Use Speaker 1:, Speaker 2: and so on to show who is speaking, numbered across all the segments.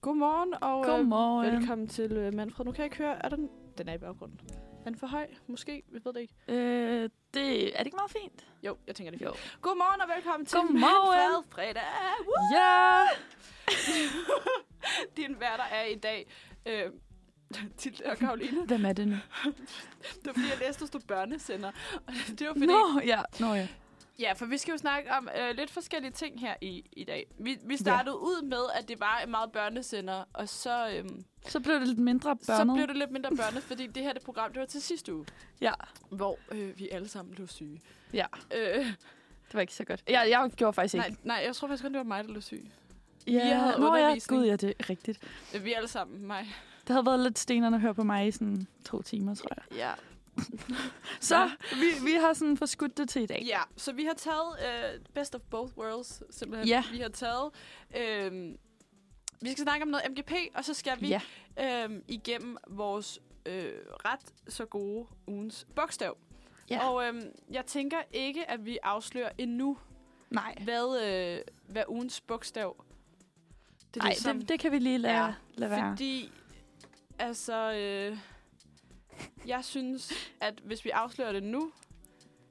Speaker 1: Godmorgen og øh,
Speaker 2: Godmorgen.
Speaker 1: velkommen til øh, Manfred. Nu kan jeg ikke høre, er den, den er i baggrunden. Er den for høj? Måske, vi ved det ikke.
Speaker 2: Øh, det, er det ikke meget fint?
Speaker 1: Jo, jeg tænker det. er
Speaker 2: Jo.
Speaker 1: fint. Godmorgen og velkommen til
Speaker 2: Godmorgen.
Speaker 1: Manfred fredag. Woo!
Speaker 2: Ja!
Speaker 1: Din værter er i dag øh, Tilde og Karoline.
Speaker 2: Hvem er det nu?
Speaker 1: Det var fordi, jeg læste, at du børnesender. Og det var fordi,
Speaker 2: Nå, ja. Nå, ja.
Speaker 1: Ja, for vi skal jo snakke om øh, lidt forskellige ting her i, i dag. Vi, vi startede ud med, at det var meget børnesender, og så, øhm,
Speaker 2: Så blev det lidt mindre børnet.
Speaker 1: så blev det lidt mindre børnet, fordi det her det program, det var til sidste uge.
Speaker 2: Ja.
Speaker 1: Hvor øh, vi alle sammen blev syge.
Speaker 2: Ja.
Speaker 1: Øh,
Speaker 2: det var ikke så godt. Ja, jeg gjorde faktisk
Speaker 1: nej,
Speaker 2: ikke.
Speaker 1: nej, jeg tror faktisk kun, det var mig, der blev syg.
Speaker 2: ja.
Speaker 1: vi havde
Speaker 2: Nå, ja,
Speaker 1: undervisning.
Speaker 2: gud, ja, det er rigtigt.
Speaker 1: Øh, Vi alle sammen, mig.
Speaker 2: Det havde været lidt stenerne at høre på mig i sådan to timer, tror jeg.
Speaker 1: Ja.
Speaker 2: Så vi, vi har sådan forskudt det til i dag.
Speaker 1: ja, så vi har taget øh, Best of Both Worlds, simpelthen.
Speaker 2: Ja.
Speaker 1: Vi har taget... Øh, vi skal snakke om noget MGP, og så skal vi
Speaker 2: Ja.
Speaker 1: øhm, igennem vores øh, ret så gode ugens bogstav.
Speaker 2: Ja.
Speaker 1: Og øhm, jeg tænker ikke, at vi afslører endnu,
Speaker 2: Nej.
Speaker 1: hvad, øh, hvad ugens bogstav det
Speaker 2: Nej, det, det kan vi lige lade,
Speaker 1: Ja,
Speaker 2: ja, lade være.
Speaker 1: Fordi, altså, øh, jeg synes, at hvis vi afslører det nu,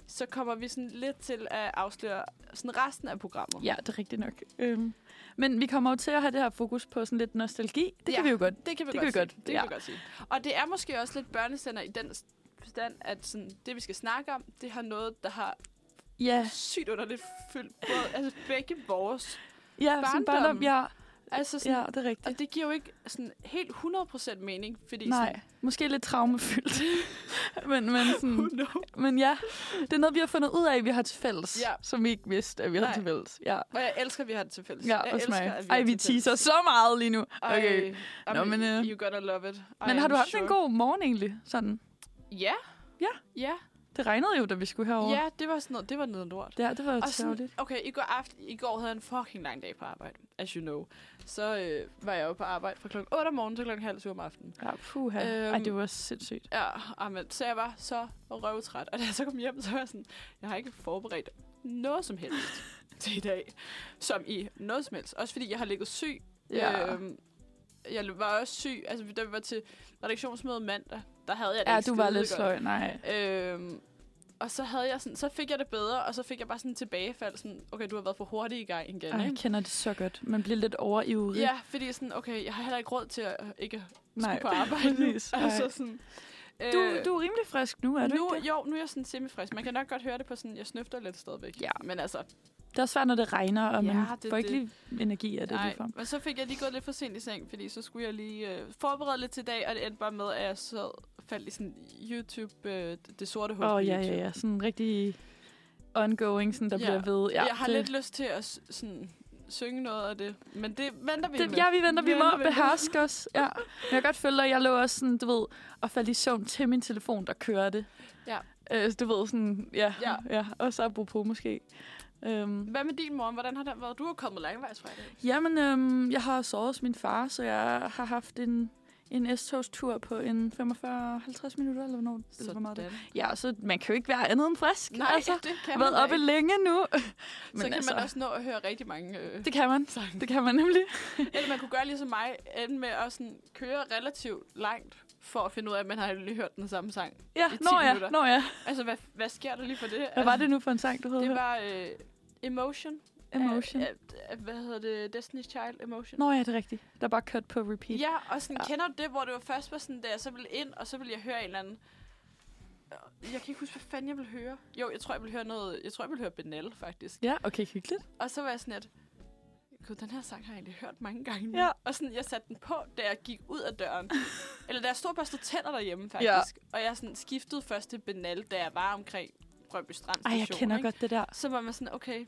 Speaker 1: så kommer vi sådan lidt til at afsløre sådan resten af programmet.
Speaker 2: Ja, det er rigtigt nok. Øhm. Men vi kommer jo til at have det her fokus på sådan lidt nostalgi. Det ja.
Speaker 1: Ja.
Speaker 2: kan vi jo godt.
Speaker 1: Det kan vi
Speaker 2: Det
Speaker 1: godt
Speaker 2: kan vi
Speaker 1: sige.
Speaker 2: godt,
Speaker 1: Det
Speaker 2: ja.
Speaker 1: kan vi godt sige. Og det er måske også lidt børnesender i den s- forstand, at sådan, det, vi skal snakke om, det har noget, der har
Speaker 2: Ja,
Speaker 1: sygt underligt fyldt både, altså begge vores.
Speaker 2: ja sådan barndom.
Speaker 1: Barndommen.
Speaker 2: Ja,
Speaker 1: Altså sådan,
Speaker 2: ja, det er rigtigt.
Speaker 1: Og det giver jo ikke sådan helt 100% mening, fordi
Speaker 2: Nej, måske lidt traumefyldt. men, men,
Speaker 1: sådan, who
Speaker 2: sådan,
Speaker 1: knows?
Speaker 2: men ja, det er noget, vi har fundet ud af, vi har til fælles.
Speaker 1: Ja.
Speaker 2: Som vi ikke vidste, at vi har
Speaker 1: Nej.
Speaker 2: til fælles. Ja,
Speaker 1: Og jeg elsker, at vi har det til fælles.
Speaker 2: ja
Speaker 1: jeg
Speaker 2: også
Speaker 1: elsker,
Speaker 2: mig.
Speaker 1: at har
Speaker 2: Ej, vi
Speaker 1: det til fælles.
Speaker 2: teaser så meget lige nu.
Speaker 1: Ej,
Speaker 2: Okay.
Speaker 1: Ej,
Speaker 2: Nå, men, øh,
Speaker 1: you gotta love it. I
Speaker 2: Men har
Speaker 1: am
Speaker 2: du haft
Speaker 1: sure.
Speaker 2: en god morgen egentlig? Sådan.
Speaker 1: Ja.
Speaker 2: Ja.
Speaker 1: Ja.
Speaker 2: Det regnede jo, da vi skulle herover.
Speaker 1: Ja, det var sådan noget, det var noget lort.
Speaker 2: Ja, det var jo
Speaker 1: Og sådan,
Speaker 2: tærligt.
Speaker 1: okay, i går, aften, i går havde jeg en fucking lang dag på arbejde, as you know. Så øh, var jeg jo på arbejde fra klokken 8 om morgenen til klokken halv syv om aftenen.
Speaker 2: Ja, puha. Ej,
Speaker 1: Øhm,
Speaker 2: det var sindssygt.
Speaker 1: Ja, amen, så jeg var så røvtræt. Og da jeg så kom hjem, så var jeg sådan, jeg har ikke forberedt noget som helst til i dag. Som i noget som helst. Også fordi jeg har ligget syg.
Speaker 2: Ja.
Speaker 1: Øhm, jeg var også syg. Altså, da vi var til redaktionsmøde mandag, der havde jeg det
Speaker 2: Ja,
Speaker 1: ikke
Speaker 2: du var
Speaker 1: skide
Speaker 2: lidt
Speaker 1: godt.
Speaker 2: sløj. Nej.
Speaker 1: Øhm, og så, havde jeg sådan, så fik jeg det bedre, og så fik jeg bare sådan en tilbagefald. Sådan, okay, du har været for hurtig i gang igen.
Speaker 2: Ej, jeg
Speaker 1: ikke?
Speaker 2: kender det så godt. Man bliver lidt overivrig.
Speaker 1: Ja, fordi sådan, okay, jeg har heller ikke råd til at øh, ikke
Speaker 2: Nej,
Speaker 1: skulle på arbejde nu.
Speaker 2: præcis.
Speaker 1: altså
Speaker 2: Ej.
Speaker 1: sådan, øh,
Speaker 2: Du, du er rimelig frisk nu, er du
Speaker 1: nu,
Speaker 2: ikke det?
Speaker 1: Jo, nu er jeg sådan semifrisk. Man kan nok godt høre det på sådan, jeg snøfter lidt stadigvæk.
Speaker 2: Ja.
Speaker 1: Men altså,
Speaker 2: Det er også svært, når det regner, og
Speaker 1: Ja,
Speaker 2: man
Speaker 1: det er
Speaker 2: får ikke
Speaker 1: det.
Speaker 2: lige energi af det.
Speaker 1: nej.
Speaker 2: ligefrem.
Speaker 1: Og så fik jeg lige gået lidt for sent i seng, fordi så skulle jeg lige øh, forberede lidt til i dag, og det endte bare med, at jeg så faldt i sådan YouTube, øh, det sorte hul
Speaker 2: Åh,
Speaker 1: på
Speaker 2: oh, ja,
Speaker 1: YouTube.
Speaker 2: ja, ja. Sådan rigtig ongoing, sådan, der
Speaker 1: Ja.
Speaker 2: ja. bliver ved. Ja,
Speaker 1: jeg har
Speaker 2: det,
Speaker 1: lidt lyst til at s- sådan, synge noget af det, men det venter vi
Speaker 2: det,
Speaker 1: med.
Speaker 2: ja, vi venter, vi
Speaker 1: Venter,
Speaker 2: må
Speaker 1: venter.
Speaker 2: beherske os. Ja. Men jeg kan godt føle dig, jeg lå også sådan, du ved, og faldt i søvn til min telefon, der kørte.
Speaker 1: Ja.
Speaker 2: Øh, så du ved, sådan, ja,
Speaker 1: Ja.
Speaker 2: ja. ja. Og så apropos måske. Øhm,
Speaker 1: Hvad med din mor? Hvordan har det været? Du er kommet langvejs fra i dag.
Speaker 2: jamen, øhm, jeg har sovet hos min far, så jeg har haft en, en S-togstur på en 45-50 minutter, eller hvornår, eller hvor meget det er. Ja, så man kan jo ikke være andet end frisk.
Speaker 1: Nej,
Speaker 2: altså,
Speaker 1: altså, det kan
Speaker 2: jeg har
Speaker 1: man
Speaker 2: været oppe
Speaker 1: ikke.
Speaker 2: længe nu.
Speaker 1: Så kan altså, man også nå at høre rigtig mange øh,
Speaker 2: Det kan man.
Speaker 1: sange.
Speaker 2: Det kan man nemlig.
Speaker 1: Eller man kunne gøre ligesom mig, ende med at sådan køre relativt langt, for at finde ud af, at man har lige hørt den samme sang.
Speaker 2: Ja,
Speaker 1: I 10
Speaker 2: når
Speaker 1: minutter.
Speaker 2: jeg, når jeg.
Speaker 1: Altså, hvad, hvad sker der lige for det?
Speaker 2: Hvad var det nu for en sang, du havde
Speaker 1: Det
Speaker 2: hørt?
Speaker 1: var øh, Emotion.
Speaker 2: Emotion.
Speaker 1: Af, af, af, hvad hedder det? Destiny's Child Emotion.
Speaker 2: Nå ja, det er rigtigt. Der er bare kørt på repeat.
Speaker 1: Ja, og sådan, ja.
Speaker 2: Ja.
Speaker 1: kender du det, hvor det var først var sådan, da jeg så ville ind, og så ville jeg høre en eller anden... Øh, Jeg kan ikke huske, hvad fanden jeg ville høre. Jo, jeg tror, jeg ville høre noget... Jeg tror, jeg ville høre Benel, faktisk.
Speaker 2: Ja, okay, hyggeligt.
Speaker 1: Og så var jeg sådan lidt... Gud, den her sang har jeg egentlig hørt mange gange nu.
Speaker 2: Ja.
Speaker 1: Og sådan, jeg satte den på, da jeg gik ud af døren. Eller da jeg stod og børstede tænder derhjemme, faktisk. Ja. Og jeg sådan skiftede først til Benal, da jeg var omkring Brøndby Strand
Speaker 2: Ej, jeg
Speaker 1: Station,
Speaker 2: kender
Speaker 1: ikke?
Speaker 2: godt det der.
Speaker 1: Så var man sådan, okay...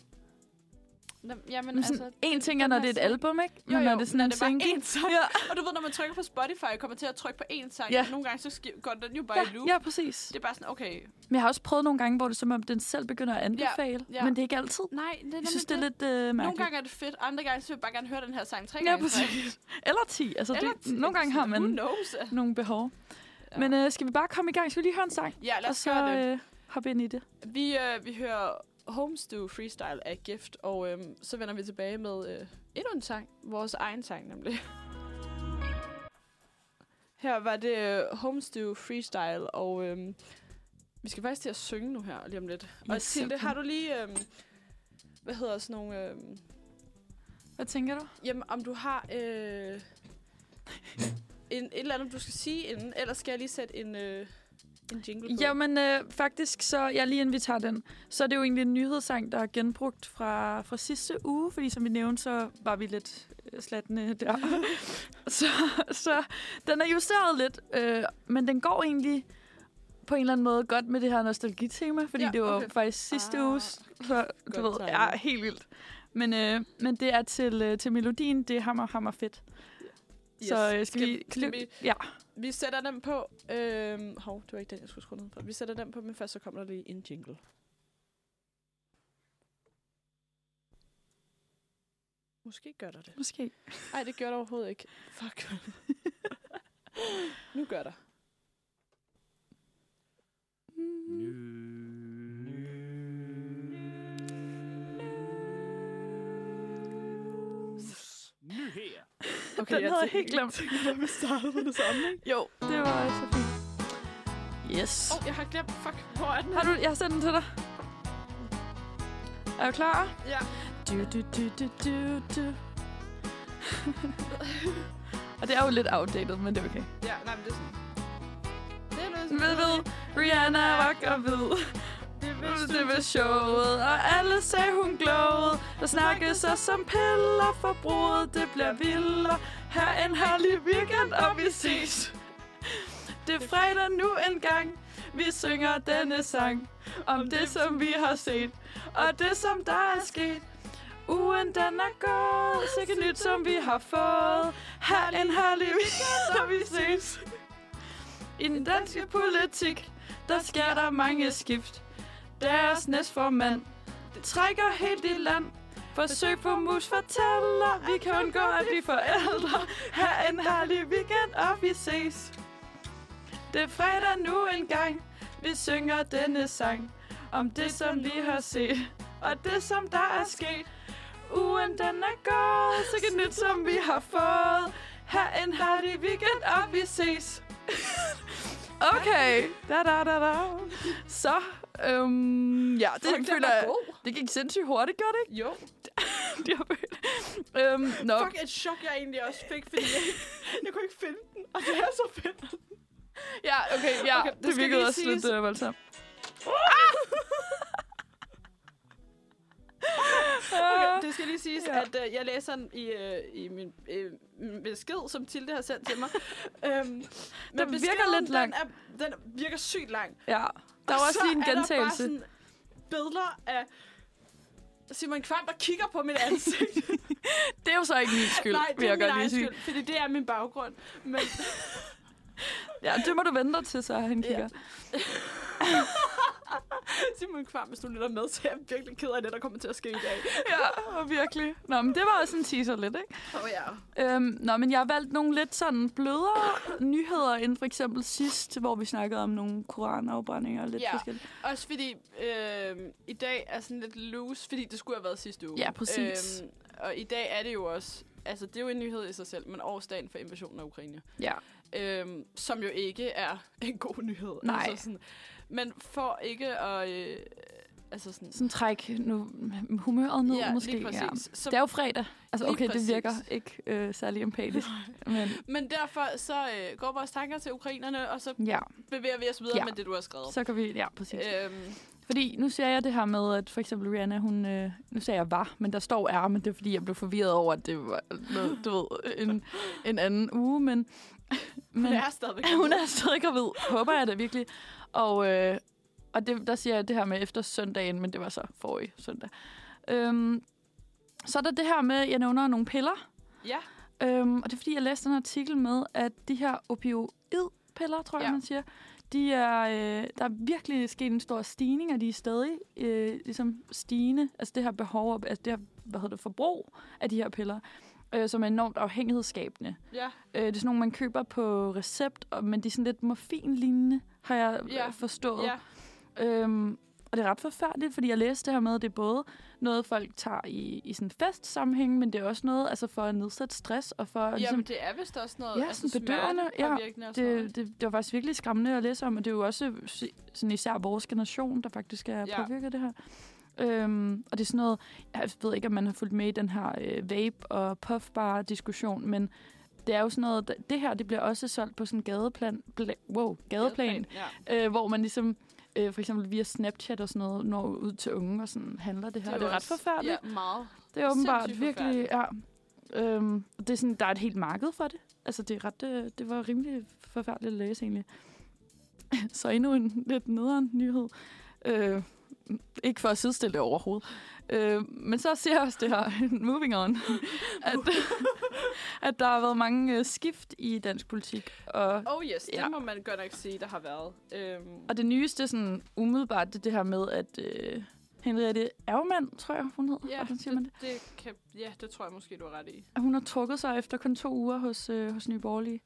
Speaker 1: Nå, jamen,
Speaker 2: Men sådan,
Speaker 1: altså,
Speaker 2: en
Speaker 1: den-
Speaker 2: ting er,
Speaker 1: den
Speaker 2: når
Speaker 1: her
Speaker 2: det er et
Speaker 1: sang-
Speaker 2: album, ikke?
Speaker 1: Jo,
Speaker 2: Men
Speaker 1: jo,
Speaker 2: når det er sådan
Speaker 1: når
Speaker 2: en
Speaker 1: det er bare
Speaker 2: single.
Speaker 1: én sang.
Speaker 2: Ja,
Speaker 1: Og du ved, når man trykker på Spotify og kommer til at trykke på én sang,
Speaker 2: Ja.
Speaker 1: ja. nogle gange så sk- går den jo bare i loop.
Speaker 2: ja, ja, præcis.
Speaker 1: Det er bare sådan, okay,
Speaker 2: Men jeg har også prøvet nogle gange, hvor det er som om, den selv begynder at anbefale.
Speaker 1: ja.
Speaker 2: Men det er ikke altid.
Speaker 1: nej, det er
Speaker 2: Jeg synes, det er lidt øh, mærkeligt.
Speaker 1: Nogle gange er det fedt, andre gange så vil jeg bare gerne høre den her sang tre
Speaker 2: Ja,
Speaker 1: gange. i træk.
Speaker 2: præcis. Eller 10. Altså,
Speaker 1: Eller
Speaker 2: det, nogle gange har
Speaker 1: Who
Speaker 2: man
Speaker 1: knows?
Speaker 2: nogle behov.
Speaker 1: Ja.
Speaker 2: Men øh, skal vi bare komme i gang? Skal vi lige høre en sang?
Speaker 1: Ja, lad
Speaker 2: og
Speaker 1: os
Speaker 2: så
Speaker 1: gøre det.
Speaker 2: øh, hoppe ind i det.
Speaker 1: Vi, øh, vi hører Homestudio Freestyle øhm, af Gift, og øh, så vender vi tilbage med øh, endnu en sang. Vores egen sang, nemlig. Her var det øh, Homestew Freestyle, og øhm, vi skal faktisk til at synge nu her lige om lidt. Og
Speaker 2: Yes.
Speaker 1: Tilde, har du lige, øhm, hvad hedder sådan nogle, øhm,
Speaker 2: Hvad tænker du?
Speaker 1: jamen om du har øh, en, et eller andet, du skal sige inden, ellers skal jeg lige sætte en, øh, en jingle på.
Speaker 2: Jamen, øh, faktisk, så ja, lige inden vi tager den, så er det jo egentlig en nyhedssang, der er genbrugt fra, fra sidste uge, fordi som vi nævnte, så var vi lidt øh, slattende der. så, så den er justeret lidt, øh, men den går egentlig på en eller anden måde godt med det her nostalgitema, fordi
Speaker 1: Ja,
Speaker 2: ja, det var
Speaker 1: okay.
Speaker 2: okay. faktisk sidste ah,
Speaker 1: Ah,
Speaker 2: uges, så du ved,
Speaker 1: timing.
Speaker 2: ja, helt vildt. Men, øh, men det er til, øh, til melodien, det er hammer, hammer fedt. Yes. Så øh, skal, skal, vi,
Speaker 1: skal vi
Speaker 2: Ja,
Speaker 1: Vi sætter den på. Øhm, hov, det var ikke den, jeg skulle skrue ned for. Vi sætter den på, men først så kommer der lige en jingle. Måske gør der det.
Speaker 2: måske.
Speaker 1: Nej, det gør der overhovedet ikke. Fuck. nu gør der.
Speaker 3: Nyheder.
Speaker 2: Den havde jeg helt glemt.
Speaker 1: Når vi startede med det samme, ikke?
Speaker 2: Jo, det var så fint. Yes.
Speaker 1: Åh, oh, jeg har glemt. Fuck, hvor er den
Speaker 2: Har du, jeg har sendt den til dig. Er du klar?
Speaker 1: Ja.
Speaker 2: Du, du, du, du, du, du. Og det er jo lidt outdated, men det er okay.
Speaker 1: Ja, nej, men det er sådan. Det er noget,
Speaker 2: Ved, ved, Rihanna var gravid.
Speaker 1: Det er vist,
Speaker 2: Det var showet, og alle sagde hun glowede. Der snakkes så som piller, forbruget det bliver vildere. Her en herlig weekend, og vi ses. Det er fredag nu engang, vi synger denne sang. Om det, som vi har set, og det, som der er sket. Ugen den er gået, sikkert nyt, som vi har fået. Her en herlig weekend, og vi ses. I den danske politik, der sker der mange skift. Deres næstformand trækker helt i land. Forsøg på mus fortæller, vi kan undgå at blive forældre. Ha' en herlig weekend, og vi ses. Det er fredag nu engang, vi synger denne sang. Om det, som vi har set, og det, som der er sket. Ugen den er gået, sikkert nyt, som vi har fået. Ha' en herlig weekend, og vi ses. Okay. Da, da, da, da. Så, øhm, ja, det,
Speaker 1: Fuck, den
Speaker 2: føler
Speaker 1: var
Speaker 2: jeg,
Speaker 1: god.
Speaker 2: det gik sindssygt hurtigt, gør det ikke?
Speaker 1: Jo.
Speaker 2: De har mødt. øhm, nå,
Speaker 1: Fuck, et chok, jeg egentlig også fik, fordi jeg, jeg kunne ikke finde den. Og det er så fedt.
Speaker 2: ja, okay,
Speaker 1: Okay,
Speaker 2: ja, okay,
Speaker 1: det
Speaker 2: det, det
Speaker 1: skal
Speaker 2: virkede
Speaker 1: lige
Speaker 2: også lidt
Speaker 1: siges. Ah!
Speaker 2: øh, voldsomt.
Speaker 1: Okay, det skal lige siges, ja.
Speaker 2: Ah. Ja.
Speaker 1: at øh, jeg læser den i, øh, i min øh, min besked, som Tilde har sendt til mig. øhm, men
Speaker 2: virker
Speaker 1: beskeden,
Speaker 2: lidt lang.
Speaker 1: Den, er, den virker sygt lang.
Speaker 2: Ja, der
Speaker 1: Og
Speaker 2: var også
Speaker 1: så
Speaker 2: lige en
Speaker 1: er der
Speaker 2: gentagelse.
Speaker 1: bare sådan billeder af Simon Kvam, der kigger på mit ansigt.
Speaker 2: Det er jo så ikke min skyld,
Speaker 1: Nej,
Speaker 2: vil
Speaker 1: det er
Speaker 2: jeg
Speaker 1: min
Speaker 2: godt lige
Speaker 1: egen
Speaker 2: sige.
Speaker 1: skyld, fordi det er min baggrund. Men
Speaker 2: Ja, det må du vente dig til, så han kigger.
Speaker 1: Simon Kvam, hvis du lytter med, så er jeg virkelig ked af det, der kommer til at ske i dag.
Speaker 2: Ja, og virkelig. Nå, men det var også en teaser lidt, ikke?
Speaker 1: Åh oh, ja.
Speaker 2: Øhm, nå, men jeg har valgt nogle lidt sådan blødere nyheder end for eksempel sidst, hvor vi snakkede om nogle koranafbrændinger og lidt
Speaker 1: Ja.
Speaker 2: forskelligt.
Speaker 1: Også fordi øh, i dag er sådan lidt loose, fordi det skulle have været sidste uge.
Speaker 2: Ja, præcis.
Speaker 1: Øhm, og i dag er det jo også, altså det er jo en nyhed i sig selv, men årsdagen for invasionen af Ukraine.
Speaker 2: Ja.
Speaker 1: Øhm, som jo ikke er en god nyhed.
Speaker 2: Nej.
Speaker 1: Altså sådan, men for ikke at... Øh, altså sådan,
Speaker 2: Sådan træk nu humøret ned,
Speaker 1: ja,
Speaker 2: måske.
Speaker 1: lige præcis. Så,
Speaker 2: Det er jo fredag. Altså
Speaker 1: Lige
Speaker 2: okay, det
Speaker 1: præcis.
Speaker 2: virker ikke øh, særlig empatisk. Men
Speaker 1: men derfor så øh, går vores tanker til ukrainerne, og så
Speaker 2: ja,
Speaker 1: bevæger vi os videre ja.
Speaker 2: Ja.
Speaker 1: med det, du har skrevet.
Speaker 2: så kan vi... Ja, præcis.
Speaker 1: øhm,
Speaker 2: Fordi nu ser jeg det her med, at for eksempel Rihanna, hun... Øh, nu sagde jeg var, men der står er, men det er fordi, jeg blev forvirret over, at det var noget, du ved, en, en anden uge, men... men
Speaker 1: men, det er stadigvæk
Speaker 2: hun er stadig gravid, håber jeg da virkelig. Og, øh, og det, der siger jeg det her med efter søndagen, men det var så forrige søndag. Øhm, så er der det her med, at jeg nævner nogle piller.
Speaker 1: Ja.
Speaker 2: Øhm, og det er fordi, jeg læste en artikel med, at de her opioidpiller, tror jeg,
Speaker 1: Ja.
Speaker 2: ja. man siger, de er, øh, der er virkelig sket en stor stigning, og de er stadig øh, ligesom stigende. Altså det her behov, og- altså det her hvad hedder det, forbrug af de her piller, øh, som er enormt afhængighedsskabende.
Speaker 1: Ja,
Speaker 2: Øh, det er sådan nogle, man køber på recept, og, men de er sådan lidt morfinlignende, har jeg øh,
Speaker 1: Ja,
Speaker 2: ja. forstået.
Speaker 1: ja.
Speaker 2: Øhm, og Og det er ret forfærdeligt, fordi jeg læste det her med, at det er både noget, folk tager i, i sådan festsammenhæng, men det er også noget altså for at nedsætte stress og for at
Speaker 1: Jamen,
Speaker 2: ligesom,
Speaker 1: det er vist også noget altså,
Speaker 2: Ja, sådan bedøvende, ja,
Speaker 1: smertepåvirkende og sådan noget.
Speaker 2: det, det, det var faktisk virkelig skræmmende at læse om, og det er jo også si- sådan især vores generation, der faktisk er
Speaker 1: Ja.
Speaker 2: ja. påvirket af det her. Øhm, og det er sådan noget, jeg ved ikke, om man har fulgt med i den her øh, vape- og puffbar-diskussion, men det er jo sådan noget, d- det her det bliver også solgt på sådan en gadeplan, bla- wow, gadeplan,
Speaker 1: Ja.
Speaker 2: øh, hvor man ligesom, øh, for eksempel via Snapchat og sådan noget, når ud til unge og sådan handler det her. Det er, det er ret
Speaker 1: også-
Speaker 2: forfærdeligt.
Speaker 1: Ja, meget.
Speaker 2: Det er åbenbart
Speaker 1: Sindssygt
Speaker 2: virkelig, ja. Øhm, det er sådan, der er et helt marked for det. Altså, det, er ret, øh, det var rimelig forfærdeligt at læse, egentlig. Så endnu en lidt nederen nyhed. Øh, ikke for at sidestille det overhovedet. Øh, men så ser jeg også det her, moving on, at, at der har været mange øh, skift i dansk politik. Og,
Speaker 1: Oh yes, det
Speaker 2: Ja.
Speaker 1: må man godt nok sige, der har været. Øhm,
Speaker 2: og det nyeste, sådan umiddelbart, det er det her med, at øh, Henriette Ervmann, tror jeg, hun hedder.
Speaker 1: ja,
Speaker 2: hvordan siger man
Speaker 1: det, det kan, ja, det tror jeg måske, du har ret i.
Speaker 2: at hun har trukket sig efter kun to uger hos, øh, hos Nye Borgerlige.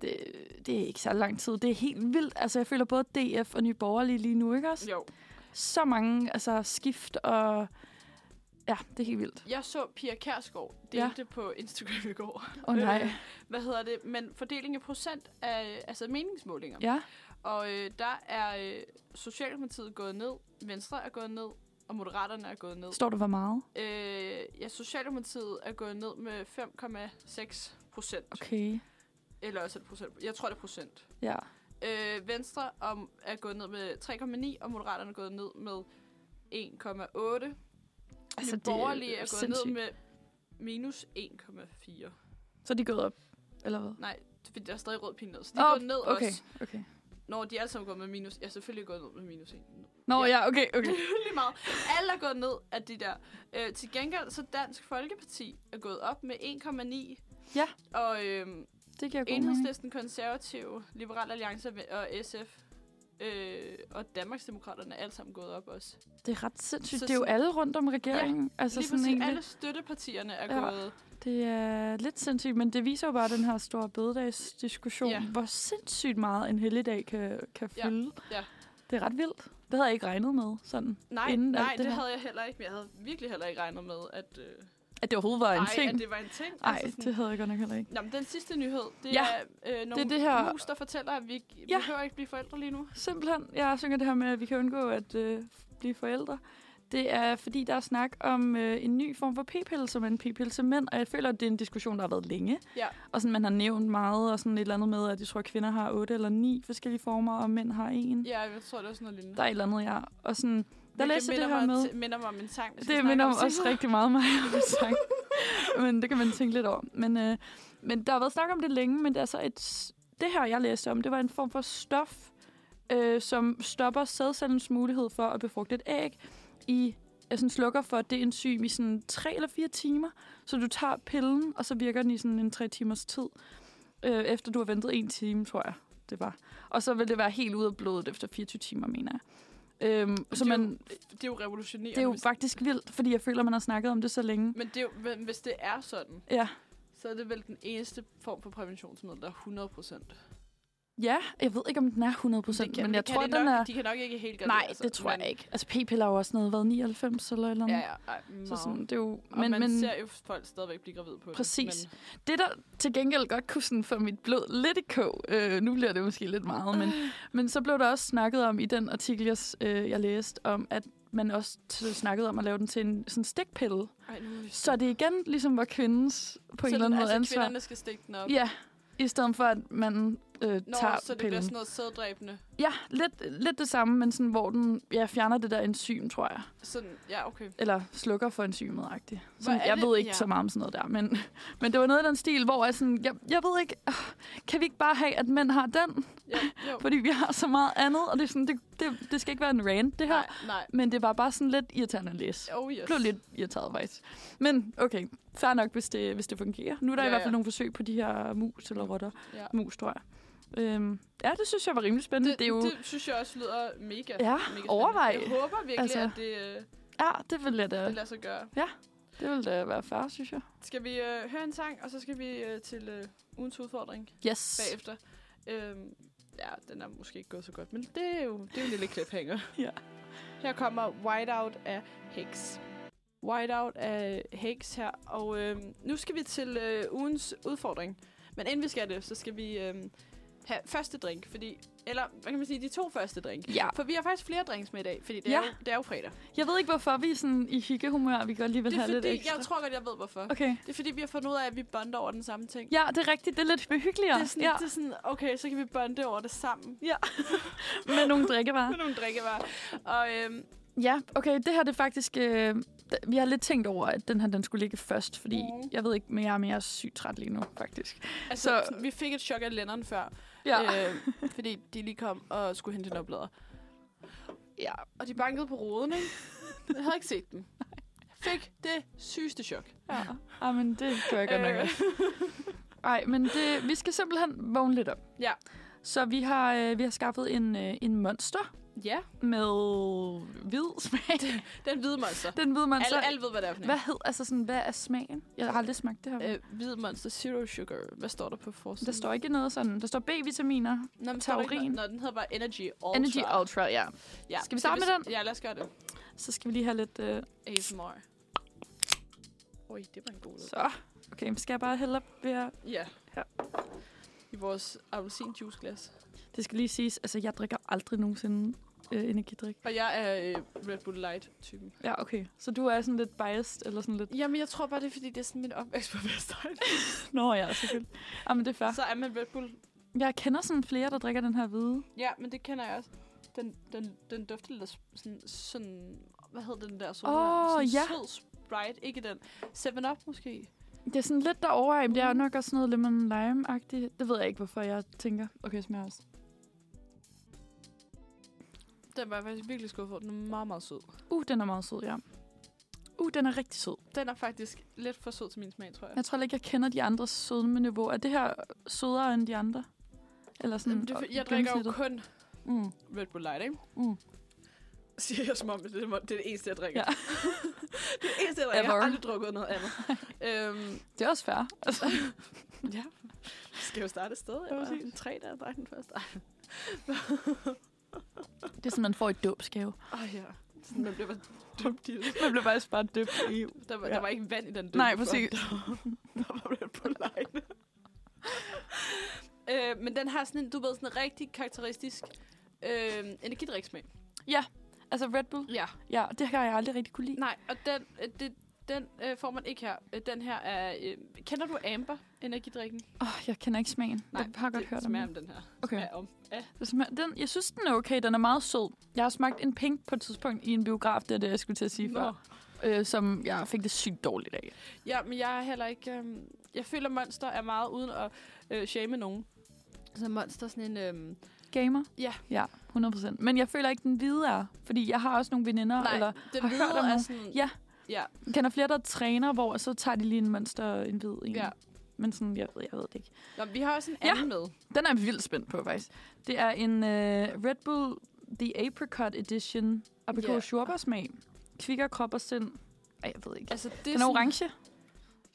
Speaker 2: Det, det er ikke så lang tid. Det er helt vildt. Altså, jeg føler både DF og Nye Borgerlige lige nu, ikke også?
Speaker 1: Jo.
Speaker 2: Så mange altså, skift og... Ja, det er helt vildt.
Speaker 1: Jeg så Pia Kærsgaard
Speaker 2: Ja.
Speaker 1: delte det på Instagram i går.
Speaker 2: Åh oh, nej.
Speaker 1: Øh, Hvad hedder det? Men fordeling af procent af altså meningsmålinger.
Speaker 2: Ja,
Speaker 1: Og øh, der er øh, Socialdemokratiet gået ned, Venstre er gået ned, og Moderaterne er gået ned.
Speaker 2: står der hvor meget?
Speaker 1: Øh, ja, Socialdemokratiet er gået ned med 5,6 procent.
Speaker 2: Okay,
Speaker 1: Eller også er det procent. Jeg tror, det er procent.
Speaker 2: ja.
Speaker 1: Øh, Venstre om, er gået ned med 3,9, og Moderaterne er gået ned med 1,8. Altså, Nye Borgerlige er, gået ned med minus 1,4.
Speaker 2: Så er de gået op, eller hvad?
Speaker 1: Nej, det- fordi der er stadig rød pin ned. Så de er
Speaker 2: Åh,
Speaker 1: gået ned
Speaker 2: okay,
Speaker 1: også.
Speaker 2: okay.
Speaker 1: Når de er alle sammen gået med minus... Ja, selvfølgelig er gået ned med minus 1.
Speaker 2: Nå,
Speaker 1: Ja.
Speaker 2: ja, ja okay, okay.
Speaker 1: Lige meget. Alle er gået ned af de der. Øh, til gengæld så Dansk Folkeparti er gået op med 1,9.
Speaker 2: Ja.
Speaker 1: Og øhm,
Speaker 2: Det giver god mening.
Speaker 1: Enhedslisten, Konservative, Liberal Alliance og SF øh, og Danmarksdemokraterne er alle sammen gået op også.
Speaker 2: Det er ret sindssygt.
Speaker 1: Så
Speaker 2: det er jo
Speaker 1: sådan-
Speaker 2: alle rundt om regeringen. Ja,
Speaker 1: Så
Speaker 2: altså,
Speaker 1: Lige
Speaker 2: sådan
Speaker 1: præcis
Speaker 2: egentlig.
Speaker 1: alle støttepartierne er
Speaker 2: Ja.
Speaker 1: gået.
Speaker 2: Det er lidt sindssygt, men det viser jo bare den her store bededagsdiskussion,
Speaker 1: Ja.
Speaker 2: ja. hvor sindssygt meget en helligdag kan, kan
Speaker 1: Ja,
Speaker 2: fylde.
Speaker 1: ja.
Speaker 2: Det er ret vildt. Det havde jeg ikke regnet med, sådan,
Speaker 1: Nej,
Speaker 2: Inden alt
Speaker 1: nej det,
Speaker 2: det her.
Speaker 1: havde jeg heller ikke. Men jeg havde virkelig heller ikke regnet med, at, øh,
Speaker 2: at det overhovedet var en
Speaker 1: ej,
Speaker 2: ting.
Speaker 1: at det var en ting. Altså
Speaker 2: Nej,
Speaker 1: sådan-
Speaker 2: det havde jeg godt nok heller ikke.
Speaker 1: Nå, men den sidste nyhed, det
Speaker 2: Ja,
Speaker 1: er øh, nogle
Speaker 2: det er det her-
Speaker 1: mus, der fortæller, at vi ikke
Speaker 2: Ja.
Speaker 1: behøver ikke blive forældre lige nu.
Speaker 2: Simpelthen, jeg synger det her med, at vi kan undgå at øh, blive forældre. Det er, fordi der er snak om øh, en ny form for p-pille, som er en p-pille til mænd, og jeg føler, at det er en diskussion, der har været længe.
Speaker 1: Ja.
Speaker 2: Og sådan, man har nævnt meget, og sådan et eller andet med, at jeg tror, at kvinder har otte eller ni forskellige former, og mænd har en.
Speaker 1: Ja, jeg tror, det er sådan noget lignende.
Speaker 2: Der er et eller andet, ja. Og sådan, der
Speaker 1: Hvilket
Speaker 2: læser jeg det
Speaker 1: minder
Speaker 2: her
Speaker 1: mig,
Speaker 2: med.
Speaker 1: t- minder mig om en sang, vi skal
Speaker 2: Det
Speaker 1: snakke
Speaker 2: minder
Speaker 1: om
Speaker 2: om også
Speaker 1: senere.
Speaker 2: rigtig meget mig om en sang. men det kan man tænke lidt over. Men, øh, men der har været snak om det længe, men det er så et, s- det her, jeg læste om, det var en form for stof, øh, som stopper sædcellens mulighed for at befrugte et æg i altså slukker for det enzym i sådan 3 eller 4 timer. Så du tager pillen, og så virker den i sådan en 3 timers tid, øh, efter du har ventet en time, tror jeg, det var. Og så vil det være helt ude af blodet efter 24 timer, mener jeg. Øhm, så
Speaker 1: Det er jo
Speaker 2: man,
Speaker 1: Det er jo revolutionerende.
Speaker 2: det er jo
Speaker 1: hvis-
Speaker 2: faktisk vildt, fordi jeg føler, man har snakket om det så længe.
Speaker 1: Men det er jo, men hvis det er sådan,
Speaker 2: Ja,
Speaker 1: så er det vel den eneste form for præventionsmiddel, der er 100 procent.
Speaker 2: ja jeg ved ikke, om den er 100 procent, men jeg tror,
Speaker 1: de
Speaker 2: den
Speaker 1: nok,
Speaker 2: er...
Speaker 1: De kan nok ikke helt gøre
Speaker 2: Nej,
Speaker 1: det, altså.
Speaker 2: det tror
Speaker 1: men,
Speaker 2: jeg ikke. Altså, p-piller har jo også noget, været 99 eller et eller andet.
Speaker 1: Ja, ja. Ej, meget.
Speaker 2: Så sådan, det er jo...
Speaker 1: men, og
Speaker 2: Men,
Speaker 1: man
Speaker 2: men
Speaker 1: ser jo folk stadigvæk blive gravid på
Speaker 2: Præcis.
Speaker 1: det. Men,
Speaker 2: det, der til gengæld godt kunne sådan få mit blod lidt i kog, øh, nu bliver det måske lidt meget, men, men så blev der også snakket om i den artikel, jeg, s- øh, jeg læste, om at man også t- snakkede om at lave den til en sådan stikpille.
Speaker 1: ej, nu er vi-
Speaker 2: Så det igen ligesom var kvindens på en eller anden måde
Speaker 1: altså,
Speaker 2: ansvar.
Speaker 1: kvinderne skal stikke den op.
Speaker 2: Ja, i stedet for, at man øh,
Speaker 1: Nå,
Speaker 2: tager
Speaker 1: så det
Speaker 2: pillen.
Speaker 1: bliver sådan noget sæddræbende.
Speaker 2: Ja, lidt, lidt det samme, men sådan, hvor den ja, fjerner det der enzym, tror jeg.
Speaker 1: Sådan, ja, okay.
Speaker 2: Eller slukker for enzymet, agtigt. Sådan,
Speaker 1: Hvor er
Speaker 2: jeg
Speaker 1: det-
Speaker 2: ved ikke
Speaker 1: ja.
Speaker 2: ja. så meget om sådan noget der, men, men det var noget i den stil, hvor jeg sådan, jeg, jeg ved ikke, øh, kan vi ikke bare have, at mænd har den?
Speaker 1: Ja, jo.
Speaker 2: Fordi vi har så meget andet, og det, er sådan, det, det, det skal ikke være en rant, det her. Nej.
Speaker 1: Nej, nej.
Speaker 2: Men det var bare sådan lidt irriterende at læse.
Speaker 1: Oh yes.
Speaker 2: Jeg blev lidt irriteret faktisk. Men okay, fair nok, hvis det, hvis det fungerer. Nu er der
Speaker 1: Ja,
Speaker 2: ja, i hvert fald
Speaker 1: ja.
Speaker 2: nogle forsøg på de her mus eller rotter.
Speaker 1: Ja.
Speaker 2: Mus, tror jeg. Øhm, ja, det synes jeg var rimelig spændende.
Speaker 1: Det, det, jo... det synes jeg også lyder mega,
Speaker 2: Ja,
Speaker 1: mega spændende.
Speaker 2: overvej.
Speaker 1: Jeg håber virkelig, altså...
Speaker 2: Altså.
Speaker 1: at det, øh,
Speaker 2: Ja, det vil jeg da,
Speaker 1: det lader sig gøre.
Speaker 2: det vil da være færre, synes jeg.
Speaker 1: Skal vi øh, høre en sang, og så skal vi øh, til øh, ugens udfordring
Speaker 2: Yes.
Speaker 1: bagefter. Øhm, ja, den er måske ikke gået så godt, men det er jo, det er jo en lille cliffhanger.
Speaker 2: Ja.
Speaker 1: Her kommer Whiteout af Hicks. Whiteout af Hicks her. Og øh, nu skal vi til øh, ugens udfordring. Men inden vi skal det, så skal vi øh, have første drink. Fordi, eller hvad kan man sige, de to første drink.
Speaker 2: Ja.
Speaker 1: For vi har faktisk flere drinks med i dag, fordi det, ja. er,
Speaker 2: Ja.
Speaker 1: jo, det er jo fredag.
Speaker 2: Jeg ved ikke, hvorfor vi er sådan i hyggehumør. Vi godt lige vil
Speaker 1: det er
Speaker 2: have lidt
Speaker 1: fordi,
Speaker 2: ekstra.
Speaker 1: jeg tror godt, jeg ved hvorfor. Okay.
Speaker 2: Okay.
Speaker 1: Det er fordi, vi har fundet ud af, at vi bonder over den samme ting.
Speaker 2: Ja, det er rigtigt. Det er lidt hyggeligere.
Speaker 1: Det er, sådan,
Speaker 2: ja.
Speaker 1: ja. det er sådan, okay, så kan vi bonde over det sammen.
Speaker 2: Med nogle drikkevarer.
Speaker 1: Med nogle drikkevarer. Og øhm,
Speaker 2: Ja, okay, det her det er faktisk... Øh, d- vi har lidt tænkt over, at den her den skulle ligge først, fordi
Speaker 1: Mhm.
Speaker 2: mm. jeg ved ikke, men jeg er mere sygt træt lige nu, faktisk.
Speaker 1: altså,
Speaker 2: Så-
Speaker 1: så... vi fik et chok af Lennon før,
Speaker 2: Ja, øh.
Speaker 1: øh, fordi de lige kom og skulle hente en oplader. Ja, og de bankede på roden, ikke? Jeg havde ikke set dem. Fik det sygeste chok.
Speaker 2: ja. Ej, men det gør jeg godt nok
Speaker 1: Øh.
Speaker 2: også. Ej, men det, vi skal simpelthen vågne lidt op.
Speaker 1: Ja.
Speaker 2: Så vi har, øh, vi har skaffet en, øh, en monster
Speaker 1: Ja,
Speaker 2: med hvid smag.
Speaker 1: den hvide monster.
Speaker 2: Den ved man så...
Speaker 1: Alle, alle ved, hvad det er for en.
Speaker 2: Hvad hed, altså sådan, hvad er smagen? Jeg har aldrig smagt det her. Øh.
Speaker 1: Øh, hvid monster Zero Sugar. Hvad står der på forsiden?
Speaker 2: Der står ikke noget sådan. Der står B-vitaminer.
Speaker 1: Nå, men står der ikke
Speaker 2: taurin.
Speaker 1: noget? Nå, den hedder bare Energy Ultra.
Speaker 2: Energy Ultra, ja.
Speaker 1: Ja.
Speaker 2: Skal vi starte med den?
Speaker 1: Ja, lad os gøre det.
Speaker 2: Så skal vi lige have lidt... Øh,
Speaker 1: ASMR. Oj, det var en god lyd.
Speaker 2: Så. Okay, men skal jeg bare hælde op ved at...
Speaker 1: Ja.
Speaker 2: Ja.
Speaker 1: I vores appelsinjuiceglas.
Speaker 2: Det skal lige siges, altså jeg drikker aldrig nogensinde øh, energidrik.
Speaker 1: Og jeg er øh, Red Bull Light-typen.
Speaker 2: Ja, okay. Så du er sådan lidt biased, eller sådan lidt...
Speaker 1: Jamen, jeg tror bare, det er, fordi det er sådan min opvækst på Vestegn.
Speaker 2: Nå ja, selvfølgelig. Jamen, det er fair.
Speaker 1: Så er man Red Bull.
Speaker 2: Jeg kender sådan flere, der drikker den her hvide.
Speaker 1: Ja, men det kender jeg også. Den, den, den dufter lidt af s- sådan, sådan... Hvad hedder den der? Sådan,
Speaker 2: Åh,
Speaker 1: sådan
Speaker 2: ja.
Speaker 1: sød Sprite. Ikke den. 7-Up måske.
Speaker 2: Det er sådan lidt derovre, men det
Speaker 1: Mhm.
Speaker 2: er jo nok også sådan noget lemon lime-agtigt. Det ved jeg ikke, hvorfor jeg tænker. Okay, smager også.
Speaker 1: Den var jeg faktisk virkelig skuffet over. Den er meget, meget sød.
Speaker 2: Uh, den er meget sød, ja. Uh, den er rigtig sød.
Speaker 1: Den er faktisk lidt for sød til min smag, tror jeg.
Speaker 2: Jeg tror ikke, jeg kender de andres sødme-niveau. Er det her sødere end de andre? Eller sådan
Speaker 1: Jamen, det, er fordi, jeg drikker jo
Speaker 2: gennemsnittet?
Speaker 1: kun
Speaker 2: Mm,
Speaker 1: Red Bull Light, ikke?
Speaker 2: mm.
Speaker 1: Siger jeg som om, det er det, er det eneste, jeg drikker.
Speaker 2: Ja.
Speaker 1: det er det eneste, jeg drikker. Jeg
Speaker 2: Ever.
Speaker 1: har aldrig drukket noget andet. øhm,
Speaker 2: Det er også fair. Altså.
Speaker 1: ja. Skal jo starte et sted. Jeg
Speaker 2: Ja,
Speaker 1: var
Speaker 2: præcis.
Speaker 1: en tre, da jeg drak den første.
Speaker 2: Det er sådan, man får et dåbsgave.
Speaker 1: Åh oh, ja. Sådan, man bliver bare dømt i det.
Speaker 2: Man blev faktisk bare døbt i.
Speaker 1: Der var, ja.
Speaker 2: Ja.
Speaker 1: der var ikke vand i den døbe.
Speaker 2: Nej,
Speaker 1: før.
Speaker 2: præcis.
Speaker 1: der var Red Bull Light. øh, men den har sådan en, du ved, sådan en rigtig karakteristisk øh, energidriksmag.
Speaker 2: Altså Red Bull?
Speaker 1: Ja.
Speaker 2: Ja, det har jeg aldrig rigtig kunne lide.
Speaker 1: Nej, og den, øh, det, den øh, får man ikke her. Øh, Den her er... Øh, kender du Amber, energidrikken?
Speaker 2: Åh, oh, jeg kender ikke smagen. Nej, jeg har godt
Speaker 1: det
Speaker 2: hørt om
Speaker 1: smager
Speaker 2: den.
Speaker 1: om den her.
Speaker 2: Okay.
Speaker 1: Smager om. Ja.
Speaker 2: Det smager, den. Jeg synes, den er okay. Den er meget sød. Jeg har smagt en pink på et tidspunkt i en biograf, det er det, jeg skulle til at sige
Speaker 1: Nå.
Speaker 2: før. Øh, som jeg fik det sygt dårligt af.
Speaker 1: ja, men jeg er heller ikke... Øh, jeg føler, Monster er meget uden at øh, shame nogen. Så Monster er sådan en... Øh,
Speaker 2: Gamer?
Speaker 1: Ja.
Speaker 2: Ja, 100%. Men jeg føler ikke, den hvide er. Fordi jeg har også nogle veninder,
Speaker 1: nej,
Speaker 2: eller
Speaker 1: den
Speaker 2: har
Speaker 1: hvide
Speaker 2: hørt om
Speaker 1: er
Speaker 2: nogen.
Speaker 1: sådan...
Speaker 2: Ja.
Speaker 1: Ja,
Speaker 2: kender flere, der træner, hvor så tager de lige en monster og en hvid en.
Speaker 1: ja.
Speaker 2: Men sådan, jeg ved, jeg ved det ikke.
Speaker 1: Nå, vi har også en
Speaker 2: Ja.
Speaker 1: anden med.
Speaker 2: Den er jeg vildt spændt på, faktisk. Det er en øh, Red Bull The Apricot Edition. Aprikot
Speaker 1: Ja.
Speaker 2: yeah. smag. Kvikker krop og sind. Ej, jeg ved ikke.
Speaker 1: Altså, det
Speaker 2: Den er orange.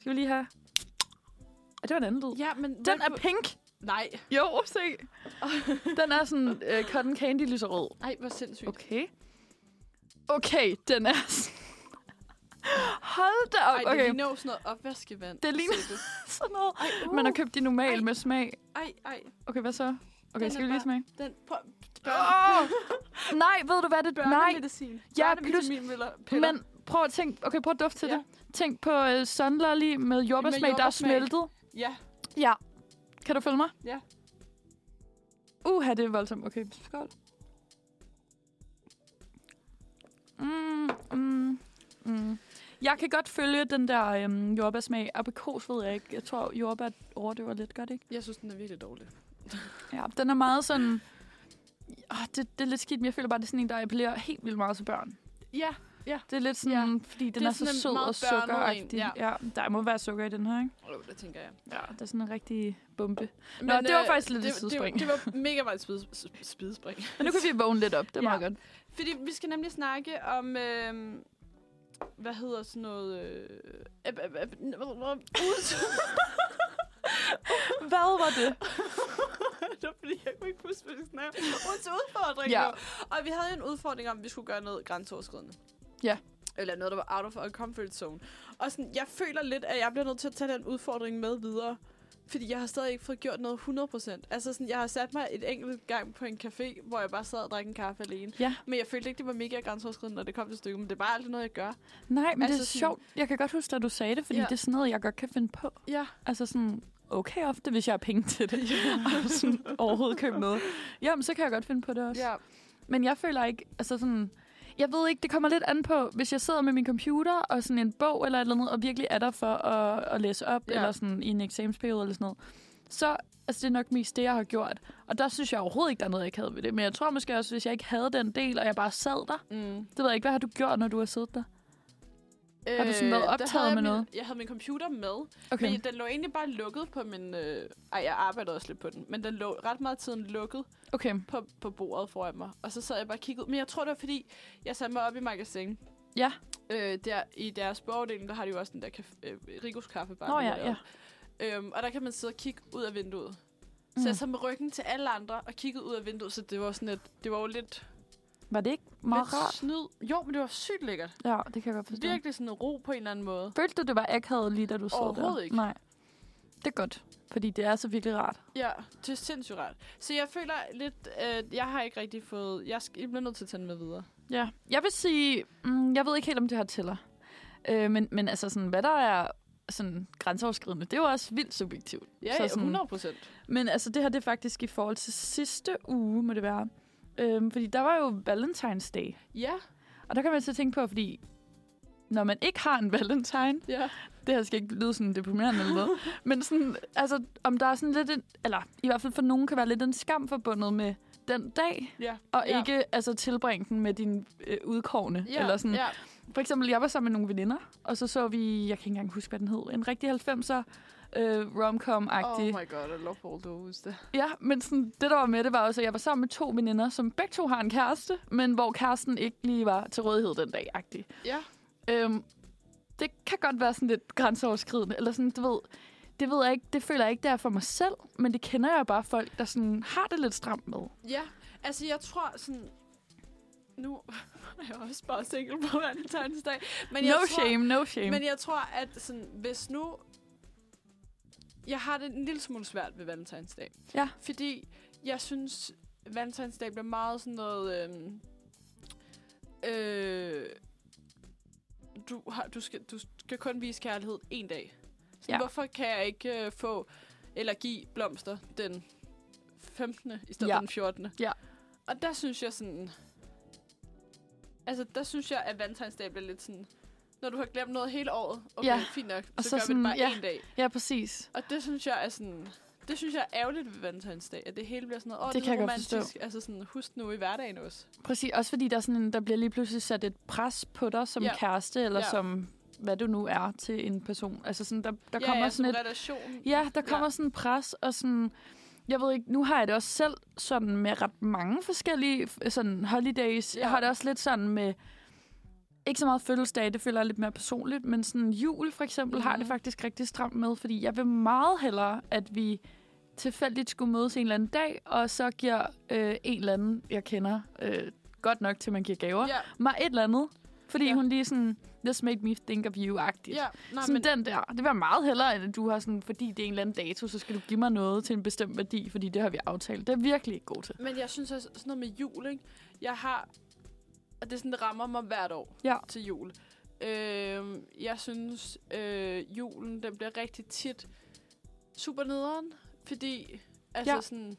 Speaker 2: Skal vi lige have... Er det var en anden lyd?
Speaker 1: Sådan, ja, men...
Speaker 2: Den
Speaker 1: Red
Speaker 2: er
Speaker 1: Bull-
Speaker 2: pink.
Speaker 1: Nej.
Speaker 2: Jo, se. Den er sådan øh, cotton candy lyserød.
Speaker 1: Nej, hvor sindssygt. Okay.
Speaker 2: Okay. Okay, den er... sådan- Hold da op.
Speaker 1: Ej, det
Speaker 2: Okay,
Speaker 1: ligner jo sådan noget opvaskevand.
Speaker 2: Det ligner-
Speaker 1: Ser du?
Speaker 2: sådan noget.
Speaker 1: Ej, uh.
Speaker 2: Man har købt de normale
Speaker 1: Ej.
Speaker 2: med smag.
Speaker 1: Ej, ej.
Speaker 2: Okay, hvad så? Okay,
Speaker 1: Den
Speaker 2: skal
Speaker 1: er
Speaker 2: vi lige
Speaker 1: bare-
Speaker 2: smage?
Speaker 1: Den... Prøv,
Speaker 2: Oh! Nej, ved du hvad det... Nej,
Speaker 1: Børnemedicin.
Speaker 2: Ja,
Speaker 1: Børnevitaminpiller.
Speaker 2: Men prøv at tænke, okay, prøv at dufte til
Speaker 1: Ja.
Speaker 2: ja. det. Tænk på uh, Sun Lolly med jordbærsmag, der er
Speaker 1: jordbærsmag.
Speaker 2: smeltet.
Speaker 1: Ja,
Speaker 2: Ja. Kan du følge mig?
Speaker 1: Ja.
Speaker 2: Uha, det er voldsomt. Okay, skål. Mm, mm, mm. Jeg kan godt følge den der øhm, jordbærsmag. Aprikos ved jeg ikke. Jeg tror, jordbær overdøver lidt godt, ikke?
Speaker 1: jeg synes, den er virkelig dårlig.
Speaker 2: Ja, den er meget sådan... Oh, det, det er lidt skidt, men jeg føler bare, det er sådan en, der appellerer helt vildt meget til børn.
Speaker 1: Ja,
Speaker 2: Det er lidt sådan, ja. fordi den
Speaker 1: Det er
Speaker 2: er, er så
Speaker 1: sådan en
Speaker 2: sød
Speaker 1: meget
Speaker 2: og
Speaker 1: børnet en,
Speaker 2: sukkeragtig.
Speaker 1: ja.
Speaker 2: ja, der må være sukker i den her, ikke?
Speaker 1: oh, det tænker jeg.
Speaker 2: Ja, det er sådan en rigtig bombe. Nå, det var faktisk lidt et sidespring.
Speaker 1: Det, det var mega meget et spid, s- spidespring.
Speaker 2: Men nu kan vi vågne lidt op, det er
Speaker 1: Ja.
Speaker 2: ja. meget godt.
Speaker 1: Fordi vi skal nemlig snakke om... Øh, hvad hedder sådan noget... Øh, øh, øh, øh, ud-
Speaker 2: Hvad var det?
Speaker 1: det var fordi, jeg kunne ikke huske, hvad vi snakkede om. Ugens udfordring.
Speaker 2: Ja.
Speaker 1: Ja. Og vi havde jo en udfordring om, at vi skulle gøre noget grænseoverskridende.
Speaker 2: Ja.
Speaker 1: Eller noget, der var out of our comfort zone. Og sådan, jeg føler lidt, at jeg bliver nødt til at tage den udfordring med videre. Fordi jeg har stadig ikke fået gjort noget 100%. Altså sådan, jeg har sat mig et enkelt gang på en café, hvor jeg bare sad og drak en kaffe alene.
Speaker 2: Ja.
Speaker 1: Men jeg følte ikke, det var mega grænseoverskridende, når det kom til stykket. Men det er bare aldrig noget, jeg gør.
Speaker 2: Nej, men altså, det er
Speaker 1: Altså sådan-
Speaker 2: sjovt. Jeg kan godt huske, at du sagde det, fordi ja.
Speaker 1: Ja.
Speaker 2: det er sådan noget, jeg godt kan finde på.
Speaker 1: Ja.
Speaker 2: Altså sådan, okay ofte, hvis jeg har penge til det, og sådan overhovedet købe noget. Jamen, så kan jeg godt finde på det også.
Speaker 1: Ja.
Speaker 2: Men jeg føler ikke, altså sådan... Jeg ved ikke, det kommer lidt an på, hvis jeg sidder med min computer og sådan en bog eller et eller andet, og virkelig er der for at, at læse op, ja.
Speaker 1: Ja.
Speaker 2: eller sådan i en eksamensperiode eller sådan noget, så altså, det er nok mest det, jeg har gjort. Og der synes jeg overhovedet ikke, der er noget, jeg ikke havde ved det. Men jeg tror måske også, hvis jeg ikke havde den del, og jeg bare sad der.
Speaker 1: Mm.
Speaker 2: Det ved jeg ikke, hvad har du gjort, når du har siddet der?
Speaker 1: Har
Speaker 2: du sådan været optaget med
Speaker 1: min,
Speaker 2: noget?
Speaker 1: Øh, Jeg havde min computer med,
Speaker 2: Okay.
Speaker 1: okay. men den lå egentlig bare lukket på min... Øh, ej, jeg arbejdede også lidt på den, men den lå ret meget af tiden lukket
Speaker 2: Okay.
Speaker 1: på, på bordet foran mig. Og så sad jeg bare og kiggede ud. Men jeg tror, det var fordi, jeg satte mig op i magasin.
Speaker 2: Ja.
Speaker 1: Øh, der, I deres bogafdeling, der har de jo også den der kaf- øh, Rigos kaffebar.
Speaker 2: Nå
Speaker 1: den
Speaker 2: ja,
Speaker 1: hedder
Speaker 2: ja.
Speaker 1: jo. Øhm, og der kan man sidde og kigge ud af vinduet. Mm. Så jeg sad med ryggen til alle andre og kiggede ud af vinduet, så det var sådan et, det var jo lidt,
Speaker 2: Var det ikke meget
Speaker 1: lidt
Speaker 2: rart?
Speaker 1: snyd. Jo, men det var sygt lækkert.
Speaker 2: Ja, det kan jeg godt forstå.
Speaker 1: Virkelig sådan en ro på en eller anden måde.
Speaker 2: Følte du, det var akavet lige da du sad der?
Speaker 1: Overhovedet ikke.
Speaker 2: Nej. Det er godt, fordi det er så virkelig rart.
Speaker 1: Ja, det er sindssygt rart. Så jeg føler lidt, øh, jeg har ikke rigtig fået... Jeg, skal, jeg bliver nødt til at tage den med videre.
Speaker 2: Ja. Jeg vil sige, mm, jeg ved ikke helt, om det her tæller. Øh, men, men altså, sådan, hvad der er sådan, grænseoverskridende, det er jo også vildt subjektivt.
Speaker 1: Ja,
Speaker 2: Så
Speaker 1: så
Speaker 2: sådan-
Speaker 1: 100 procent.
Speaker 2: Men altså, det her det er faktisk i forhold til sidste uge, må det være. Øhm, fordi der var jo Valentine's Day.
Speaker 1: Ja,
Speaker 2: Og der kan man så tænke på, fordi når man ikke har en valentine,
Speaker 1: ja.
Speaker 2: det her skal ikke lyde sådan deprimerende eller noget, men sådan, altså, om der er sådan lidt en, eller i hvert fald for nogen kan være lidt en skam forbundet med den dag,
Speaker 1: ja.
Speaker 2: og ja.
Speaker 1: Ja.
Speaker 2: ikke altså tilbringe den med din øh, udkårne.
Speaker 1: Ja,
Speaker 2: eller sådan.
Speaker 1: ja.
Speaker 2: For eksempel, jeg var sammen med nogle veninder, og så så vi, jeg kan ikke engang huske, hvad den hed, en rigtig 90'er øh,
Speaker 1: Oh
Speaker 2: romcom-agtig.
Speaker 1: my god, I love all those. Det.
Speaker 2: ja, men sådan, det der var med, det var også, at jeg var sammen med to veninder, som begge to har en kæreste, men hvor kæresten ikke lige var til rådighed den dag, agtig.
Speaker 1: Ja,
Speaker 2: Øhm, det kan godt være sådan lidt grænseoverskridende, eller sådan, du ved, det ved jeg ikke, det føler jeg ikke, det er for mig selv, men det kender jeg bare folk, der sådan har det lidt stramt med.
Speaker 1: ja. Altså, jeg tror sådan... Nu er jeg også bare single på valentinsdag. Men jeg tror,
Speaker 2: no shame, no shame.
Speaker 1: Men jeg tror, at sådan, hvis nu... Jeg har det en lille smule svært ved valentinsdag.
Speaker 2: Ja.
Speaker 1: Fordi jeg synes, valentinsdag bliver meget sådan noget... øhm, Øh, du, har, du, skal, du skal kun vise kærlighed en dag. Så
Speaker 2: Ja.
Speaker 1: ja. Hvorfor kan jeg ikke øh, få eller give blomster den 15. i stedet
Speaker 2: Ja.
Speaker 1: ja. for den 14.
Speaker 2: Ja.
Speaker 1: Og der synes jeg sådan... Altså, der synes jeg, at valentinsdag bliver lidt sådan... Når du har glemt noget hele året, okay,
Speaker 2: Ja.
Speaker 1: ja. fint nok,
Speaker 2: Og
Speaker 1: så,
Speaker 2: så
Speaker 1: så gør
Speaker 2: sådan,
Speaker 1: vi det bare
Speaker 2: ja.
Speaker 1: ja. en dag.
Speaker 2: Ja, præcis.
Speaker 1: Og det synes jeg er sådan... Det synes jeg er ærgerligt ved valentinsdag, at det hele bliver sådan noget, åh,
Speaker 2: Det
Speaker 1: det, det
Speaker 2: kan
Speaker 1: er
Speaker 2: jeg godt forstå.
Speaker 1: romantisk. Altså sådan, husk nu i hverdagen også.
Speaker 2: Præcis, også fordi der, er sådan en, der bliver lige pludselig sat et pres på dig som ja.
Speaker 1: Ja.
Speaker 2: kæreste, eller ja.
Speaker 1: Ja.
Speaker 2: som hvad du nu er til en person. Altså sådan, der, der
Speaker 1: ja,
Speaker 2: kommer
Speaker 1: ja,
Speaker 2: sådan et...
Speaker 1: relation.
Speaker 2: Ja, der kommer ja. sådan en pres, og sådan... Jeg ved ikke, nu har jeg det også selv sådan med ret mange forskellige f- sådan holidays. Ja. Jeg
Speaker 1: Ja.
Speaker 2: har det også lidt sådan med... Ikke så meget fødselsdag, det føler jeg lidt mere personligt, men sådan jul for eksempel mm. har jeg det
Speaker 1: Mhm.
Speaker 2: faktisk rigtig stramt med, fordi jeg vil meget hellere, at vi tilfældigt skulle mødes en eller anden dag, og så giver øh, en eller anden, jeg kender øh, godt nok til, man giver gaver,
Speaker 1: Ja,
Speaker 2: mig et eller andet. Fordi ja.
Speaker 1: Ja.
Speaker 2: hun lige sådan, this made me think of you-agtigt.
Speaker 1: ja. Nej, men,
Speaker 2: sådan men... den der. Det vil jeg meget hellere, end at du har sådan, fordi det er en eller anden dato, så skal du give mig noget til en bestemt værdi, fordi det har vi aftalt. Det er jeg virkelig ikke god til.
Speaker 1: men jeg synes også, sådan noget med jul, ikke? Jeg har... Og det er sådan, det rammer mig hvert år
Speaker 2: Ja.
Speaker 1: til jul. Øhm, jeg synes, øh, julen, den bliver rigtig tit super nederen, fordi... Altså
Speaker 2: Ja.
Speaker 1: ja. sådan...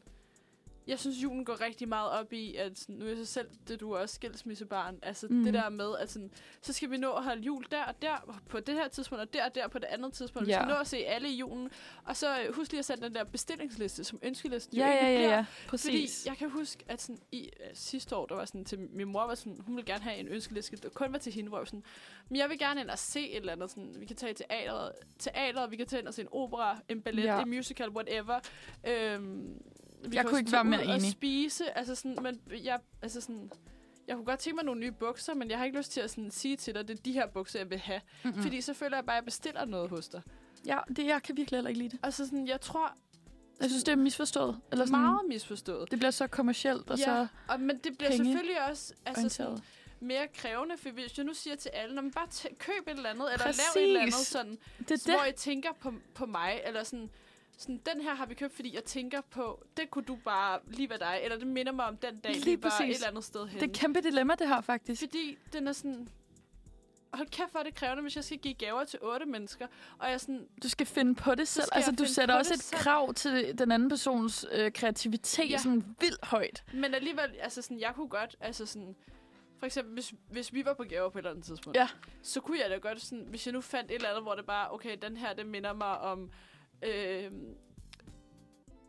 Speaker 1: Jeg synes, julen går rigtig meget op i, at sådan, nu er jeg så selv, det du er også skilsmissebarn. Altså
Speaker 2: Mhm.
Speaker 1: mm. det der med, at sådan, så skal vi nå at holde jul der og der på det her tidspunkt, og der og der på det andet tidspunkt.
Speaker 2: Ja.
Speaker 1: Vi skal nå at se alle i julen. Og så øh, husk lige at sætte den der bestillingsliste, som ønskelisten
Speaker 2: Ja,
Speaker 1: jo
Speaker 2: ja,
Speaker 1: egentlig
Speaker 2: ja,
Speaker 1: bliver.
Speaker 2: ja.
Speaker 1: Fordi
Speaker 2: Præcis.
Speaker 1: jeg kan huske, at sådan i øh, sidste år, der var sådan til min mor, var sådan, hun ville gerne have en ønskeliste, der kun var til hende, hvor jeg var sådan, men jeg vil gerne ind og se et eller andet, sådan, vi kan tage i teateret, teateret, vi kan tage ind og se en opera, en ballet,
Speaker 2: Ja.
Speaker 1: ja. en musical, whatever. Øhm, vi kan
Speaker 2: Jeg kunne
Speaker 1: også
Speaker 2: ikke
Speaker 1: tage
Speaker 2: være mere
Speaker 1: ud og
Speaker 2: enig.
Speaker 1: spise, altså sådan, men jeg, altså sådan, jeg kunne godt tænke mig nogle nye bukser, men jeg har ikke lyst til at sådan sige til dig, at det er de her bukser, jeg vil have. Mm.
Speaker 2: Mm-mm.
Speaker 1: Fordi så føler jeg bare, at jeg bestiller noget hos dig.
Speaker 2: Ja, det, jeg kan virkelig heller ikke lide det.
Speaker 1: Altså sådan, jeg tror,
Speaker 2: Jeg synes, det er misforstået. Eller sådan,
Speaker 1: meget misforstået.
Speaker 2: Det bliver så kommercielt og
Speaker 1: Ja.
Speaker 2: så
Speaker 1: Og, men det bliver
Speaker 2: Penge
Speaker 1: selvfølgelig også altså sådan,
Speaker 2: orienteret.
Speaker 1: mere krævende, for hvis jeg nu siger til alle, "Nå, men bare tæ- køb et eller andet, eller lav et eller andet,
Speaker 2: Præcis.
Speaker 1: sådan,
Speaker 2: Det er
Speaker 1: hvor
Speaker 2: det.
Speaker 1: I tænker på, på mig, eller sådan, sådan, den her har vi købt, fordi jeg tænker på, det kunne du bare lige være dig, eller det minder mig om den dag,
Speaker 2: Lige
Speaker 1: vi var
Speaker 2: præcis.
Speaker 1: et eller andet sted
Speaker 2: Det er
Speaker 1: henne.
Speaker 2: et kæmpe dilemma, det her, faktisk.
Speaker 1: Fordi den er sådan... Hold kæft, hvor er det krævende, hvis jeg skal give gaver til otte mennesker. Og jeg er sådan...
Speaker 2: Du skal finde på det selv.
Speaker 1: skal
Speaker 2: Altså,
Speaker 1: jeg
Speaker 2: du
Speaker 1: finde
Speaker 2: sætter
Speaker 1: på
Speaker 2: også
Speaker 1: det
Speaker 2: et
Speaker 1: selv.
Speaker 2: krav til den anden persons øh, kreativitet ja.
Speaker 1: Ja.
Speaker 2: sådan vildt højt.
Speaker 1: Men alligevel, altså sådan, jeg kunne godt... Altså sådan, for eksempel, hvis, hvis vi var på gaver på et eller andet tidspunkt,
Speaker 2: Ja.
Speaker 1: så kunne jeg da godt sådan... Hvis jeg nu fandt et eller andet, hvor det bare... Okay, den her, det minder mig om... Øh,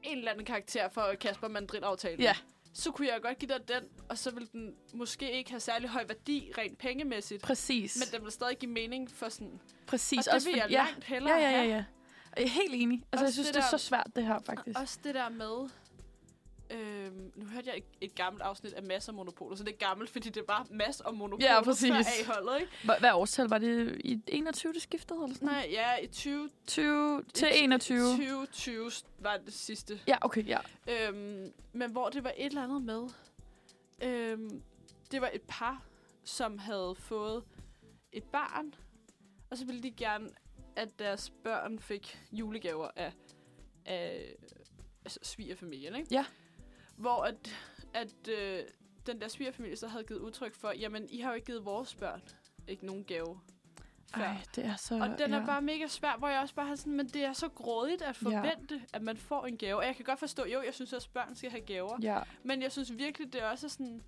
Speaker 1: en eller anden karakter for Kasper Mandrin-aftalen.
Speaker 2: Ja.
Speaker 1: Så kunne jeg godt give dig den, og så ville den måske ikke have særlig høj værdi rent pengemæssigt.
Speaker 2: Præcis.
Speaker 1: Men den vil stadig give mening for sådan...
Speaker 2: Præcis.
Speaker 1: Og det vil
Speaker 2: fordi-
Speaker 1: jeg
Speaker 2: ja.
Speaker 1: langt hellere
Speaker 2: ja, ja, ja,
Speaker 1: have.
Speaker 2: ja. Jeg er helt enig.
Speaker 1: Også
Speaker 2: Altså, jeg synes, det,
Speaker 1: det
Speaker 2: det er
Speaker 1: der-
Speaker 2: så svært, det her, faktisk.
Speaker 1: Også det der med... Øhm, nu hørte jeg et, et gammelt afsnit af Mass og Monopolet, så det er gammelt, fordi det var Mass og Monopolet
Speaker 2: Ja, præcis.
Speaker 1: før A-holdet, ikke?
Speaker 2: Hva- Hvad årstal var det? I 21, det skiftede? Eller sådan? noget?
Speaker 1: Nej, ja, i 20,
Speaker 2: 20 til
Speaker 1: i
Speaker 2: 21.
Speaker 1: 2020 var det sidste.
Speaker 2: Ja, okay, ja.
Speaker 1: Øhm, men hvor det var et eller andet med... Øhm, det var et par, som havde fået et barn, og så ville de gerne, at deres børn fik julegaver af, af altså svigerfamilien, ikke?
Speaker 2: Ja.
Speaker 1: Hvor at, at øh, den der svigerfamilie så havde givet udtryk for, jamen, I har jo ikke givet vores børn ikke nogen gave før.
Speaker 2: Ej, det er så...
Speaker 1: Og den
Speaker 2: ja.
Speaker 1: er bare mega svær, hvor jeg også bare har sådan, men det er så grådigt at
Speaker 2: Ja.
Speaker 1: forvente, at man får en gave. Og jeg kan godt forstå, jo, jeg synes også, børn skal have gaver.
Speaker 2: Ja,
Speaker 1: Men jeg synes virkelig, det er også sådan...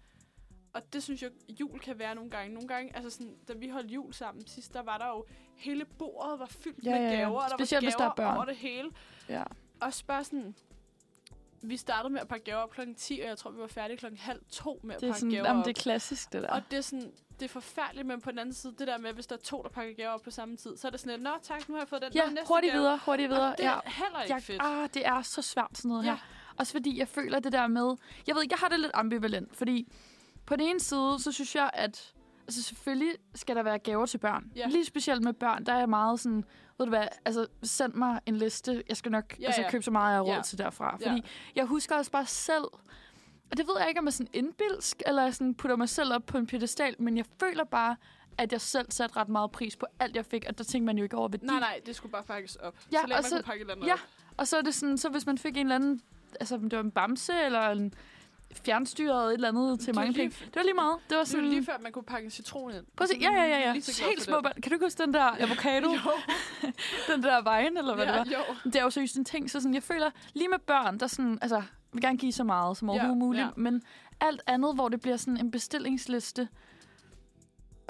Speaker 1: Og det synes jeg, jul kan være nogle gange. Nogle gange, altså sådan, da vi holdt jul sammen sidst, der var der jo... Hele bordet var fyldt
Speaker 2: Ja,
Speaker 1: med
Speaker 2: ja, ja.
Speaker 1: gaver, og der
Speaker 2: Specielt,
Speaker 1: var
Speaker 2: hvis der
Speaker 1: gaver
Speaker 2: er børn.
Speaker 1: over det hele.
Speaker 2: ja.
Speaker 1: Også bare sådan... Vi startede med at pakke gaver op klokken 10, og jeg tror, vi var færdige klokken halv to med at
Speaker 2: Det er,
Speaker 1: pakke
Speaker 2: sådan,
Speaker 1: gaver
Speaker 2: jamen,
Speaker 1: op.
Speaker 2: det er klassisk, det der.
Speaker 1: Og det er sådan, det er forfærdeligt, men på den anden side, det der med, hvis der er to, der pakker gaver op på samme tid, så er det sådan lidt, nå tak, nu har jeg fået den.
Speaker 2: ja,
Speaker 1: Nå, næste
Speaker 2: hurtigt
Speaker 1: gave."
Speaker 2: videre, hurtigt videre.
Speaker 1: Og det
Speaker 2: ja.
Speaker 1: er heller ikke
Speaker 2: jeg,
Speaker 1: fedt.
Speaker 2: Ah, det er så svært sådan noget ja.
Speaker 1: Ja.
Speaker 2: her. Også fordi jeg føler det der med... Jeg ved ikke, jeg har det lidt ambivalent, fordi på den ene side, så synes jeg, at altså selvfølgelig skal der være gaver til børn.
Speaker 1: Ja.
Speaker 2: Lige specielt med børn, der er jeg meget sådan, ved du hvad, altså send mig en liste, jeg skal nok ja,
Speaker 1: Ja,
Speaker 2: altså,
Speaker 1: ja.
Speaker 2: købe så meget, jeg har råd
Speaker 1: Ja.
Speaker 2: til derfra.
Speaker 1: Ja.
Speaker 2: Fordi jeg husker også bare selv, og det ved jeg ikke, om jeg er sådan indbilsk, eller jeg sådan putter mig selv op på en pedestal, men jeg føler bare, at jeg selv satte ret meget pris på alt, jeg fik, og der tænkte man jo ikke over værdi.
Speaker 1: Nej, nej, det skulle bare pakkes op.
Speaker 2: Ja,
Speaker 1: Ja, så længe
Speaker 2: og
Speaker 1: man
Speaker 2: så-
Speaker 1: kunne pakke et eller andet
Speaker 2: ja.
Speaker 1: op.
Speaker 2: Og så er det sådan, så hvis man fik en eller anden, altså om det var en bamse eller en fjernstyret et eller andet til
Speaker 1: Det er
Speaker 2: mange
Speaker 1: lige
Speaker 2: penge.
Speaker 1: f-
Speaker 2: Det var lige meget. Det var
Speaker 1: Det er
Speaker 2: sådan...
Speaker 1: jo lige før, man kunne pakke en citron ind.
Speaker 2: Prøv at se. Ja, ja, ja, ja.
Speaker 1: Lige så glad
Speaker 2: Helt
Speaker 1: for
Speaker 2: små
Speaker 1: det.
Speaker 2: børn. Kan du ikke huske den der avocado?
Speaker 1: Jo,
Speaker 2: den der vejen, eller hvad
Speaker 1: ja,
Speaker 2: det var?
Speaker 1: jo.
Speaker 2: Det er jo seriøst en ting. Så sådan, jeg føler, lige med børn, der sådan, altså, jeg vil gerne give så meget som
Speaker 1: Ja,
Speaker 2: overhovedet ja, muligt. Ja.
Speaker 1: ja.
Speaker 2: Men alt andet, hvor det bliver sådan en bestillingsliste,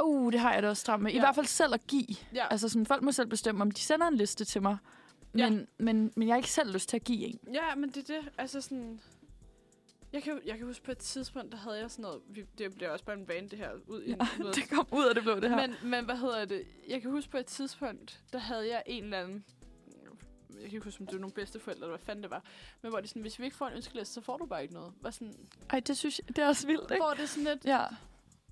Speaker 2: uh, det har jeg da også stramt med. I
Speaker 1: Ja.
Speaker 2: hvert fald selv at give.
Speaker 1: Ja.
Speaker 2: Altså sådan, folk må selv bestemme, om de sender en liste til mig.
Speaker 1: Ja.
Speaker 2: Men, men, men jeg har ikke selv lyst til at give en.
Speaker 1: ja, men det er det. Altså sådan... Jeg kan, jeg kan huske på et tidspunkt, der havde jeg sådan noget... Vi, det bliver også bare en vane, det her. Ud i ja, noget.
Speaker 2: Det kom ud af det blå, det her.
Speaker 1: Men, men hvad hedder det? Jeg kan huske på et tidspunkt, der havde jeg en eller anden... Jeg kan ikke huske, om det var nogle bedsteforældre, eller hvad fanden det var. Men hvor det sådan, hvis vi ikke får en ønskeliste, så får du bare ikke noget. Var sådan,
Speaker 2: Ej, det synes jeg, det er også vildt, ikke?
Speaker 1: hvor det er sådan lidt,
Speaker 2: Ja,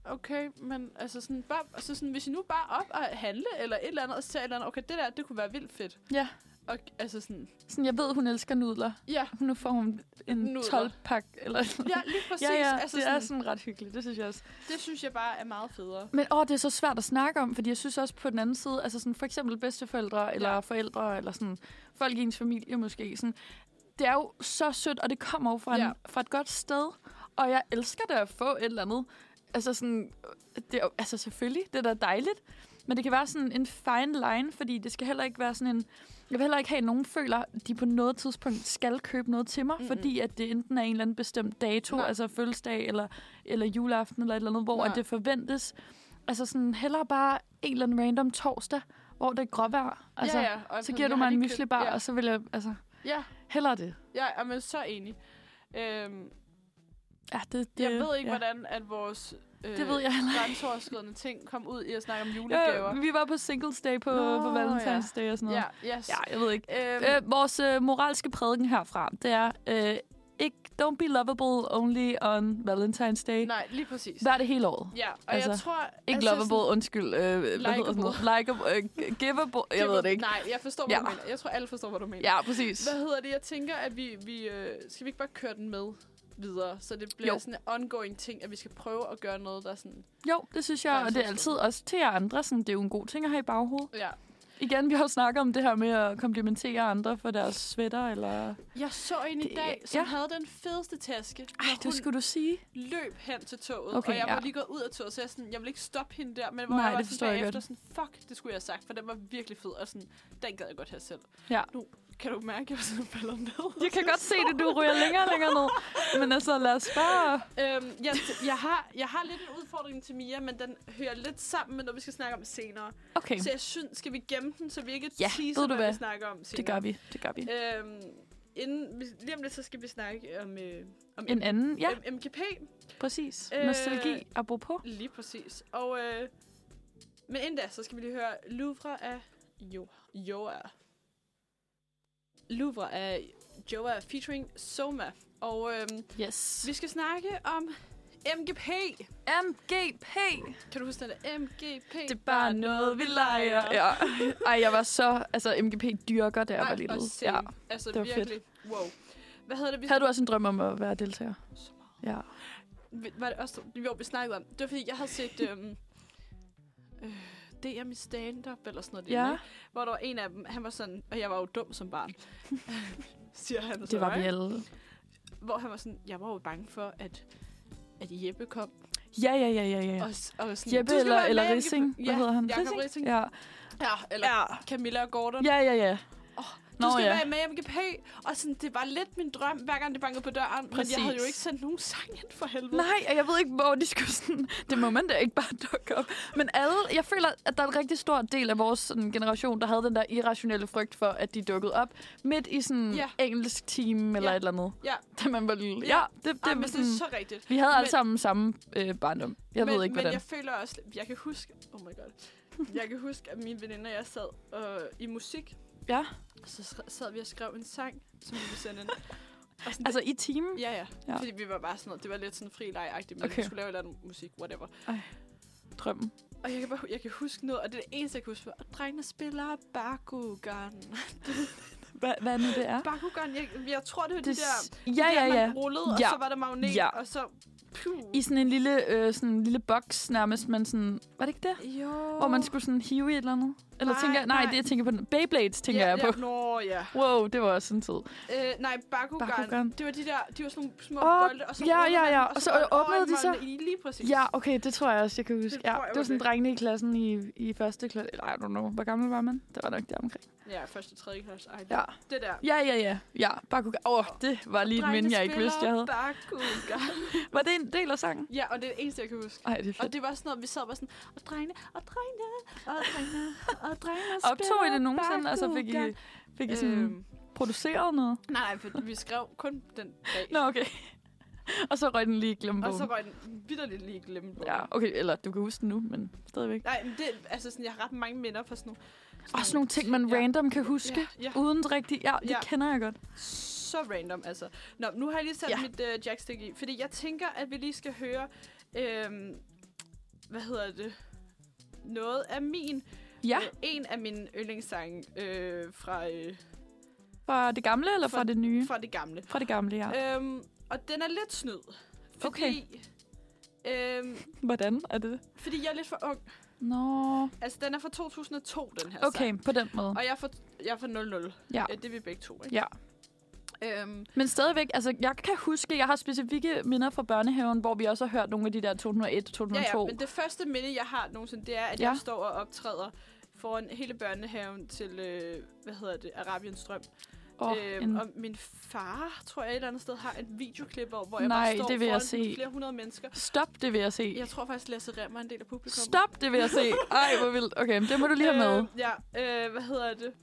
Speaker 1: okay, men altså sådan, bare, altså sådan, hvis I nu bare op og handle, eller et eller andet, og så tager et eller andet, okay, det der, det kunne være vildt fedt.
Speaker 2: ja.
Speaker 1: Og altså sådan,
Speaker 2: Sådan, jeg ved, hun elsker nudler.
Speaker 1: ja,
Speaker 2: Nu får hun en
Speaker 1: Nudler.
Speaker 2: 12-pak. Eller
Speaker 1: ja lige præcis.
Speaker 2: ja, ja.
Speaker 1: altså
Speaker 2: det er
Speaker 1: sådan,
Speaker 2: sådan ret hyggeligt, det synes jeg også.
Speaker 1: det synes jeg bare er meget federe.
Speaker 2: Men åh, det er så svært at snakke om, fordi jeg synes også på den anden side, altså sådan for eksempel bedsteforældre, eller
Speaker 1: Ja.
Speaker 2: forældre, eller sådan folk i ens familie måske, sådan, det er jo så sødt, og det kommer jo fra, ja.
Speaker 1: Ja.
Speaker 2: en, fra et godt sted, og jeg elsker da at få et eller andet. Altså sådan, det er, jo- altså selvfølgelig, det er da dejligt, men det kan være sådan en fine line, fordi det skal heller ikke være sådan en, jeg vil heller ikke have, at nogen føler, at de på noget tidspunkt skal købe noget til mig, mm-hmm. fordi at det enten er en eller anden bestemt dato, Nej.
Speaker 1: Nej.
Speaker 2: altså fødselsdag, eller, eller juleaften, eller et eller andet, hvor at
Speaker 1: Nej.
Speaker 2: det forventes, Altså sådan, hellere bare en eller anden random torsdag, hvor det er gråvejr. Altså,
Speaker 1: ja, ja. Og
Speaker 2: Så
Speaker 1: jeg
Speaker 2: giver du
Speaker 1: har
Speaker 2: mig en
Speaker 1: lige købt-
Speaker 2: myslibar, ja.
Speaker 1: Ja,
Speaker 2: og så vil jeg, altså,
Speaker 1: ja,
Speaker 2: hellere det.
Speaker 1: ja, ja men så enig. Øhm,
Speaker 2: Ja, det, det
Speaker 1: jeg ved ikke,
Speaker 2: ja.
Speaker 1: hvordan at vores øh,
Speaker 2: Det ved jeg heller Øh,
Speaker 1: grænseoverskridende ting kom ud i at snakke om
Speaker 2: Ja,
Speaker 1: julegaver.
Speaker 2: vi var på singles day på,
Speaker 1: Nå,
Speaker 2: på Valentine's Day og sådan noget.
Speaker 1: Ja, yes.
Speaker 2: ja jeg ved ikke.
Speaker 1: Øhm,
Speaker 2: Øh, vores øh, moralske prædiken herfra, det er, øh, ikke, don't be lovable only on Valentine's Day.
Speaker 1: Nej, lige præcis.
Speaker 2: Vær det hele året.
Speaker 1: Ja, og
Speaker 2: Altså,
Speaker 1: jeg tror...
Speaker 2: Ikke
Speaker 1: altså
Speaker 2: lovable, undskyld. Øh, hvad hedder sådan noget? Likeable. Øh, giveable. Jeg ved det ikke.
Speaker 1: Nej, jeg forstår, hvad
Speaker 2: Ja.
Speaker 1: du mener. Jeg tror, alle forstår, hvad du mener.
Speaker 2: Ja, præcis.
Speaker 1: Hvad hedder det? Jeg tænker, at vi... vi øh, skal vi ikke bare køre den med videre? Så det bliver
Speaker 2: Jo.
Speaker 1: jo. sådan en ongoing ting, at vi skal prøve at gøre noget, der er sådan...
Speaker 2: Jo, det synes
Speaker 1: Der
Speaker 2: jeg,
Speaker 1: er
Speaker 2: og
Speaker 1: så
Speaker 2: det er altid også til jer andre. Sådan, det er jo en god ting at have i baghovedet.
Speaker 1: Ja.
Speaker 2: Igen, vi har jo snakket om det her med at komplimentere andre for deres sweater, eller...
Speaker 1: Jeg så en i
Speaker 2: Det-
Speaker 1: dag, som
Speaker 2: ja.
Speaker 1: ja. havde den fedeste taske.
Speaker 2: Ej,
Speaker 1: når hun
Speaker 2: det skulle du sige.
Speaker 1: løb hen til toget,
Speaker 2: Okay,
Speaker 1: okay, og jeg
Speaker 2: ja.
Speaker 1: var lige gået ud af toget, så jeg, sådan, jeg ville ikke stoppe hende der, men hvor
Speaker 2: Nej,
Speaker 1: jeg var
Speaker 2: det
Speaker 1: sådan
Speaker 2: forstår jeg
Speaker 1: bagefter sådan, fuck, det skulle jeg have sagt, for den var virkelig fed, og sådan, den gad jeg godt have selv.
Speaker 2: Ja.
Speaker 1: Nu kan du mærke, at jeg sådan falder ned.
Speaker 2: Jeg kan godt se det, du ryger længere og længere ned. Men altså, lad os bare...
Speaker 1: Øhm, jeg, jeg, har, jeg har lidt en udfordring til Mia, men den hører lidt sammen med noget, vi skal snakke om senere.
Speaker 2: Okay,
Speaker 1: Okay. Så jeg synes, skal vi gemme den, så vi ikke
Speaker 2: Ja,
Speaker 1: teaser,
Speaker 2: ved du
Speaker 1: hvad
Speaker 2: hvad?
Speaker 1: vi snakker om senere.
Speaker 2: det gør vi. Det gør vi.
Speaker 1: Øhm, inden, vi- lige om lidt, så skal vi snakke om, øh, om
Speaker 2: En
Speaker 1: M-
Speaker 2: anden, ja,
Speaker 1: M- MGP.
Speaker 2: præcis.
Speaker 1: Øh,
Speaker 2: Nostalgi, apropos.
Speaker 1: Lige præcis. Og, øh, men inden da, så skal vi lige høre Louvre af jo, Joa. Louvre af Joa featuring Soma. Og øh,
Speaker 2: Yes.
Speaker 1: vi skal snakke om MGP.
Speaker 2: MGP.
Speaker 1: Kan du huske den der? MGP.
Speaker 2: Det er bare noget, vi leger. Ja. Ej, jeg var så... Altså, MGP dyrker, da jeg var lille. Ja.
Speaker 1: Ja. Altså
Speaker 2: det var fedt.
Speaker 1: virkelig. Wow. Hvad hedder det? Vi
Speaker 2: Havde du også en drøm om at være deltager?
Speaker 1: Så meget.
Speaker 2: Ja.
Speaker 1: Vi- Var det også, jo, vi snakkede om. Det var fordi, jeg havde set øhm, øh, DM i stand-up eller sådan noget. lignende,
Speaker 2: Ja,
Speaker 1: ikke? Hvor der var en af dem, han var sådan, og jeg var jo dum som barn, siger han så,
Speaker 2: det var vi
Speaker 1: ikke?
Speaker 2: alle.
Speaker 1: Hvor han var sådan, jeg var jo bange for, at, at Jeppe kom.
Speaker 2: Ja, ja, ja, ja, ja.
Speaker 1: Og, s- og sådan,
Speaker 2: Jeppe
Speaker 1: "Du skal
Speaker 2: eller,
Speaker 1: være med,
Speaker 2: eller
Speaker 1: MGP."
Speaker 2: Rissing. Hvad
Speaker 1: Ja,
Speaker 2: hedder han?
Speaker 1: Jakob Rissing.
Speaker 2: Ja.
Speaker 1: Ja, eller
Speaker 2: Ja.
Speaker 1: Camilla og Gordon.
Speaker 2: ja, ja, ja.
Speaker 1: Du
Speaker 2: Nå,
Speaker 1: skal
Speaker 2: ja.
Speaker 1: være med i MGP. Og sådan, det var lidt min drøm, hver gang det bankede på døren. Præcis. Men jeg havde jo
Speaker 2: Præcis.
Speaker 1: ikke sendt nogen sang ind for helvede.
Speaker 2: Nej, og jeg ved ikke, hvor de skulle sådan... Det moment er ikke bare dukke op. Men alle... Jeg føler, at der er en rigtig stor del af vores sådan, generation, der havde den der irrationelle frygt for, at de dukkede op midt i sådan
Speaker 1: Ja.
Speaker 2: engelsk time eller
Speaker 1: Ja.
Speaker 2: et eller andet.
Speaker 1: Ja.
Speaker 2: Da man var lille.
Speaker 1: Ja.
Speaker 2: Ja, det, det,
Speaker 1: Ej,
Speaker 2: var
Speaker 1: men
Speaker 2: sådan,
Speaker 1: det er så rigtigt.
Speaker 2: Vi havde alle
Speaker 1: men-
Speaker 2: sammen samme øh, barndom. Jeg
Speaker 1: men,
Speaker 2: ved ikke,
Speaker 1: men
Speaker 2: hvordan.
Speaker 1: jeg føler også, jeg kan huske, oh my god, jeg kan huske, at mine veninder og jeg sad øh, i musik,
Speaker 2: Ja.
Speaker 1: så skre- sad vi og skrev en sang, som vi ville sende ind. Og sådan,
Speaker 2: Altså i timen?
Speaker 1: det, ja, ja,
Speaker 2: Ja.
Speaker 1: ja. Fordi vi var bare sådan noget, det var lidt sådan fri legagtigt, men
Speaker 2: Okay.
Speaker 1: okay. vi skulle lave et eller andet musik, whatever.
Speaker 2: Drømmen.
Speaker 1: Og jeg kan, bare, jeg kan huske noget, og det er det eneste, jeg kan huske, var, drengene spiller Bakugan.
Speaker 2: Hva, hvad nu det er?
Speaker 1: Bakugan, jeg, jeg tror, det var det,
Speaker 2: Det,
Speaker 1: de der,
Speaker 2: ja,
Speaker 1: de
Speaker 2: ja,
Speaker 1: der,
Speaker 2: ja.
Speaker 1: man rullede, og
Speaker 2: Ja.
Speaker 1: så var der magnet,
Speaker 2: Ja.
Speaker 1: og så... Puh.
Speaker 2: I sådan en lille, øh, sådan en lille boks nærmest, men sådan... Var det ikke det?
Speaker 1: jo.
Speaker 2: Hvor man skulle sådan hive i et eller andet? Eller
Speaker 1: Nej,
Speaker 2: tænker jeg, nej,
Speaker 1: nej.
Speaker 2: det jeg tænker på den. Beyblades tænker
Speaker 1: ja,
Speaker 2: jeg på.
Speaker 1: Ja, nå, ja.
Speaker 2: Wow, det var også en tid.
Speaker 1: Øh, nej, Bakugan.
Speaker 2: Bakugan.
Speaker 1: Bakugan. Det var de der, de var sådan nogle små
Speaker 2: Åh,
Speaker 1: oh, bolde, og så
Speaker 2: ja,
Speaker 1: rullede
Speaker 2: ja,
Speaker 1: man
Speaker 2: ja.
Speaker 1: dem,
Speaker 2: Og så
Speaker 1: røg
Speaker 2: åbnede de så.
Speaker 1: håndboldene I, lige præcis.
Speaker 2: Ja, okay, det tror jeg også, jeg kan huske.
Speaker 1: Det
Speaker 2: ja,
Speaker 1: tror jeg
Speaker 2: det var
Speaker 1: var
Speaker 2: sådan
Speaker 1: det.
Speaker 2: drengene i klassen i, i første klasse. Eller, I don't know, hvor gammel var man? Det var nok der omkring.
Speaker 1: Ja, første og tredje klasse. Ej,
Speaker 2: Ja,
Speaker 1: ja. det der.
Speaker 2: ja, ja, ja. ja bare kunne... Åh, oh, det var lige et
Speaker 1: Drengene
Speaker 2: minde, jeg ikke vidste, jeg havde.
Speaker 1: spiller Bakugan.
Speaker 2: Var det en del af sangen?
Speaker 1: ja, og det er det eneste, jeg kan huske.
Speaker 2: Ej, det er fedt.
Speaker 1: Og det var sådan noget, vi sad bare sådan, og drengene, og drengene, og drengene, og drengene
Speaker 2: Optog I det nogensinde, og så fik I,
Speaker 1: Bakugan.
Speaker 2: fik I sådan
Speaker 1: Øhm,
Speaker 2: produceret noget?
Speaker 1: nej, nej, for vi skrev kun den dag.
Speaker 2: Nå, okay. og så røg den lige i
Speaker 1: og så
Speaker 2: glemmebogen.
Speaker 1: var den vidderligt lige glemt.
Speaker 2: Ja, okay, eller du kan huske den nu, men stadigvæk.
Speaker 1: Nej, men det, altså sådan, jeg har ret mange minder fra sådan nogle...
Speaker 2: Og sådan nogle ting, man random kan huske.
Speaker 1: Ja, ja.
Speaker 2: Uden rigtig... Ja, det
Speaker 1: Ja.
Speaker 2: kender jeg godt.
Speaker 1: Så random, altså. Nå, nu har jeg lige sat
Speaker 2: Ja.
Speaker 1: ja. mit øh, jackstick i, fordi jeg tænker, at vi lige skal høre, øhm, hvad hedder det, noget af min,
Speaker 2: Ja,
Speaker 1: øh, en af mine yndlingssange øh, fra, øh,
Speaker 2: fra det gamle eller fra,
Speaker 1: Fra-
Speaker 2: det nye?
Speaker 1: fra det gamle.
Speaker 2: Fra det gamle, ja.
Speaker 1: Ja. Øhm, og den er lidt snyd, fordi, øhm,
Speaker 2: Hvordan er det?
Speaker 1: fordi jeg er lidt for ung.
Speaker 2: Nå,
Speaker 1: Altså, den er fra 2002, den her
Speaker 2: okay,
Speaker 1: sang.
Speaker 2: på den måde.
Speaker 1: Altså- Og jeg er fra, jeg er fra 00.
Speaker 2: Ja.
Speaker 1: Øh, Det er vi begge to, ikke?
Speaker 2: Ja.
Speaker 1: Øhm,
Speaker 2: Men stadigvæk, altså jeg kan huske, jeg har specifikke minder fra børnehaven, hvor vi også har hørt nogle af de der 2001
Speaker 1: Ja,
Speaker 2: 2002.
Speaker 1: ja, men det første minde, jeg har nogensinde, det er, at
Speaker 2: Ja.
Speaker 1: ja. jeg står og optræder foran hele børnehaven til, øh, hvad hedder det, Arabiens Strøm. Øhm,
Speaker 2: Åh, en-
Speaker 1: øh, og min far, tror jeg, et eller andet sted har et videoklip, hvor hvor jeg
Speaker 2: Nej,
Speaker 1: bare står
Speaker 2: det vil jeg
Speaker 1: foran
Speaker 2: se.
Speaker 1: flere hundrede mennesker.
Speaker 2: Stop, det vil jeg se.
Speaker 1: Jeg tror faktisk, Lasse Remmer er en del af publikum.
Speaker 2: Stop, det vil jeg se. Ej, hvor vildt. Okay, men det må du lige have med.
Speaker 1: Øh, ja, øh, hvad hedder det?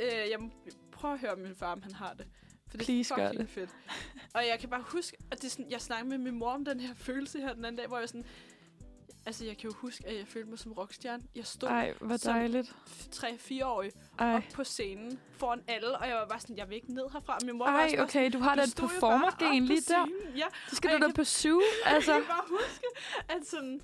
Speaker 1: Øh, jeg må prøve at høre min far, om han har det. For det
Speaker 2: Please
Speaker 1: er
Speaker 2: gør
Speaker 1: fucking fedt. Og jeg kan bare huske, at det er sådan, jeg snakkede med min mor om den her følelse her den anden dag, hvor jeg sådan... Altså, jeg kan jo huske, at jeg følte mig som rockstjerne. Jeg stod
Speaker 2: Ej, hvor
Speaker 1: som-
Speaker 2: dejligt.
Speaker 1: 3-4-årig
Speaker 2: Ej.
Speaker 1: op på scenen foran alle, og jeg var bare sådan, jeg vil ikke ned herfra. Min mor var
Speaker 2: Ej,
Speaker 1: også bare
Speaker 2: okay, du har
Speaker 1: sådan,
Speaker 2: da
Speaker 1: "Du
Speaker 2: et
Speaker 1: stod jo bare
Speaker 2: performergen
Speaker 1: op på
Speaker 2: lige der.
Speaker 1: scenen." Ja,
Speaker 2: Så skal
Speaker 1: og
Speaker 2: du
Speaker 1: jeg
Speaker 2: da
Speaker 1: kan-
Speaker 2: pursue,
Speaker 1: altså.
Speaker 2: altså.
Speaker 1: jeg kan bare huske, at, sådan,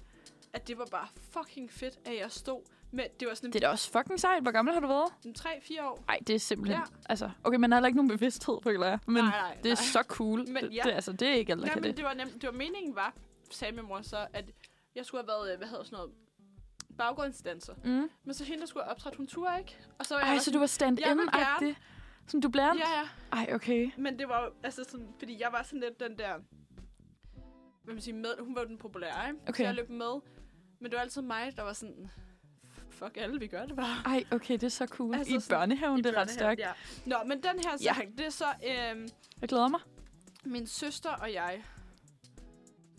Speaker 1: at det var bare fucking fedt, at jeg stod med, det var sådan
Speaker 2: Det er da også fucking sejt. Hvor gammel har du været?
Speaker 1: en 3-4 år.
Speaker 2: Nej, det er simpelthen...
Speaker 1: Ja.
Speaker 2: Altså, okay, man har heller ikke nogen bevidsthed, føler jeg. Men
Speaker 1: nej, nej,
Speaker 2: det er
Speaker 1: nej.
Speaker 2: så cool.
Speaker 1: Men
Speaker 2: det,
Speaker 1: ja.
Speaker 2: det, altså, det er ikke alle, der
Speaker 1: Ja,
Speaker 2: kan
Speaker 1: men
Speaker 2: det.
Speaker 1: det var, nem, det var meningen var, sagde min mor så, at jeg skulle have været, øh, hvad hedder sådan noget, baggrundsdanser.
Speaker 2: Mm.
Speaker 1: Men så hende, der skulle have optræde, hun turde ikke. Og så var jeg
Speaker 2: Ej,
Speaker 1: bare
Speaker 2: så du
Speaker 1: Jeg
Speaker 2: var
Speaker 1: vil
Speaker 2: stand-in-agtig? Som du blandt?
Speaker 1: Ja, ja.
Speaker 2: Ej, okay.
Speaker 1: Men det var jo, altså sådan, fordi jeg var sådan lidt den der, hvad man siger, med, hun var jo den populære, ikke? Så
Speaker 2: Okay.
Speaker 1: jeg løb med. Men det var altid mig, der var sådan, fuck alle, vi gør det bare.
Speaker 2: Ej, okay, det er så cool. Altså,
Speaker 1: Altså
Speaker 2: I
Speaker 1: sådan-
Speaker 2: børnehaven,
Speaker 1: I
Speaker 2: det er ret
Speaker 1: børnehaven,
Speaker 2: stærkt.
Speaker 1: Ja. Nå, men den her
Speaker 2: Ja.
Speaker 1: sang, ja. det er så øhm,
Speaker 2: Jeg glæder mig.
Speaker 1: min søster og jeg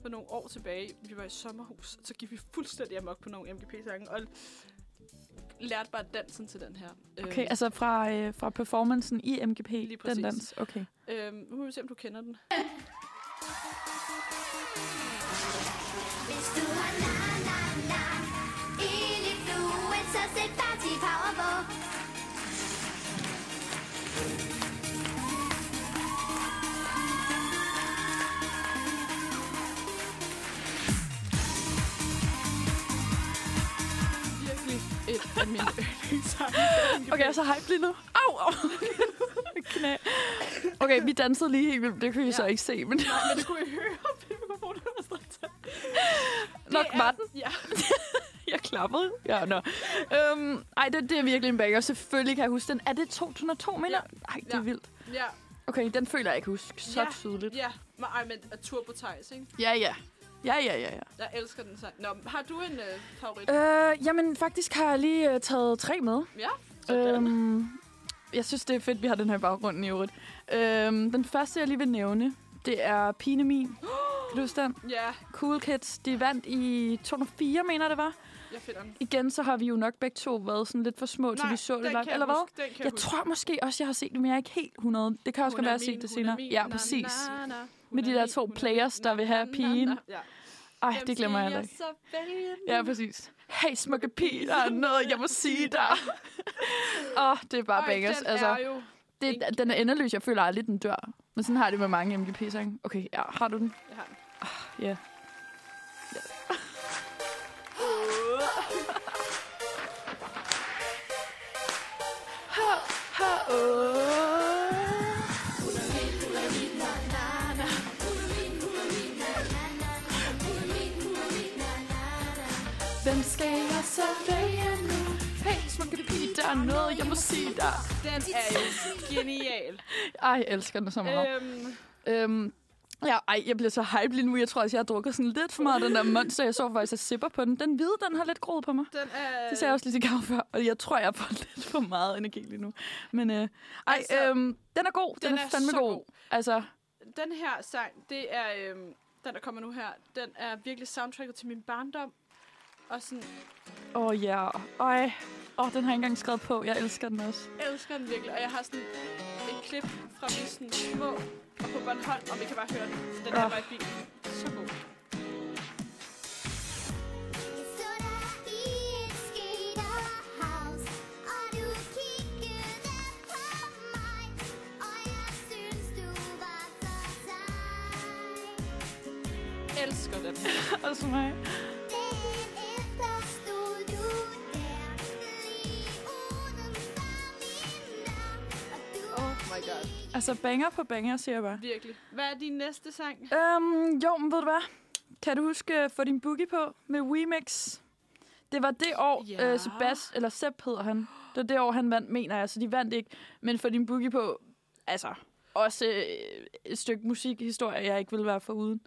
Speaker 1: for nogle år tilbage, vi var i sommerhus, så gik vi fuldstændig amok på nogle MGP-sange, og lærte bare dansen til den her. Øhm,
Speaker 2: Okay, altså fra, øh, fra performancen i MGP,
Speaker 1: Lige
Speaker 2: den
Speaker 1: præcis.
Speaker 2: dans. Okay.
Speaker 1: øhm, nu må vi se, om du kender den.
Speaker 3: Hvis du har la la la Ild i fluen, så sæt party power på
Speaker 1: Virkelig et af mine yndlingssange.
Speaker 2: Okay, jeg er så hype lige nu. Au, au. Knæ. Okay, vi dansede lige helt vildt. Det kunne I ja.
Speaker 1: Ja.
Speaker 2: så ikke se, men det
Speaker 1: Men det kunne I høre, fordi mikrofonen var strengt
Speaker 2: nok
Speaker 1: Det er-
Speaker 2: var den.
Speaker 1: Ja.
Speaker 2: Jeg klappede. Ja, nå. Øhm, ej, det, det er virkelig en banger. Selvfølgelig kan jeg huske den. Er det 2002, mener
Speaker 1: Ja.
Speaker 2: jeg? Ej, det er
Speaker 1: Ja.
Speaker 2: vildt.
Speaker 1: Ja,
Speaker 2: Okay, den føler jeg, jeg kan huske så
Speaker 1: Ja.
Speaker 2: tydeligt.
Speaker 1: ja. Men, ej, men at Turbo Thijs, ikke?
Speaker 2: Ja, ja. Ja, ja, ja, ja.
Speaker 1: Jeg elsker den sang. Nå, men har du en øh, favorit?
Speaker 2: Øh, jamen, faktisk har jeg lige øh, taget tre med.
Speaker 1: Ja, sådan.
Speaker 2: Øhm, jeg synes, det er fedt, vi har den her baggrund i øvrigt. Øhm, den første, jeg lige vil nævne, det er Pine Min. Kan du huske den?
Speaker 1: Ja,
Speaker 2: Cool Kids, de vandt i 2004, mener jeg, det var.
Speaker 1: jeg finder den.
Speaker 2: Igen, så har vi jo nok begge to været sådan lidt for små, til vi så det
Speaker 1: den
Speaker 2: live,
Speaker 1: kan jeg
Speaker 2: eller hvad?
Speaker 1: huske, Den kan
Speaker 2: Jeg tror måske også, jeg har set det, men jeg er ikke helt 100. Det kan også godt være, at jeg har set det senere. Ja, præcis. Med de der to players, der vil have pigen.
Speaker 1: Ja.
Speaker 2: Ej,
Speaker 1: Hvem
Speaker 2: det glemmer jeg heller
Speaker 1: siger Så
Speaker 2: ikke.
Speaker 1: vælge
Speaker 2: Ja, præcis. Hey, smukke pige, der er noget, jeg må sige dig. Åh, oh, det er bare bangers.
Speaker 1: den
Speaker 2: Altså,
Speaker 1: er jo...
Speaker 2: det, den er endeløs. Jeg føler aldrig, den dør. Men sådan har jeg det med mange MGP-sange. Okay, ja, har du den?
Speaker 1: Jeg har den.
Speaker 2: Ja. Hvem skal jeg så vælge nu? Hey, smukke pige, der er noget, jeg må sige dig.
Speaker 1: Den er jo genial.
Speaker 2: Ej, jeg elsker den så meget.
Speaker 1: øhm,
Speaker 2: Øhm, ja, ej, jeg bliver så hype lige nu. Jeg tror også, jeg har drukket sådan lidt for meget af den der monster. Jeg så faktisk, at sipper på den. Den hvide, den har lidt groet på mig.
Speaker 1: den er...
Speaker 2: Det sagde jeg også lige til Gav før, og jeg tror, jeg får lidt for meget energi lige nu. Men øh, ej, altså,
Speaker 1: Altså,
Speaker 2: øhm, den er god. Den, den er, er fandme
Speaker 1: så
Speaker 2: god.
Speaker 1: god.
Speaker 2: Altså,
Speaker 1: Den her sang, det er... Øhm, den, der kommer nu her, den er virkelig soundtracket til min barndom. Og sådan,
Speaker 2: åh oh, ja. Yeah. Ej, oh, den har jeg ikke engang skrevet på. Jeg elsker den også.
Speaker 1: elsker den virkelig, og jeg har sådan et klip fra min sådan små og på Bornholm, og vi kan bare høre den. Den
Speaker 2: Ah.
Speaker 1: er bare i bilen. Så god.
Speaker 3: Jeg står der i et skaterhouse Og du kiggede på mig Og jeg synes du var så sej
Speaker 1: Elsker den.
Speaker 2: Også mig.
Speaker 3: Dagen efter stod du der Lige uden for min navn Og du
Speaker 1: Oh my god.
Speaker 2: Altså, banger på banger, siger jeg bare.
Speaker 1: Virkelig. Hvad er din næste sang?
Speaker 2: Øhm, jo, men ved du hvad? Kan du huske at få din boogie på med Remix? Det var det år, ja.
Speaker 1: Ja.
Speaker 2: øh, Sebast, eller Sepp hedder han. Det var det år, han vandt, mener jeg. Så de vandt ikke. Men for din boogie på, altså, også øh, et stykke musikhistorie, jeg ikke ville være foruden.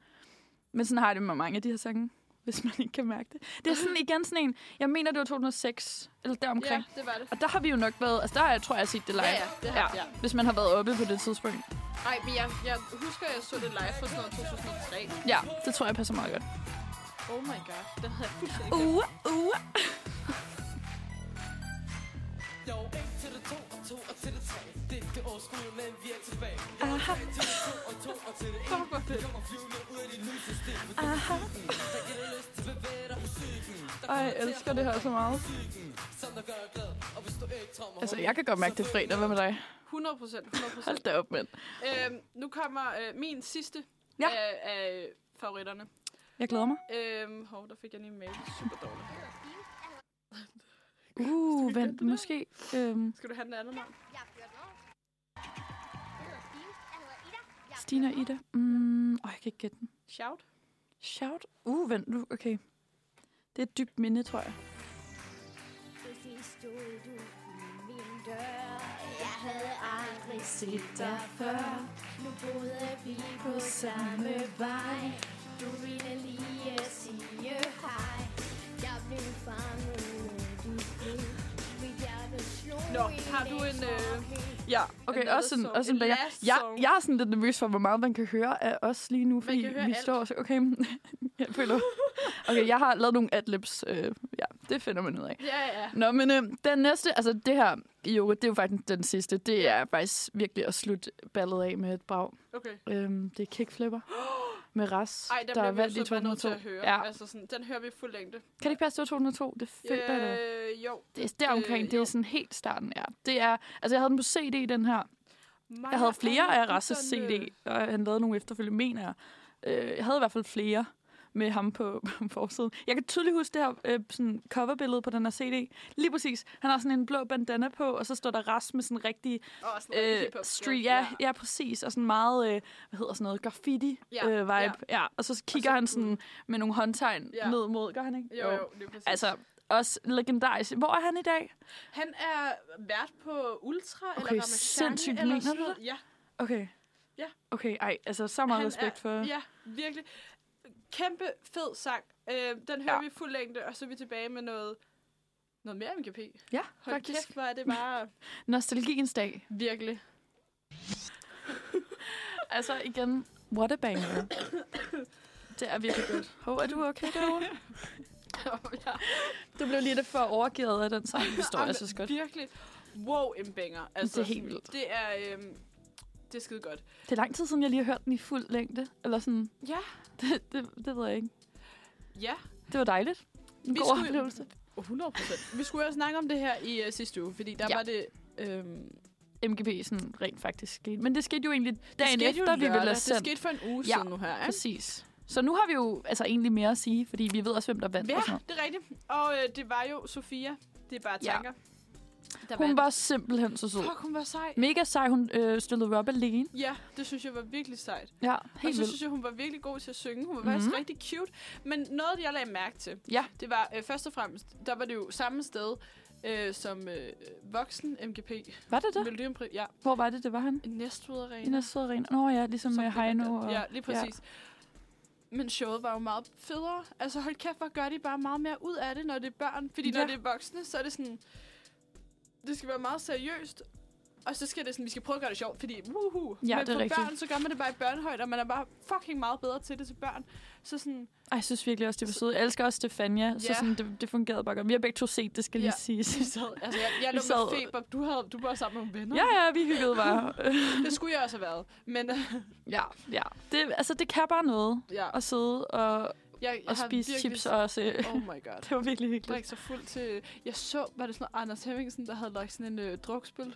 Speaker 2: Men sådan har jeg det med mange af de her sange, hvis man ikke kan mærke det. Det er sådan igen sådan en, jeg mener, det var 2006, eller deromkring.
Speaker 1: Ja, det var det.
Speaker 2: Og der har vi jo nok været, altså der har jeg, tror jeg, jeg har set det live.
Speaker 1: Ja, ja, det har- ja.
Speaker 2: Hvis man har været oppe på det tidspunkt.
Speaker 1: Ej, men jeg, jeg husker, at jeg så det live fra sådan noget 2003.
Speaker 2: Ja, det tror jeg passer meget godt.
Speaker 1: Oh my god. Den havde jeg fuldstændig
Speaker 2: Uh, uh.
Speaker 4: Jo, 1 til det 2 og to og til det tre Det er det old school, men vi er tilbage
Speaker 2: Aha.
Speaker 4: Til det to og to og til det en
Speaker 1: Fuck, hvor
Speaker 4: Vi
Speaker 1: fedt.
Speaker 4: kommer flyvende ud af dit lyssystem For det
Speaker 2: Aha.
Speaker 4: er musikken, der giver dig lyst til at bevæge dig Musikken, der
Speaker 2: Ej, jeg elsker det her så meget.
Speaker 4: musikken, som der gør dig glad Og hvis du ikke tror mig
Speaker 2: Altså, jeg kan godt mærke, det er fredag. Hvad med dig?
Speaker 1: 100 procent, 100
Speaker 2: Hold
Speaker 1: procent.
Speaker 2: da op, mand.
Speaker 1: Øhm, nu kommer øh, min sidste
Speaker 2: Ja.
Speaker 1: af, af favoritterne.
Speaker 2: Jeg glæder mig.
Speaker 1: Øhm, hov, der fik jeg lige en mail. Super dårligt.
Speaker 2: Uh, vent, måske. Øhm,
Speaker 1: Skal du have den anden navn?
Speaker 2: Stine og Ida. Mm, åh, jeg kan ikke gætte den.
Speaker 1: Shout?
Speaker 2: Shout. Uh, vent nu. Okay. Det er et dybt minde, tror jeg.
Speaker 5: Jeg havde aldrig set dig før Nu boede vi på samme vej Du ville lige sige hej Jeg blev fanget af dit blik Mit hjerte slog
Speaker 1: Nå,
Speaker 5: i
Speaker 1: har du en, øh,
Speaker 2: Ja, okay.
Speaker 1: Another
Speaker 2: Også en,
Speaker 1: song.
Speaker 2: også en
Speaker 1: En
Speaker 2: banger.
Speaker 1: last
Speaker 2: Jeg,
Speaker 1: song.
Speaker 2: jeg er sådan lidt nervøs for, hvor meget man kan høre af os lige nu, fordi
Speaker 1: kan høre
Speaker 2: vi
Speaker 1: alt.
Speaker 2: står og så... Okay, jeg føler... Okay, jeg har lavet nogle adlibs. Øh, ja, det finder man ud af.
Speaker 1: Ja, ja.
Speaker 2: Nå, men øh, den næste, altså det her i øvrigt, det er jo faktisk den sidste. Det er faktisk virkelig at slutte ballet af med et brag.
Speaker 1: Okay.
Speaker 2: Øhm, det er Kickflipper med Ras,
Speaker 1: Ej, den der bliver vi jo så bare nødt til at høre.
Speaker 2: Ja.
Speaker 1: Ja. Altså sådan, den hører vi i fuld længde.
Speaker 2: Kan det ikke passe, det var 202? Det føler jeg da.
Speaker 1: øh, jo.
Speaker 2: Det er deromkring,
Speaker 1: øh,
Speaker 2: det er
Speaker 1: jo.
Speaker 2: sådan helt starten, ja. Det er, altså jeg havde den på CD, den her. Jeg havde flere af Rasses
Speaker 1: øh,
Speaker 2: CD, og han lavede nogle efterfølgende, mener jeg. Øh, jeg havde i hvert fald flere med ham på, på forsiden. Jeg kan tydeligt huske det her øh, sådan coverbillede på den her CD. Lige præcis. Han har sådan en blå bandana på, og så står der Ras med sådan rigtig
Speaker 1: Og sådan noget
Speaker 2: øh,
Speaker 1: hiphop.
Speaker 2: street, ja, ja, præcis, og sådan meget, øh, hvad hedder sådan noget, graffiti-vibe,
Speaker 1: Ja,
Speaker 2: øh, vibe,
Speaker 1: ja.
Speaker 2: ja. ja. Og så kigger
Speaker 1: Og så-
Speaker 2: han sådan med nogle håndtegn
Speaker 1: Ja.
Speaker 2: ja. ned mod, gør han ikke?
Speaker 1: Jo, jo, det er præcis.
Speaker 2: Altså, også legendarisk. Hvor er han i dag?
Speaker 1: Han er vært på Ultra, okay, eller
Speaker 2: Okay,
Speaker 1: Ramachan,
Speaker 2: sindssygt,
Speaker 1: eller
Speaker 2: mener
Speaker 1: sådan
Speaker 2: du
Speaker 1: noget.
Speaker 2: det?
Speaker 1: Ja,
Speaker 2: Okay.
Speaker 1: Ja.
Speaker 2: Okay, ej, altså så meget
Speaker 1: han
Speaker 2: respekt
Speaker 1: er,
Speaker 2: for... Ja.
Speaker 1: Ja, virkelig. Kæmpe fed sang. Øh, den hører ja.
Speaker 2: Ja.
Speaker 1: vi i fuld længde, og så er vi tilbage med noget, noget mere MGP.
Speaker 2: ja,
Speaker 1: Hold
Speaker 2: faktisk.
Speaker 1: kæft, hvor er det bare
Speaker 2: Nostalgiens dag.
Speaker 1: virkelig.
Speaker 2: Altså igen, what a banger. det er virkelig godt. Hov, er du okay derovre?
Speaker 1: ja.
Speaker 2: Du blev lige det for overgivet af den sang, det forstår
Speaker 1: Jamen,
Speaker 2: jeg så godt.
Speaker 1: Virkelig. Wow, en banger. Altså,
Speaker 2: Det er helt
Speaker 1: sådan,
Speaker 2: vildt.
Speaker 1: Det er, øhm, det er skide godt.
Speaker 2: Det er lang tid siden, jeg lige har hørt den i fuld længde. Eller sådan,
Speaker 1: Ja.
Speaker 2: det, det, det ved jeg ikke.
Speaker 1: Ja,
Speaker 2: Det var dejligt. En
Speaker 1: Vi
Speaker 2: god
Speaker 1: skulle-
Speaker 2: oplevelse.
Speaker 1: 100 procent. Vi skulle jo snakke om det her i uh, sidste uge, fordi der ja.
Speaker 2: Ja.
Speaker 1: var det... Øhm,
Speaker 2: MGP sådan rent faktisk skete. Men det skete jo egentlig dagen
Speaker 1: det skete jo
Speaker 2: efter, vi ville
Speaker 1: lørdag.
Speaker 2: have
Speaker 1: Det
Speaker 2: sendt.
Speaker 1: skete for en uge ja.
Speaker 2: Ja,
Speaker 1: siden nu her, ikke?
Speaker 2: Præcis. Så nu har vi jo altså egentlig mere at sige, fordi vi ved også, hvem der vandt. og
Speaker 1: Ja,
Speaker 2: sådan
Speaker 1: det er rigtigt. Og øh, det var jo Sofia. Det er bare
Speaker 2: Altså. Ja.
Speaker 1: tanker. Der
Speaker 2: noget. Hun var simpelthen så sød.
Speaker 1: Fuck, hun var sej.
Speaker 2: Mega sej, hun øh, stillede op alene.
Speaker 1: Ja, det synes jeg var virkelig sejt.
Speaker 2: Ja,
Speaker 1: Helt og
Speaker 2: helt
Speaker 1: så
Speaker 2: vildt.
Speaker 1: synes jeg, hun var virkelig god til at synge. Hun var faktisk
Speaker 2: Mhm.
Speaker 1: rigtig cute. Men noget, jeg lagde mærke til,
Speaker 2: Ja.
Speaker 1: det var øh, først og fremmest, der var det jo samme sted øh, som øh, voksen MGP.
Speaker 2: Var det det?
Speaker 1: Melodiumpri, ja.
Speaker 2: Hvor var det, det var han?
Speaker 1: Næstved Arena.
Speaker 2: I den søde arena. Nå ja, ligesom med
Speaker 1: det, man
Speaker 2: Heino.
Speaker 1: gør.
Speaker 2: Og...
Speaker 1: Ja, lige præcis. Ja. Men showet var jo meget federe. Altså hold kæft, hvor gør de bare meget mere ud af det, når det er børn. Fordi ja. når
Speaker 2: Ja.
Speaker 1: det er voksne, så er det sådan... Det skal være meget seriøst. Og så skal det sådan, vi skal prøve at gøre det sjovt, fordi woohoo.
Speaker 2: Ja,
Speaker 1: Men
Speaker 2: det er
Speaker 1: for
Speaker 2: rigtigt.
Speaker 1: børn, så gør man det bare i børnehøjde, og man er bare fucking meget bedre til det til børn. Så sådan,
Speaker 2: Ej, jeg synes virkelig også, det var sødt. Jeg elsker også Stefania, ja. så
Speaker 1: Ja.
Speaker 2: sådan, det, det fungerede bare godt. Vi har begge to set, det skal lige
Speaker 1: Ja.
Speaker 2: siges.
Speaker 1: vi sad, altså jeg, jeg
Speaker 2: Vi
Speaker 1: lå med
Speaker 2: sad-
Speaker 1: feber, du, havde, du var sammen med nogle venner.
Speaker 2: Ja, ja, vi hyggede bare.
Speaker 1: Det skulle jeg også have været. Men øh,
Speaker 2: ja, ja. Det, altså, det kan bare noget
Speaker 1: ja,
Speaker 2: at sidde og,
Speaker 1: jeg, jeg
Speaker 2: og
Speaker 1: har
Speaker 2: spise
Speaker 1: virkelig-
Speaker 2: chips og se.
Speaker 1: Oh my god.
Speaker 2: Det var virkelig hyggeligt.
Speaker 1: drikke sig fuld til... Jeg så, var det sådan noget, Anders Hemmingsen, der havde lagt sådan en øh, drukspil.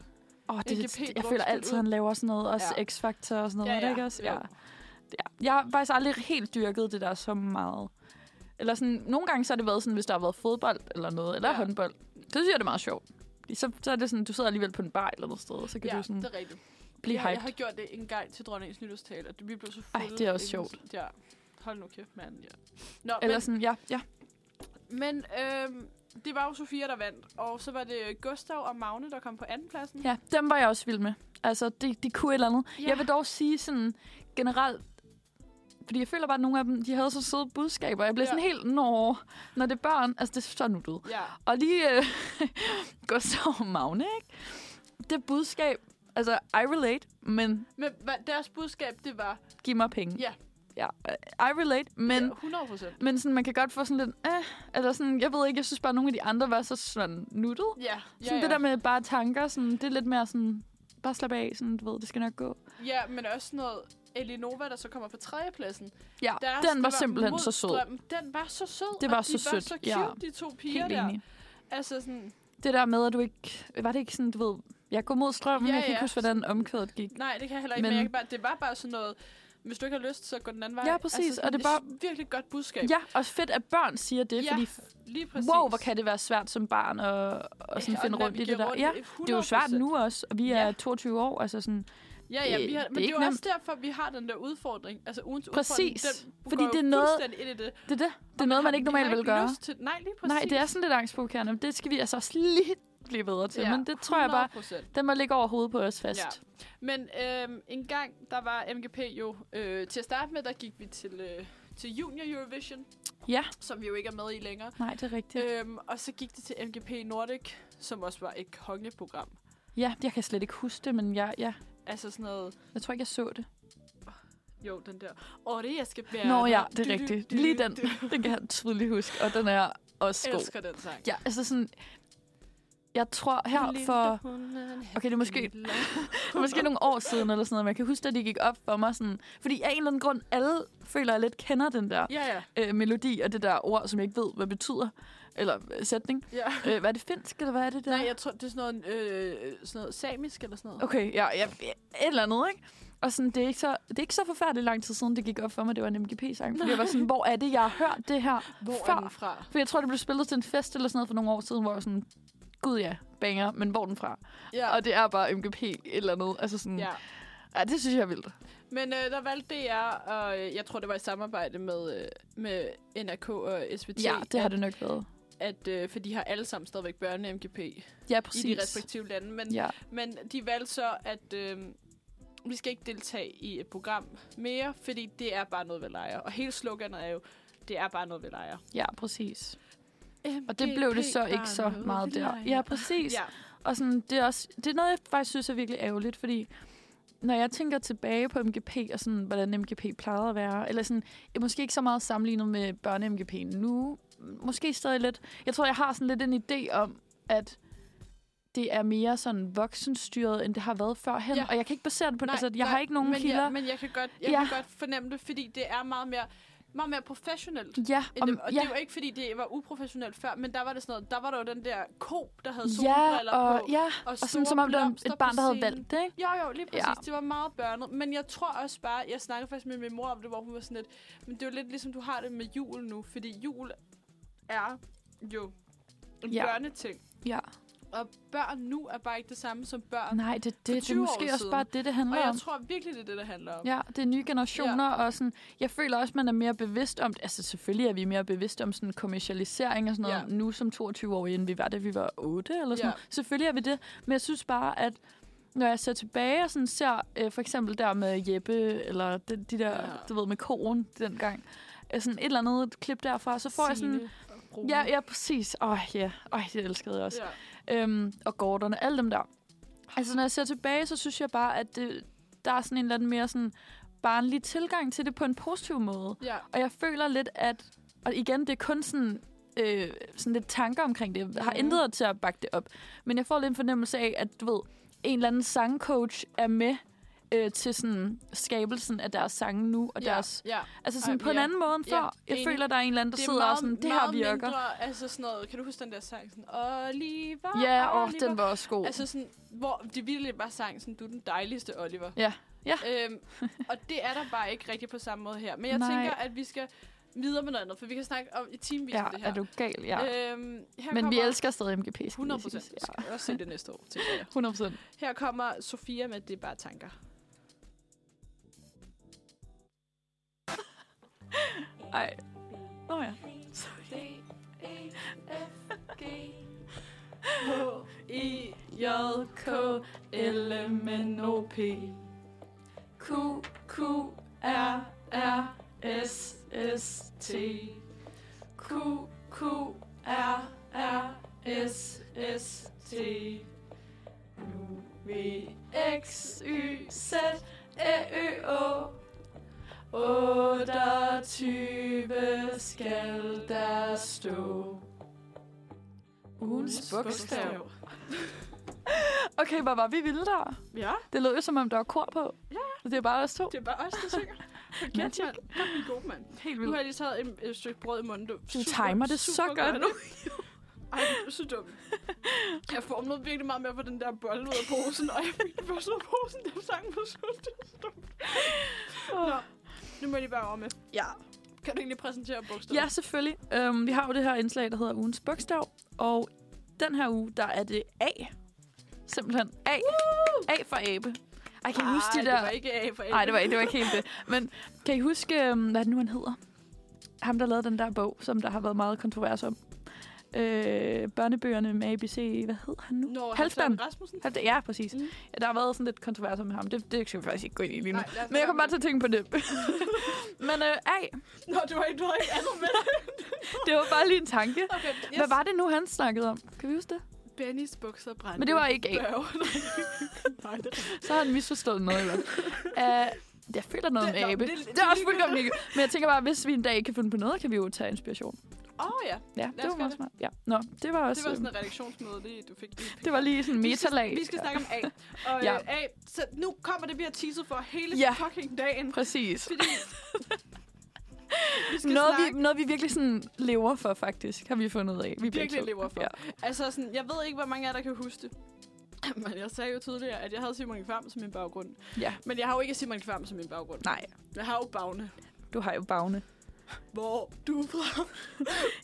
Speaker 2: Åh,
Speaker 1: NGP
Speaker 2: det, det, jeg føler
Speaker 1: brugte
Speaker 2: altid, han laver sådan noget, også
Speaker 1: Ja.
Speaker 2: ja. X-Factor og sådan noget, ja, ja. ikke også?
Speaker 1: Jo.
Speaker 2: Ja. ja. Jeg har faktisk aldrig helt dyrket det der så meget. Eller sådan, nogle gange så har det været sådan, hvis der har været fodbold eller noget, eller
Speaker 1: Ja.
Speaker 2: ja. håndbold. Det synes jeg, det er meget sjovt. Fordi Så, så er det sådan, du sidder alligevel på en bar eller noget sted, og så kan
Speaker 1: Ja,
Speaker 2: du sådan
Speaker 1: det er rigtigt.
Speaker 2: blive
Speaker 1: jeg, jeg
Speaker 2: hyped.
Speaker 1: har gjort det en gang til dronningens nytårstale, og vi blev så
Speaker 2: Ej,
Speaker 1: fulde.
Speaker 2: det er også
Speaker 1: ikke?
Speaker 2: sjovt.
Speaker 1: Ja. Hold nu kæft, mand. Ja. Nå,
Speaker 2: Eller sådan, ja, ja.
Speaker 1: men, men øhm, det var jo Sofia, der vandt, og så var det øh, Gustav og Magne, der kom på andenpladsen.
Speaker 2: Ja, dem var jeg også vild med. Altså, de, de kunne et eller andet.
Speaker 1: Ja.
Speaker 2: Ja. Jeg vil dog sige sådan generelt, fordi jeg føler bare, at nogle af dem, de havde så søde budskaber. Jeg blev
Speaker 1: Ja.
Speaker 2: ja. sådan helt, når, når det er børn, altså det er så nuttet.
Speaker 1: Ja,
Speaker 2: Og lige øh, Gustav og Magne, ikke? Det budskab, altså I relate, men
Speaker 1: men hva- deres budskab, det var,
Speaker 2: giv mig penge.
Speaker 1: Ja.
Speaker 2: ja, øh, I relate, men...
Speaker 1: Ja, 100 procent.
Speaker 2: Men sådan, man kan godt få sådan lidt, øh, eller sådan, jeg ved ikke, jeg synes bare, at nogle af de andre var så sådan nuttet.
Speaker 1: Ja, ja,
Speaker 2: Sådan
Speaker 1: ja.
Speaker 2: det der med bare tanker, sådan, det er lidt mere sådan, bare slap af, sådan, du ved, det skal nok gå.
Speaker 1: ja, men også sådan noget Elinova, der så kommer på tredjepladsen.
Speaker 2: Ja,
Speaker 1: Deres,
Speaker 2: den
Speaker 1: det
Speaker 2: var simpelthen så sød.
Speaker 1: Modstrøm. Den var så sød.
Speaker 2: Det var
Speaker 1: og
Speaker 2: så
Speaker 1: de Var
Speaker 2: sødt,
Speaker 1: så cute,
Speaker 2: ja.
Speaker 1: de to piger
Speaker 2: Helt
Speaker 1: der.
Speaker 2: enig.
Speaker 1: Altså sådan,
Speaker 2: Det der med, at du ikke, var det ikke sådan, du ved, jeg går mod strømmen,
Speaker 1: Ja,
Speaker 2: ja, jeg kan
Speaker 1: ja.
Speaker 2: ikke huske, hvordan omkvædet gik.
Speaker 1: nej, det kan jeg heller ikke, men, men
Speaker 2: Men-
Speaker 1: jeg kan bare, det var bare sådan noget, hvis du ikke har lyst, så gå den anden vej.
Speaker 2: Ja, præcis,
Speaker 1: Altså,
Speaker 2: og det er
Speaker 1: et
Speaker 2: bare-
Speaker 1: virkelig godt budskab.
Speaker 2: Ja, og fedt, at børn siger det,
Speaker 1: Ja,
Speaker 2: fordi
Speaker 1: lige præcis.
Speaker 2: wow, hvor kan det være svært som barn at, at sådan
Speaker 1: Ja,
Speaker 2: finde
Speaker 1: og
Speaker 2: rundt i
Speaker 1: navigere
Speaker 2: det der.
Speaker 1: rundt
Speaker 2: Ja,
Speaker 1: i
Speaker 2: det er jo svært
Speaker 1: 100%.
Speaker 2: nu også, og vi er
Speaker 1: Ja.
Speaker 2: 22 år, altså sådan,
Speaker 1: Ja, ja,
Speaker 2: Øh,
Speaker 1: vi har,
Speaker 2: det er
Speaker 1: men det er
Speaker 2: ikke
Speaker 1: jo også derfor, vi har den der udfordring. Altså ugens
Speaker 2: Præcis.
Speaker 1: udfordring, den
Speaker 2: Fordi
Speaker 1: går
Speaker 2: det er
Speaker 1: jo
Speaker 2: noget-
Speaker 1: fuldstændig ind i det.
Speaker 2: det er det. Det er noget, man ikke normalt vil gøre.
Speaker 1: Lyst til. Nej, lige præcis.
Speaker 2: Nej, det er sådan lidt angstprovokerende. men Det skal vi altså også lige blive bedre til. Ja, men det tror jeg bare,
Speaker 1: 100%.
Speaker 2: den må ligge over hovedet på os fast.
Speaker 1: Ja. Men øhm, en gang, der var MGP jo... Øh, til at starte med, der gik vi til, øh, til Junior Eurovision,
Speaker 2: Ja.
Speaker 1: som vi jo ikke er med i længere.
Speaker 2: Nej, det er rigtigt. Øh.
Speaker 1: Øhm, og så gik det til MGP Nordic, som også var et kongeprogram.
Speaker 2: Ja, jeg kan slet ikke huske det, men jeg, ja,
Speaker 1: Altså sådan noget...
Speaker 2: jeg tror ikke, jeg så det.
Speaker 1: Jo, den der... Åh, det jeg skal bære...
Speaker 2: Nå
Speaker 1: dig."
Speaker 2: ja, det
Speaker 1: Du,
Speaker 2: er
Speaker 1: du,
Speaker 2: rigtigt.
Speaker 1: du, du,
Speaker 2: Lige den,
Speaker 1: du.
Speaker 2: den kan jeg tydeligt huske, og den er også god.
Speaker 1: Elsker den sang.
Speaker 2: Ja, altså sådan, jeg tror her for... Okay, det er måske, det er måske nogle år siden eller sådan noget, men jeg kan huske, at det gik op for mig sådan... Fordi af en eller anden grund, alle føler, at jeg lidt kender den der
Speaker 1: Ja, ja.
Speaker 2: øh, melodi og det der ord, som jeg ikke ved, hvad betyder. Eller øh, sætning.
Speaker 1: ja.
Speaker 2: Øh, hvad er det finsk, eller hvad er det der?
Speaker 1: Nej, jeg tror, det er sådan noget, øh, sådan noget samisk eller sådan noget.
Speaker 2: Okay, ja, ja, et eller andet, ikke? Og sådan, det, er ikke så, det er ikke så forfærdeligt lang tid siden, det gik op for mig, det var en MGP-sang. Fordi jeg var sådan, hvor er det, jeg har hørt det her
Speaker 1: Hvor
Speaker 2: før?
Speaker 1: er den fra?
Speaker 2: For jeg tror, det blev spillet til en fest eller sådan noget for nogle år siden, hvor jeg var sådan, gud ja, banger, men hvor er den fra?
Speaker 1: Ja.
Speaker 2: Og det er bare MGP et eller andet. Altså sådan, ja.
Speaker 1: ja.
Speaker 2: ja det synes jeg er vildt.
Speaker 1: Men øh, der valgte DR, og øh, jeg tror, det var i samarbejde med, øh, med NRK og SVT,
Speaker 2: Ja, det har
Speaker 1: at,
Speaker 2: det nok været.
Speaker 1: at, øh, for de har alle sammen stadigvæk børne-MGP
Speaker 2: Ja,
Speaker 1: i de
Speaker 2: præcis.
Speaker 1: respektive lande. Men, ja.
Speaker 2: Ja,
Speaker 1: men de valgte så, at øh, vi skal ikke deltage i et program mere, fordi det er bare noget, vi leger. Og hele sloganet er jo, det er bare noget, vi leger.
Speaker 2: ja, præcis. Og det blev det så ikke så meget der. Ja, præcis.
Speaker 1: Ja,
Speaker 2: Og sådan, det, er også, det er noget, jeg faktisk synes er virkelig ærgerligt, fordi når jeg tænker tilbage på MGP, og sådan, hvordan MGP plejede at være, eller sådan, jeg måske ikke så meget sammenlignet med børne-MGP nu, måske stadig lidt. Jeg tror, jeg har sådan lidt en idé om, at det er mere sådan voksenstyret, end det har været førhen. Ja.
Speaker 1: Ja.
Speaker 2: Og jeg kan ikke basere det på... Nej, altså, jeg nej, har ikke nogen
Speaker 1: men
Speaker 2: kilder.
Speaker 1: Jeg, men jeg kan godt, jeg
Speaker 2: Ja.
Speaker 1: ja. kan godt fornemme det, fordi det er meget mere, meget mere professionelt.
Speaker 2: ja,
Speaker 1: Om,
Speaker 2: om,
Speaker 1: det, og
Speaker 2: ja,
Speaker 1: det var ikke, fordi det var uprofessionelt før, men der var det sådan noget, der var der jo den der ko, der havde
Speaker 2: ja,
Speaker 1: solbriller
Speaker 2: og,
Speaker 1: på.
Speaker 2: ja,
Speaker 1: og
Speaker 2: og sådan,
Speaker 1: store
Speaker 2: som om det var
Speaker 1: blomster
Speaker 2: et barn,
Speaker 1: på
Speaker 2: der havde
Speaker 1: scenen.
Speaker 2: valgt det, ikke?
Speaker 1: Jo, jo, lige præcis.
Speaker 2: Ja.
Speaker 1: Ja. Det var meget børnet. Men jeg tror også bare, jeg snakkede faktisk med min mor om det, hvor hun var sådan lidt, men det er jo lidt ligesom, du har det med jul nu, fordi jul er jo en
Speaker 2: Ja.
Speaker 1: ja. børneting.
Speaker 2: Ja.
Speaker 1: Og børn nu er bare ikke det samme som børn.
Speaker 2: Nej, det, det, det, det er
Speaker 1: 20 år
Speaker 2: måske også
Speaker 1: siden.
Speaker 2: bare det, det handler
Speaker 1: Og jeg
Speaker 2: om.
Speaker 1: tror virkelig, det er det, det handler om.
Speaker 2: Ja, det er nye generationer, ja. og sådan, jeg føler også, man er mere bevidst om, altså selvfølgelig er vi mere bevidst om sådan kommercialisering og sådan noget, ja.
Speaker 1: Ja.
Speaker 2: nu som 22-årige, end vi var, da vi var 8 eller sådan ja.
Speaker 1: Ja.
Speaker 2: noget. Selvfølgelig er vi det, men jeg synes bare, at når jeg ser tilbage og sådan ser øh, for eksempel der med Jeppe, eller de, de der, ja.
Speaker 1: Ja.
Speaker 2: du ved, med koen dengang, øh, sådan et eller andet klip derfra, så får jeg sådan... Ja, ja, præcis. Åh, oh, ja. Åh, det elskede jeg også
Speaker 1: ja.
Speaker 2: øhm, og Gordonne, alle dem der. Altså, når jeg ser tilbage, så synes jeg bare, at det, der er sådan en eller anden mere sådan barnlig tilgang til det på en positiv måde.
Speaker 1: ja.
Speaker 2: Og jeg føler lidt, at... Og igen, det er kun sådan, øh, sådan lidt tanker omkring det. Jeg har
Speaker 1: Mhm.
Speaker 2: intet til at bakke det op. Men jeg får lidt en fornemmelse af, at du ved, en eller anden sangcoach er med øh, til sådan skabelsen af deres sange nu. Og ja. deres,
Speaker 1: Ja, ja.
Speaker 2: altså sådan
Speaker 1: Ej,
Speaker 2: på en
Speaker 1: ja.
Speaker 2: anden måde end
Speaker 1: Ja,
Speaker 2: før. jeg
Speaker 1: enig.
Speaker 2: føler, der er en eller anden, der sidder og sådan, det her
Speaker 1: meget
Speaker 2: virker.
Speaker 1: Mindre, altså sådan noget, kan du huske den der sang? Sådan, Oliver, Oliver.
Speaker 2: Ja, og den var også god.
Speaker 1: Altså sådan, hvor de virkelig bare sang sådan, du er den dejligste, Oliver.
Speaker 2: Ja. Ja.
Speaker 1: Øhm, og det er der bare ikke rigtigt på samme måde her. Men jeg
Speaker 2: Nej.
Speaker 1: Nej. tænker, at vi skal videre med noget andet, for vi kan snakke om i timevis
Speaker 2: ja,
Speaker 1: om det her.
Speaker 2: er du gal, ja.
Speaker 1: øhm, her
Speaker 2: Men vi
Speaker 1: kommer
Speaker 2: elsker stadig MGP.
Speaker 1: 100 procent.
Speaker 2: Ja.
Speaker 1: Ja. Også se det næste år, tænker jeg.
Speaker 2: 100 procent.
Speaker 1: Her kommer Sofia med Det er bare tanker.
Speaker 2: Ej. Nå ja.
Speaker 1: I, J, K, L, M, N, O, P. Q, Q, R, R, S, S, T. Q, Q, R, R, S, S, T. U, V, X, Y, Z, Æ, Ø, Å. 8
Speaker 2: 20 skal der stå. Ugens bogstav. Okay, hvor var vi vilde der?
Speaker 1: Ja,
Speaker 2: Det lød jo, som om der var kor på. Ja. Det er bare os to.
Speaker 1: det er bare os, der synger. Hold kæft, mand. Kom, min gode mand.
Speaker 2: Helt
Speaker 1: Nu har
Speaker 2: vildt.
Speaker 1: jeg lige taget en, et stykke brød i munden. Du,
Speaker 2: Du timer det så godt nu.
Speaker 1: Ej, du er så dum. Jeg formede virkelig meget med at få den der bolle ud af posen, og jeg fik den først ud af posen, da sangen var slut. Det er så dumt. Nå, nu må jeg lige bare over med. Ja. Kan du egentlig præsentere bogstaver?
Speaker 2: Ja, selvfølgelig. Um, vi har jo det her indslag, der hedder ugens bogstav. Og den her uge, der er det A. Simpelthen A. A for abe. Ej, kan I huske de der...
Speaker 1: det var ikke A for
Speaker 2: Nej, det var, ikke- det var ikke helt det. Men kan I huske, øhm, hvad er det nu han hedder? Ham, der lavede den der bog, som der har været meget kontrovers om. Øh, børnebøgerne med ABC. Hvad hed han nu?
Speaker 1: Nå,
Speaker 2: Halvdan.
Speaker 1: Halvdan Rasmussen.
Speaker 2: Halvdan. Ja, præcis.
Speaker 1: Mm.
Speaker 2: Mm. Ja, der har været sådan lidt kontrovers om ham. Det, det skal vi faktisk ikke gå ind i lige nu.
Speaker 1: Nej, altså, lad os
Speaker 2: Men jeg
Speaker 1: lade
Speaker 2: kom bare
Speaker 1: være
Speaker 2: til at tænke på det. Men øh, ej,
Speaker 1: Nå, du har ikke, du har ikke andet med.
Speaker 2: det var bare lige en tanke. Yes.
Speaker 1: Okay, yes.
Speaker 2: Hvad var det nu, han snakkede om? Kan vi huske det?
Speaker 1: Bennys bukser brændte.
Speaker 2: Men det var ikke A.
Speaker 1: Børge. Nej, det
Speaker 2: Så har han misforstået noget i hvert fald. Øh, jeg føler
Speaker 1: Det-
Speaker 2: noget med
Speaker 1: nå,
Speaker 2: abe.
Speaker 1: det er-
Speaker 2: Det,
Speaker 1: det er
Speaker 2: er også
Speaker 1: ligegyldigt.
Speaker 2: fuldkommen ikke. Men jeg tænker bare, hvis vi en dag ikke kan finde på noget, kan vi jo tage inspiration.
Speaker 1: Åh oh, ja,
Speaker 2: Ja,
Speaker 1: Lad
Speaker 2: det
Speaker 1: os
Speaker 2: var
Speaker 1: gøre
Speaker 2: meget
Speaker 1: det.
Speaker 2: smart. Ja. Nå, det var også...
Speaker 1: det var sådan
Speaker 2: øhm,
Speaker 1: et redaktionsmøde, det, du fik lige.
Speaker 2: det var lige sådan
Speaker 1: Vi skal-
Speaker 2: metalag.
Speaker 1: Vi skal
Speaker 2: Ja.
Speaker 1: snakke om A. Og ja.
Speaker 2: Ja.
Speaker 1: øh, A, så nu kommer det, vi har teaset for hele
Speaker 2: Ja.
Speaker 1: fucking dagen.
Speaker 2: Præcis.
Speaker 1: Fordi vi skal
Speaker 2: Noget
Speaker 1: snakke,
Speaker 2: vi, noget, vi virkelig sådan lever for, faktisk, har vi fundet ud af. Vi begge
Speaker 1: virkelig
Speaker 2: to.
Speaker 1: lever for.
Speaker 2: Ja.
Speaker 1: altså sådan, jeg ved ikke, hvor mange af jer, der kan huske det. Men jeg sagde jo tidligere, at jeg havde Simon Kvam som min baggrund.
Speaker 2: ja.
Speaker 1: Men jeg har jo ikke Simon Kvam som min baggrund.
Speaker 2: Nej,
Speaker 1: Jeg har jo Bagne.
Speaker 2: du har jo bagne.
Speaker 1: Hvor er du er fra.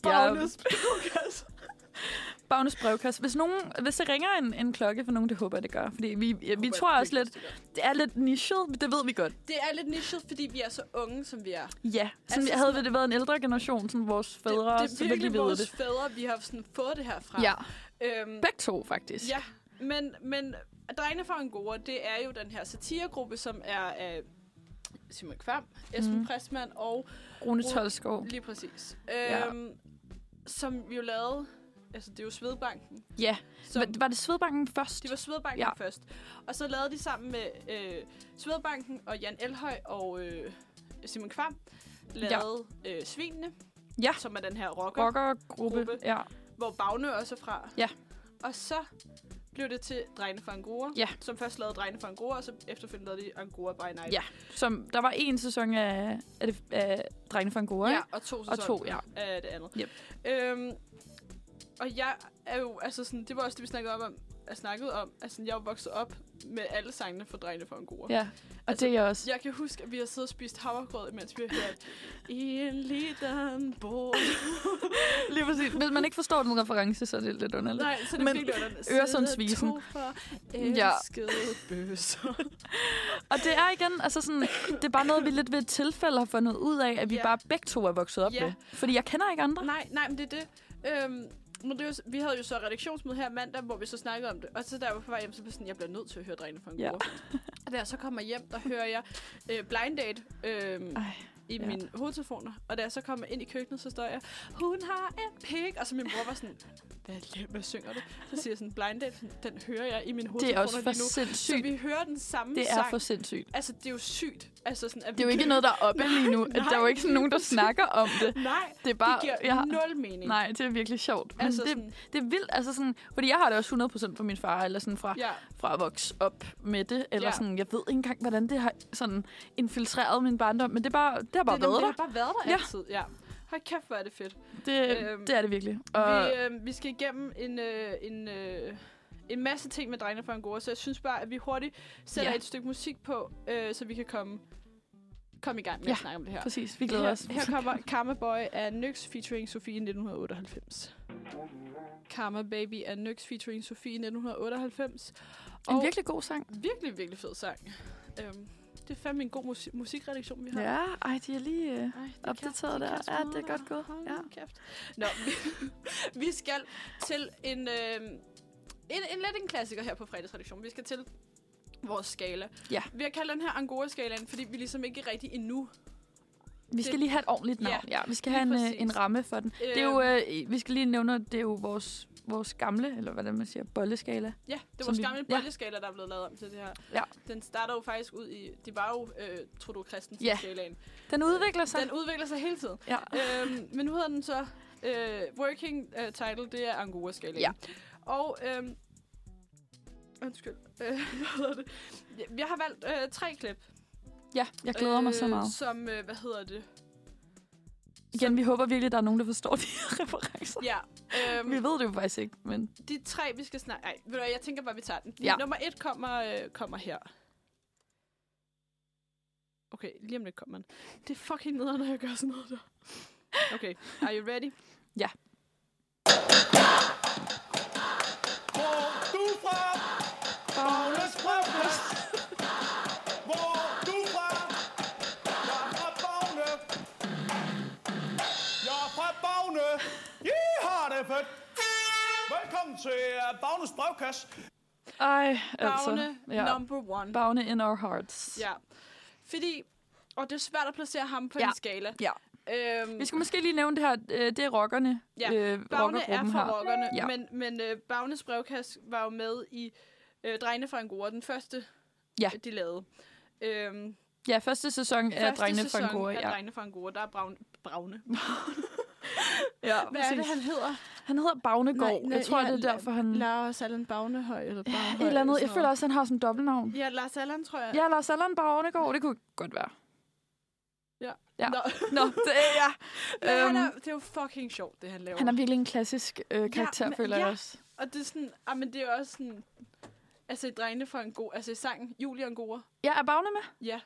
Speaker 2: Jeg er-
Speaker 1: Bagnes brevkasse.
Speaker 2: Bagnes brevkasse. Hvis, nogen, hvis det ringer en, en klokke for nogen, det håber jeg, det gør. Fordi vi, ja, vi
Speaker 1: Håber
Speaker 2: tror
Speaker 1: jeg
Speaker 2: også lidt,
Speaker 1: virkelig, det
Speaker 2: det er lidt nichet. Det ved vi godt.
Speaker 1: gør. Det er lidt nichet, fordi vi er så unge, som vi er.
Speaker 2: Ja. Sådan,
Speaker 1: Altså
Speaker 2: altså, havde det været en ældre generation, sådan vores fædre,
Speaker 1: det,
Speaker 2: det,
Speaker 1: det
Speaker 2: så
Speaker 1: er
Speaker 2: ville de
Speaker 1: virkelig
Speaker 2: vide
Speaker 1: vores
Speaker 2: det.
Speaker 1: fædre, vi har sådan fået det her fra.
Speaker 2: Ja,
Speaker 1: Øhm,
Speaker 2: begge to faktisk.
Speaker 1: Ja, men, men Drengene fra Angora, det er jo den her satiregruppe, som er af Simon Kvam, Esben mm.
Speaker 2: Mhm.
Speaker 1: Pressmann og
Speaker 2: Rune Tolskov.
Speaker 1: lige præcis,
Speaker 2: Ja.
Speaker 1: øhm, som vi jo lavede, altså det er jo Svedbanken.
Speaker 2: Ja,
Speaker 1: Som,
Speaker 2: Var- var det Svedbanken først?
Speaker 1: det var Svedbanken ja.
Speaker 2: Ja.
Speaker 1: først. Og så lavede de sammen med øh, Svedbanken og Jan Elhøj og øh, Simon Kvam, lavede ja. øh, Svinene,
Speaker 2: Ja.
Speaker 1: som er den her rocker, rock.
Speaker 2: Rockergruppe.
Speaker 1: Gruppe.
Speaker 2: Ja.
Speaker 1: hvor Bagne også er fra.
Speaker 2: Ja.
Speaker 1: Og så blev det til Drengene fra Angora,
Speaker 2: Ja.
Speaker 1: som først lavede Drengene fra Angora, og så efterfølgende lavede de Angora by Night.
Speaker 2: Ja, Som, der var en sæson af, af, det, af Drengene fra Angora,
Speaker 1: ja
Speaker 2: ikke?
Speaker 1: og to
Speaker 2: og
Speaker 1: sæsoner
Speaker 2: to, ja.
Speaker 1: af det andet.
Speaker 2: Yep.
Speaker 1: Øhm, og jeg er jo, altså sådan, det var også det, vi snakkede om, om jeg snakkede om, altså jeg er jo vokset op med alle sangene fra Drengene fra Angora.
Speaker 2: ja. Og
Speaker 1: Altså,
Speaker 2: altså, det er jeg også.
Speaker 1: Jeg kan huske, at vi har siddet og spist havregrød, mens vi har hørt I en liten båd.
Speaker 2: Lige præcis. Hvis man ikke forstår den reference, så er det lidt underligt.
Speaker 1: Nej, så det
Speaker 2: Men
Speaker 1: Men virkelig
Speaker 2: Øresundsvisen.
Speaker 1: to for
Speaker 2: Ja.
Speaker 1: elskede bøsser.
Speaker 2: Og det er igen, altså sådan, det er bare noget, vi lidt ved et tilfælde har fundet ud af, at vi
Speaker 1: Ja.
Speaker 2: ja. bare begge to er vokset op
Speaker 1: Ja.
Speaker 2: ja. med. Fordi jeg kender ikke andre.
Speaker 1: Nej, nej, men det er det. Øhm, men det er jo, s- vi havde jo så redaktionsmøde her mandag, hvor vi så snakkede om det. Og så der var på vej hjem, så blev jeg sådan, jeg bliver nødt til at høre drengene fra en
Speaker 2: Ja.
Speaker 1: gruppe. Og da jeg så kommer hjem, der hører jeg øh, Blind Date øhm,
Speaker 2: Ej,
Speaker 1: i
Speaker 2: ja.
Speaker 1: mine hovedtelefoner. Og da jeg så kommer ind i køkkenet, så står jeg, hun har en pik. Og så min bror var sådan, hvad, la- hvad synger du? Så siger jeg sådan, Blind Date, sådan, den hører jeg i mine
Speaker 2: Det er
Speaker 1: hovedtelefoner
Speaker 2: også for
Speaker 1: lige nu. Så
Speaker 2: sindssygt.
Speaker 1: vi hører den samme
Speaker 2: Det er
Speaker 1: sang.
Speaker 2: for sindssygt.
Speaker 1: Altså, det er jo sygt. Altså, sådan, at
Speaker 2: Det er jo ikke noget, der er oppe lige nu.
Speaker 1: nej,
Speaker 2: der er jo ikke sådan
Speaker 1: lige
Speaker 2: nogen, der
Speaker 1: præcis.
Speaker 2: snakker om det.
Speaker 1: Nej,
Speaker 2: Det er
Speaker 1: det
Speaker 2: bare...
Speaker 1: giver
Speaker 2: ja.
Speaker 1: nul mening.
Speaker 2: Nej, det er virkelig sjovt. Men
Speaker 1: altså,
Speaker 2: altså, det,
Speaker 1: sådan,
Speaker 2: det er vildt, altså sådan, fordi jeg har det også 100% fra min far, eller sådan fra,
Speaker 1: ja.
Speaker 2: fra at vokse op med det, eller
Speaker 1: Ja.
Speaker 2: ja. sådan, jeg ved ikke engang, hvordan det har sådan infiltreret min barndom, men det, er bare, det har bare
Speaker 1: det,
Speaker 2: været
Speaker 1: det
Speaker 2: der.
Speaker 1: har bare været der ja.
Speaker 2: Ja.
Speaker 1: altid, ja. Hold kæft, hvor er det fedt.
Speaker 2: Det,
Speaker 1: Øhm,
Speaker 2: øhm, det er det virkelig. Og,
Speaker 1: Og vi, øh, vi skal igennem en, øh, en, øh, en masse ting med Drengene fra Angora, så jeg synes bare, at vi hurtigt sætter
Speaker 2: Ja.
Speaker 1: et stykke musik på, øh, så vi kan komme, komme i gang med ja.
Speaker 2: Ja,
Speaker 1: at snakke om det her.
Speaker 2: præcis, vi glæder os.
Speaker 1: Her, her kommer Karma Boy af Nyx featuring Sofie 1998. Karma Baby af Nyx featuring Sofie 1998.
Speaker 2: En virkelig god sang.
Speaker 1: virkelig, virkelig fed sang. Øhm, det er fandme en god musik- musikredaktion, vi har.
Speaker 2: Ja, ej, de er lige... Øh,
Speaker 1: Ej, det
Speaker 2: opdateret der. Ja, det er godt gået.
Speaker 1: Ja.
Speaker 2: Ja.
Speaker 1: Kæft. Nå, vi, vi skal til en, øh, en, en lidt en klassiker her på fredagsredaktionen. Vi skal til vores skala.
Speaker 2: Ja.
Speaker 1: Vi har kaldt den her Angora-skalaen, fordi vi ligesom ikke rigtig endnu.
Speaker 2: vi skal lige have et ordentligt navn. Ja, vi skal have en,
Speaker 1: lige
Speaker 2: øh, en
Speaker 1: præcis.
Speaker 2: ramme for den. Det er jo, øh, vi skal lige nævne, at det er jo vores vores gamle, eller hvordan man siger, bolleskala.
Speaker 1: Ja, det var
Speaker 2: Som vi-
Speaker 1: vores gamle
Speaker 2: ja.
Speaker 1: bolleskala, der er blevet lavet om til det her.
Speaker 2: Ja.
Speaker 1: Den starter jo faktisk ud i... Det var jo øh, Trudo Christensen
Speaker 2: Ja.
Speaker 1: skalaen.
Speaker 2: Den udvikler sig.
Speaker 1: Den udvikler sig hele tiden.
Speaker 2: ja.
Speaker 1: øhm, men nu hedder den så... Øh, working øh, title, det er Angora-skalaen.
Speaker 2: Ja.
Speaker 1: Og... Øhm, undskyld. Øh, hvad hedder det? Jeg- Jeg har valgt øh, tre klip.
Speaker 2: ja, jeg glæder øh, mig så meget.
Speaker 1: Som, øh, hvad hedder det?
Speaker 2: Igen, vi håber virkelig, der er nogen, der forstår de her referencer.
Speaker 1: Ja. Øhm,
Speaker 2: Vi ved det jo faktisk ikke, men
Speaker 1: de tre, vi skal snakke... Ej, ved du hvad, jeg tænker bare, vi tager den.
Speaker 2: Ja.
Speaker 1: Ja. Nummer et kommer, øh, kommer her. Okay, lige om lidt kommer den. Det er fucking nederen, når jeg gør sådan noget der. Okay, are you ready?
Speaker 2: Ja.
Speaker 6: Hvor du fra? Bagnes Brømnes. Hvor du fra? Jeg er fra Bagne. Jeg er fra Bagne. I har det fedt. Velkommen til øh, Bagnes brevkasse.
Speaker 2: ej, altså.
Speaker 1: Bagne, ja.
Speaker 2: ja.
Speaker 1: number one.
Speaker 2: Bagne in our hearts.
Speaker 1: ja. Fordi... Og det er svært at placere ham på
Speaker 2: Ja.
Speaker 1: ja. en skala.
Speaker 2: ja.
Speaker 1: Øhm,
Speaker 2: Vi skal måske lige nævne det her. øh, Det er rockerne.
Speaker 1: Ja,
Speaker 2: øh,
Speaker 1: Bagne er fra
Speaker 2: her.
Speaker 1: rockerne,
Speaker 2: Ja.
Speaker 1: ja. men, men øh, Bagnes brevkast var jo med i øh, Drengene fra Angora, den første,
Speaker 2: Ja.
Speaker 1: de lavede. Øhm,
Speaker 2: Ja, første sæson af
Speaker 1: første
Speaker 2: Drengene fra
Speaker 1: sæson
Speaker 2: Angora.
Speaker 1: af
Speaker 2: Ja.
Speaker 1: Drengene fra Angora, der er Braune. Braune. Hvad
Speaker 2: ja,
Speaker 1: er det,
Speaker 2: præcis.
Speaker 1: han hedder?
Speaker 2: Han hedder Bagnegård.
Speaker 1: Nej, nej,
Speaker 2: jeg tror,
Speaker 1: ja,
Speaker 2: det er derfor, han...
Speaker 1: Lars Allan Bagnehøj. Eller Bagnehøj,
Speaker 2: et eller andet. Jeg føler også, han har sådan et dobbeltnavn.
Speaker 1: Ja, Lars Allan, tror jeg.
Speaker 2: Ja, Lars Allan Bagnegård. Det kunne godt være. ja.
Speaker 1: Nå.
Speaker 2: Nå, det er ja.
Speaker 1: Men han
Speaker 2: øhm,
Speaker 1: er, det er jo fucking sjovt, det han laver.
Speaker 2: Han er virkelig en klassisk øh, karakter,
Speaker 1: men-
Speaker 2: føler jeg
Speaker 1: ja.
Speaker 2: også.
Speaker 1: Og det er sådan... Ah, men det er også sådan... Altså, i Drengene fra Angora... Altså, i sangen Julie Angora.
Speaker 2: Ja, er Bagne med?
Speaker 1: Ja.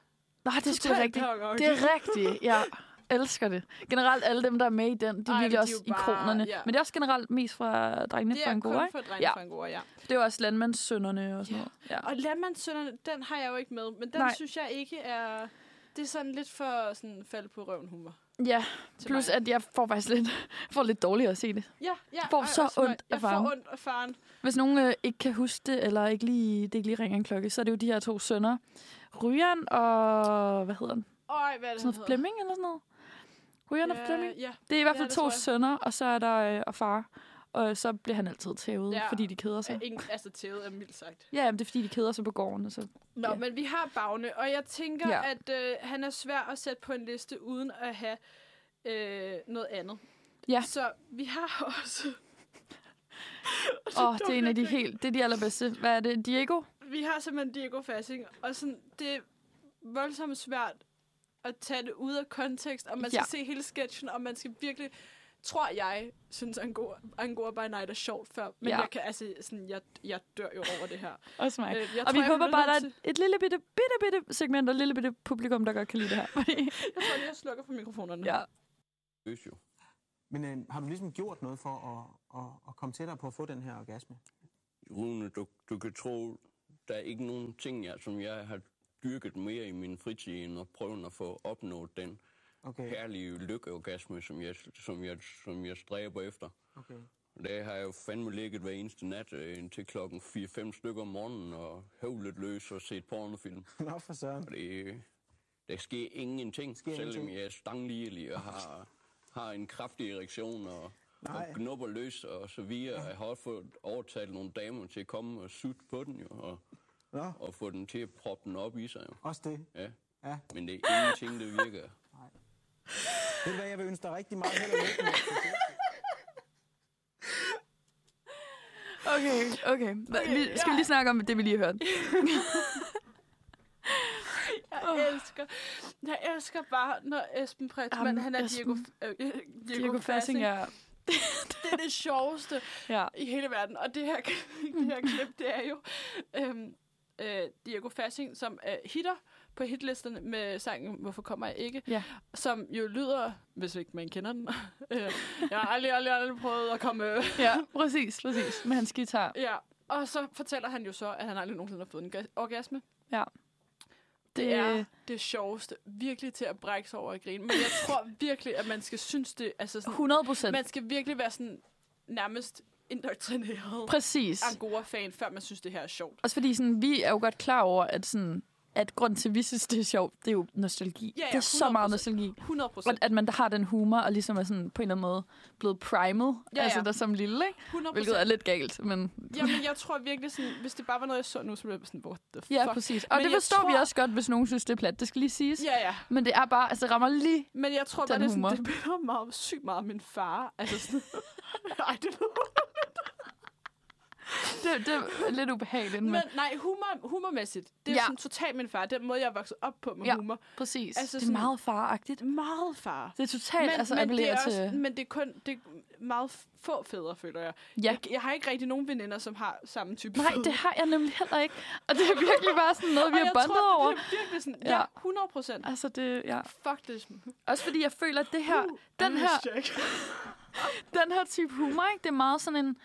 Speaker 2: Nej, det er sgu
Speaker 1: Totalt
Speaker 2: rigtigt.
Speaker 1: pangok.
Speaker 2: Det er rigtigt, ja. Elsker det. Generelt alle dem, der er med i den, de er
Speaker 1: Ej,
Speaker 2: virkelig
Speaker 1: men
Speaker 2: også
Speaker 1: de er jo bare-
Speaker 2: ikonerne.
Speaker 1: ja.
Speaker 2: Men det er også generelt mest fra drengene
Speaker 1: Det
Speaker 2: fra
Speaker 1: er
Speaker 2: Angora,
Speaker 1: kun
Speaker 2: ikke?
Speaker 1: for Drengene
Speaker 2: Ja.
Speaker 1: ja. fra Angora, ja.
Speaker 2: Det er jo også landmandssønderne og sådan
Speaker 1: Ja.
Speaker 2: noget. Ja.
Speaker 1: Og Landmandssønderne, den har jeg jo ikke med, men den
Speaker 2: Nej.
Speaker 1: Nej. synes jeg ikke er... Det er sådan lidt for sådan fald på røven humor.
Speaker 2: ja.
Speaker 1: til
Speaker 2: Plus
Speaker 1: mig.
Speaker 2: at jeg får faktisk lidt, får lidt dårligere at se det.
Speaker 1: Ja, ja.
Speaker 2: får
Speaker 1: ej,
Speaker 2: så
Speaker 1: også mig.
Speaker 2: ondt af
Speaker 1: Jeg
Speaker 2: faren.
Speaker 1: får ondt af faren.
Speaker 2: Hvis nogen øh, ikke kan huske det, eller ikke lige, det ikke lige ringer en klokke, så er det jo de her to sønner. Ryan og... Hvad hedder han?
Speaker 1: Øj, hvad er det, han
Speaker 2: Sådan noget
Speaker 1: hedder? Øh,
Speaker 2: Flemming eller sådan noget? Ryan og Flemming?
Speaker 1: Ja, ja.
Speaker 2: Det er i hvert
Speaker 1: Ja,
Speaker 2: fald ja,
Speaker 1: det
Speaker 2: to
Speaker 1: tror jeg.
Speaker 2: sønner, og så er der øh, og far. Og så bliver han altid tævet, ja.
Speaker 1: Ja.
Speaker 2: fordi de keder sig.
Speaker 1: Er Ingen, altså tævet er mildt sagt.
Speaker 2: Ja, jamen, det er fordi, de keder sig på gården. og Så.
Speaker 1: Nå,
Speaker 2: Ja.
Speaker 1: ja. men vi har Bagne, og jeg tænker,
Speaker 2: Ja.
Speaker 1: ja. at øh, han er svær at sætte på en liste uden at have øh, noget andet.
Speaker 2: Ja.
Speaker 1: Så vi har også...
Speaker 2: Åh, oh, det er en af de
Speaker 1: dumt, jeg
Speaker 2: helt, det er de allerbedste. Hvad er det? Diego?
Speaker 1: Vi har simpelthen Diego Fassing, og sådan, det er voldsomt svært at tage det ud af kontekst, og man skal
Speaker 2: Ja.
Speaker 1: ja. se hele sketchen, og man skal virkelig tror jeg, synes Angora, Angora by Night er sjovt før. Men
Speaker 2: Ja.
Speaker 1: ja. jeg kan, altså, sådan, jeg, jeg dør jo over det her.
Speaker 2: Også mig.
Speaker 1: Øh, jeg
Speaker 2: og
Speaker 1: tror,
Speaker 2: vi
Speaker 1: jeg
Speaker 2: håber
Speaker 1: bliver
Speaker 2: bare, der
Speaker 1: nødt
Speaker 2: er et, et lille bitte, bitte, bitte segment og et lille bitte publikum, der godt kan lide det her. Fordi-
Speaker 1: Jeg tror lige, jeg slukker for mikrofonerne.
Speaker 2: ja.
Speaker 7: Løs jo.
Speaker 8: Men øh, har du ligesom gjort noget for at, at, at komme tættere på at få den her orgasme?
Speaker 7: Rune, du, du kan tro, der er ikke nogen ting, jeg, som jeg har dyrket mere i min fritid, end at prøve at få opnået den
Speaker 8: Okay,
Speaker 7: herlige lykkeorgasme, som jeg, som jeg, som jeg stræber efter.
Speaker 8: okay.
Speaker 7: Der har jeg jo fandme ligget hver eneste nat øh, indtil klokken 4-5 stykker om morgenen og høvlet løs og set pornofilm.
Speaker 8: Nå for søren.
Speaker 7: Og det, der sker ingenting,
Speaker 8: Sker
Speaker 7: sker selvom
Speaker 8: ingenting.
Speaker 7: jeg er stanglidelig og har, har en kraftig erektion og, og
Speaker 8: Nej.
Speaker 7: knupper løs og så videre. Jeg har også fået overtalt nogle damer til at komme og sutte på den jo, og,
Speaker 8: Nå,
Speaker 7: og få den til at proppe den op i sig jo.
Speaker 8: også det.
Speaker 7: Ja.
Speaker 8: Ja.
Speaker 7: Men det er ingenting, der virker.
Speaker 8: Ved du hvad, jeg vil ønske dig rigtig meget held og lykke med.
Speaker 2: Okay, okay. Hva, vi, skal vi lige snakke om det, vi lige hørte?
Speaker 1: Jeg elsker, jeg elsker bare, når Esben Pretzmann,
Speaker 2: Jamen,
Speaker 1: han er Diego,
Speaker 2: Esben.
Speaker 1: øh, øh, Diego,
Speaker 2: Diego Fassing
Speaker 1: er...
Speaker 2: er...
Speaker 1: Det er det sjoveste
Speaker 2: Ja.
Speaker 1: i hele verden. Og det her, det her
Speaker 2: Mm.
Speaker 1: klip, det er jo øhm, øh, Diego Fassing, som er hitter på hitlisterne med sangen Hvorfor kommer jeg ikke?
Speaker 2: Ja.
Speaker 1: Som jo lyder, hvis ikke man kender den. øh, jeg har aldrig, aldrig, aldrig prøvet at komme... Øh,
Speaker 2: ja, præcis, præcis. Med hans guitar.
Speaker 1: ja. Og så fortæller han jo så, at han aldrig nogensinde har fået en ga- orgasme. Det
Speaker 2: Øh.
Speaker 1: er det sjoveste. Virkelig til at brække sig over at grine. Men jeg tror virkelig, at man skal synes det... Altså sådan,
Speaker 2: 100 procent.
Speaker 1: man skal virkelig være sådan nærmest indoktrineret
Speaker 2: Præcis.
Speaker 1: Angora-fan, før man synes, det her er sjovt.
Speaker 2: Også fordi sådan, vi er jo godt klar over, at sådan, at grund til, at vi synes, det er sjovt, det er jo nostalgi.
Speaker 1: Ja, ja,
Speaker 2: det er så meget
Speaker 1: 100%.
Speaker 2: nostalgi.
Speaker 1: 100
Speaker 2: At,
Speaker 1: procent.
Speaker 2: at man har den humor, og ligesom er sådan på en eller anden måde blevet primal,
Speaker 1: Ja,
Speaker 2: ja, altså
Speaker 1: ja.
Speaker 2: der som lille, ikke?
Speaker 1: 100
Speaker 2: hvilket er lidt galt. Men
Speaker 1: Jamen, jeg tror virkelig sådan, hvis det bare var noget, jeg så nu, så ville jeg være sådan, what the fuck?
Speaker 2: ja, præcis. Og
Speaker 1: Men
Speaker 2: men det
Speaker 1: jeg
Speaker 2: forstår tror... vi
Speaker 1: tror-
Speaker 2: også godt, hvis nogen synes, det er plat. Det skal lige siges. Ja.
Speaker 1: Ja, ja.
Speaker 2: Men det er bare, altså det rammer lige...
Speaker 1: Men jeg tror bare,
Speaker 2: Den
Speaker 1: det, er sådan,
Speaker 2: humor.
Speaker 1: det minder meget, om- sygt meget om min far. Altså sådan... Ej, det lyder...
Speaker 2: Det, det er lidt ubehageligt, men, men
Speaker 1: Men nej, humor, humormæssigt. Det er ja.
Speaker 2: Ja.
Speaker 1: sådan totalt min far. Den måde, jeg er vokset op på med ja.
Speaker 2: Ja.
Speaker 1: humor.
Speaker 2: præcis.
Speaker 1: altså
Speaker 2: Altså, det er
Speaker 1: sådan-
Speaker 2: meget faragtigt.
Speaker 1: Meget far.
Speaker 2: Det er totalt men, altså
Speaker 1: men, det er
Speaker 2: appellerer til...
Speaker 1: også, men det er kun det er meget få fædre, føler jeg.
Speaker 2: Ja.
Speaker 1: Jeg, jeg har ikke rigtig nogen veninder, som har samme type
Speaker 2: Nej,
Speaker 1: fædre.
Speaker 2: det har jeg nemlig heller ikke. Og det er virkelig bare sådan noget, vi
Speaker 1: Og
Speaker 2: har
Speaker 1: jeg
Speaker 2: bondet
Speaker 1: tror,
Speaker 2: over.
Speaker 1: Det er virkelig sådan, ja,
Speaker 2: Ja.
Speaker 1: 100 procent.
Speaker 2: Altså det, ja.
Speaker 1: Fuck det.
Speaker 2: Også fordi jeg føler, at det her, den her, den her type humor, ikke, det er meget sådan en...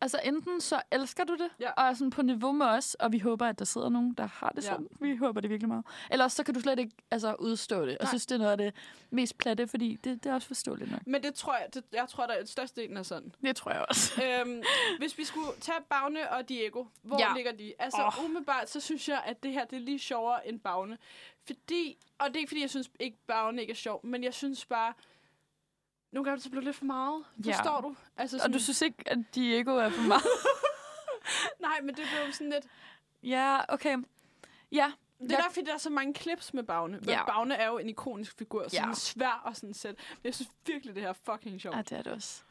Speaker 2: Altså enten så elsker du det,
Speaker 1: Ja.
Speaker 2: ja. og er sådan på niveau med os, og vi håber, at der sidder nogen, der har det
Speaker 1: Ja.
Speaker 2: sådan. Vi håber det virkelig meget. Ellers så kan du slet ikke altså, udstå det, og
Speaker 1: Nej.
Speaker 2: synes, det er noget af det mest platte, fordi det, det er også forståeligt nok.
Speaker 1: Men det tror jeg, det, jeg tror, der er størstedelen er sådan.
Speaker 2: Det tror jeg også.
Speaker 1: øhm, hvis vi skulle tage Bagne og Diego, hvor ja.
Speaker 2: Ja.
Speaker 1: ligger de? Altså oh.
Speaker 2: Åh.
Speaker 1: umiddelbart, så synes jeg, at det her det er lige sjovere end Bagne. Fordi, og det er ikke fordi, jeg synes ikke, Bagne ikke er sjov, men jeg synes bare, nogle gange så blev det lidt for meget.
Speaker 2: Ja.
Speaker 1: Forstår du? Altså,
Speaker 2: Og du synes ikke, at Diego er for meget?
Speaker 1: Nej, men det blev sådan lidt...
Speaker 2: ja, okay. Ja,
Speaker 1: Det er
Speaker 2: Jeg-
Speaker 1: derfor, fordi der er så mange clips med Bagne. Ja.
Speaker 2: Ja.
Speaker 1: Bagne er jo en ikonisk figur, så
Speaker 2: Ja.
Speaker 1: den er svær og sådan set. Men jeg synes virkelig, det her er fucking sjovt.
Speaker 2: Ja, det er det også.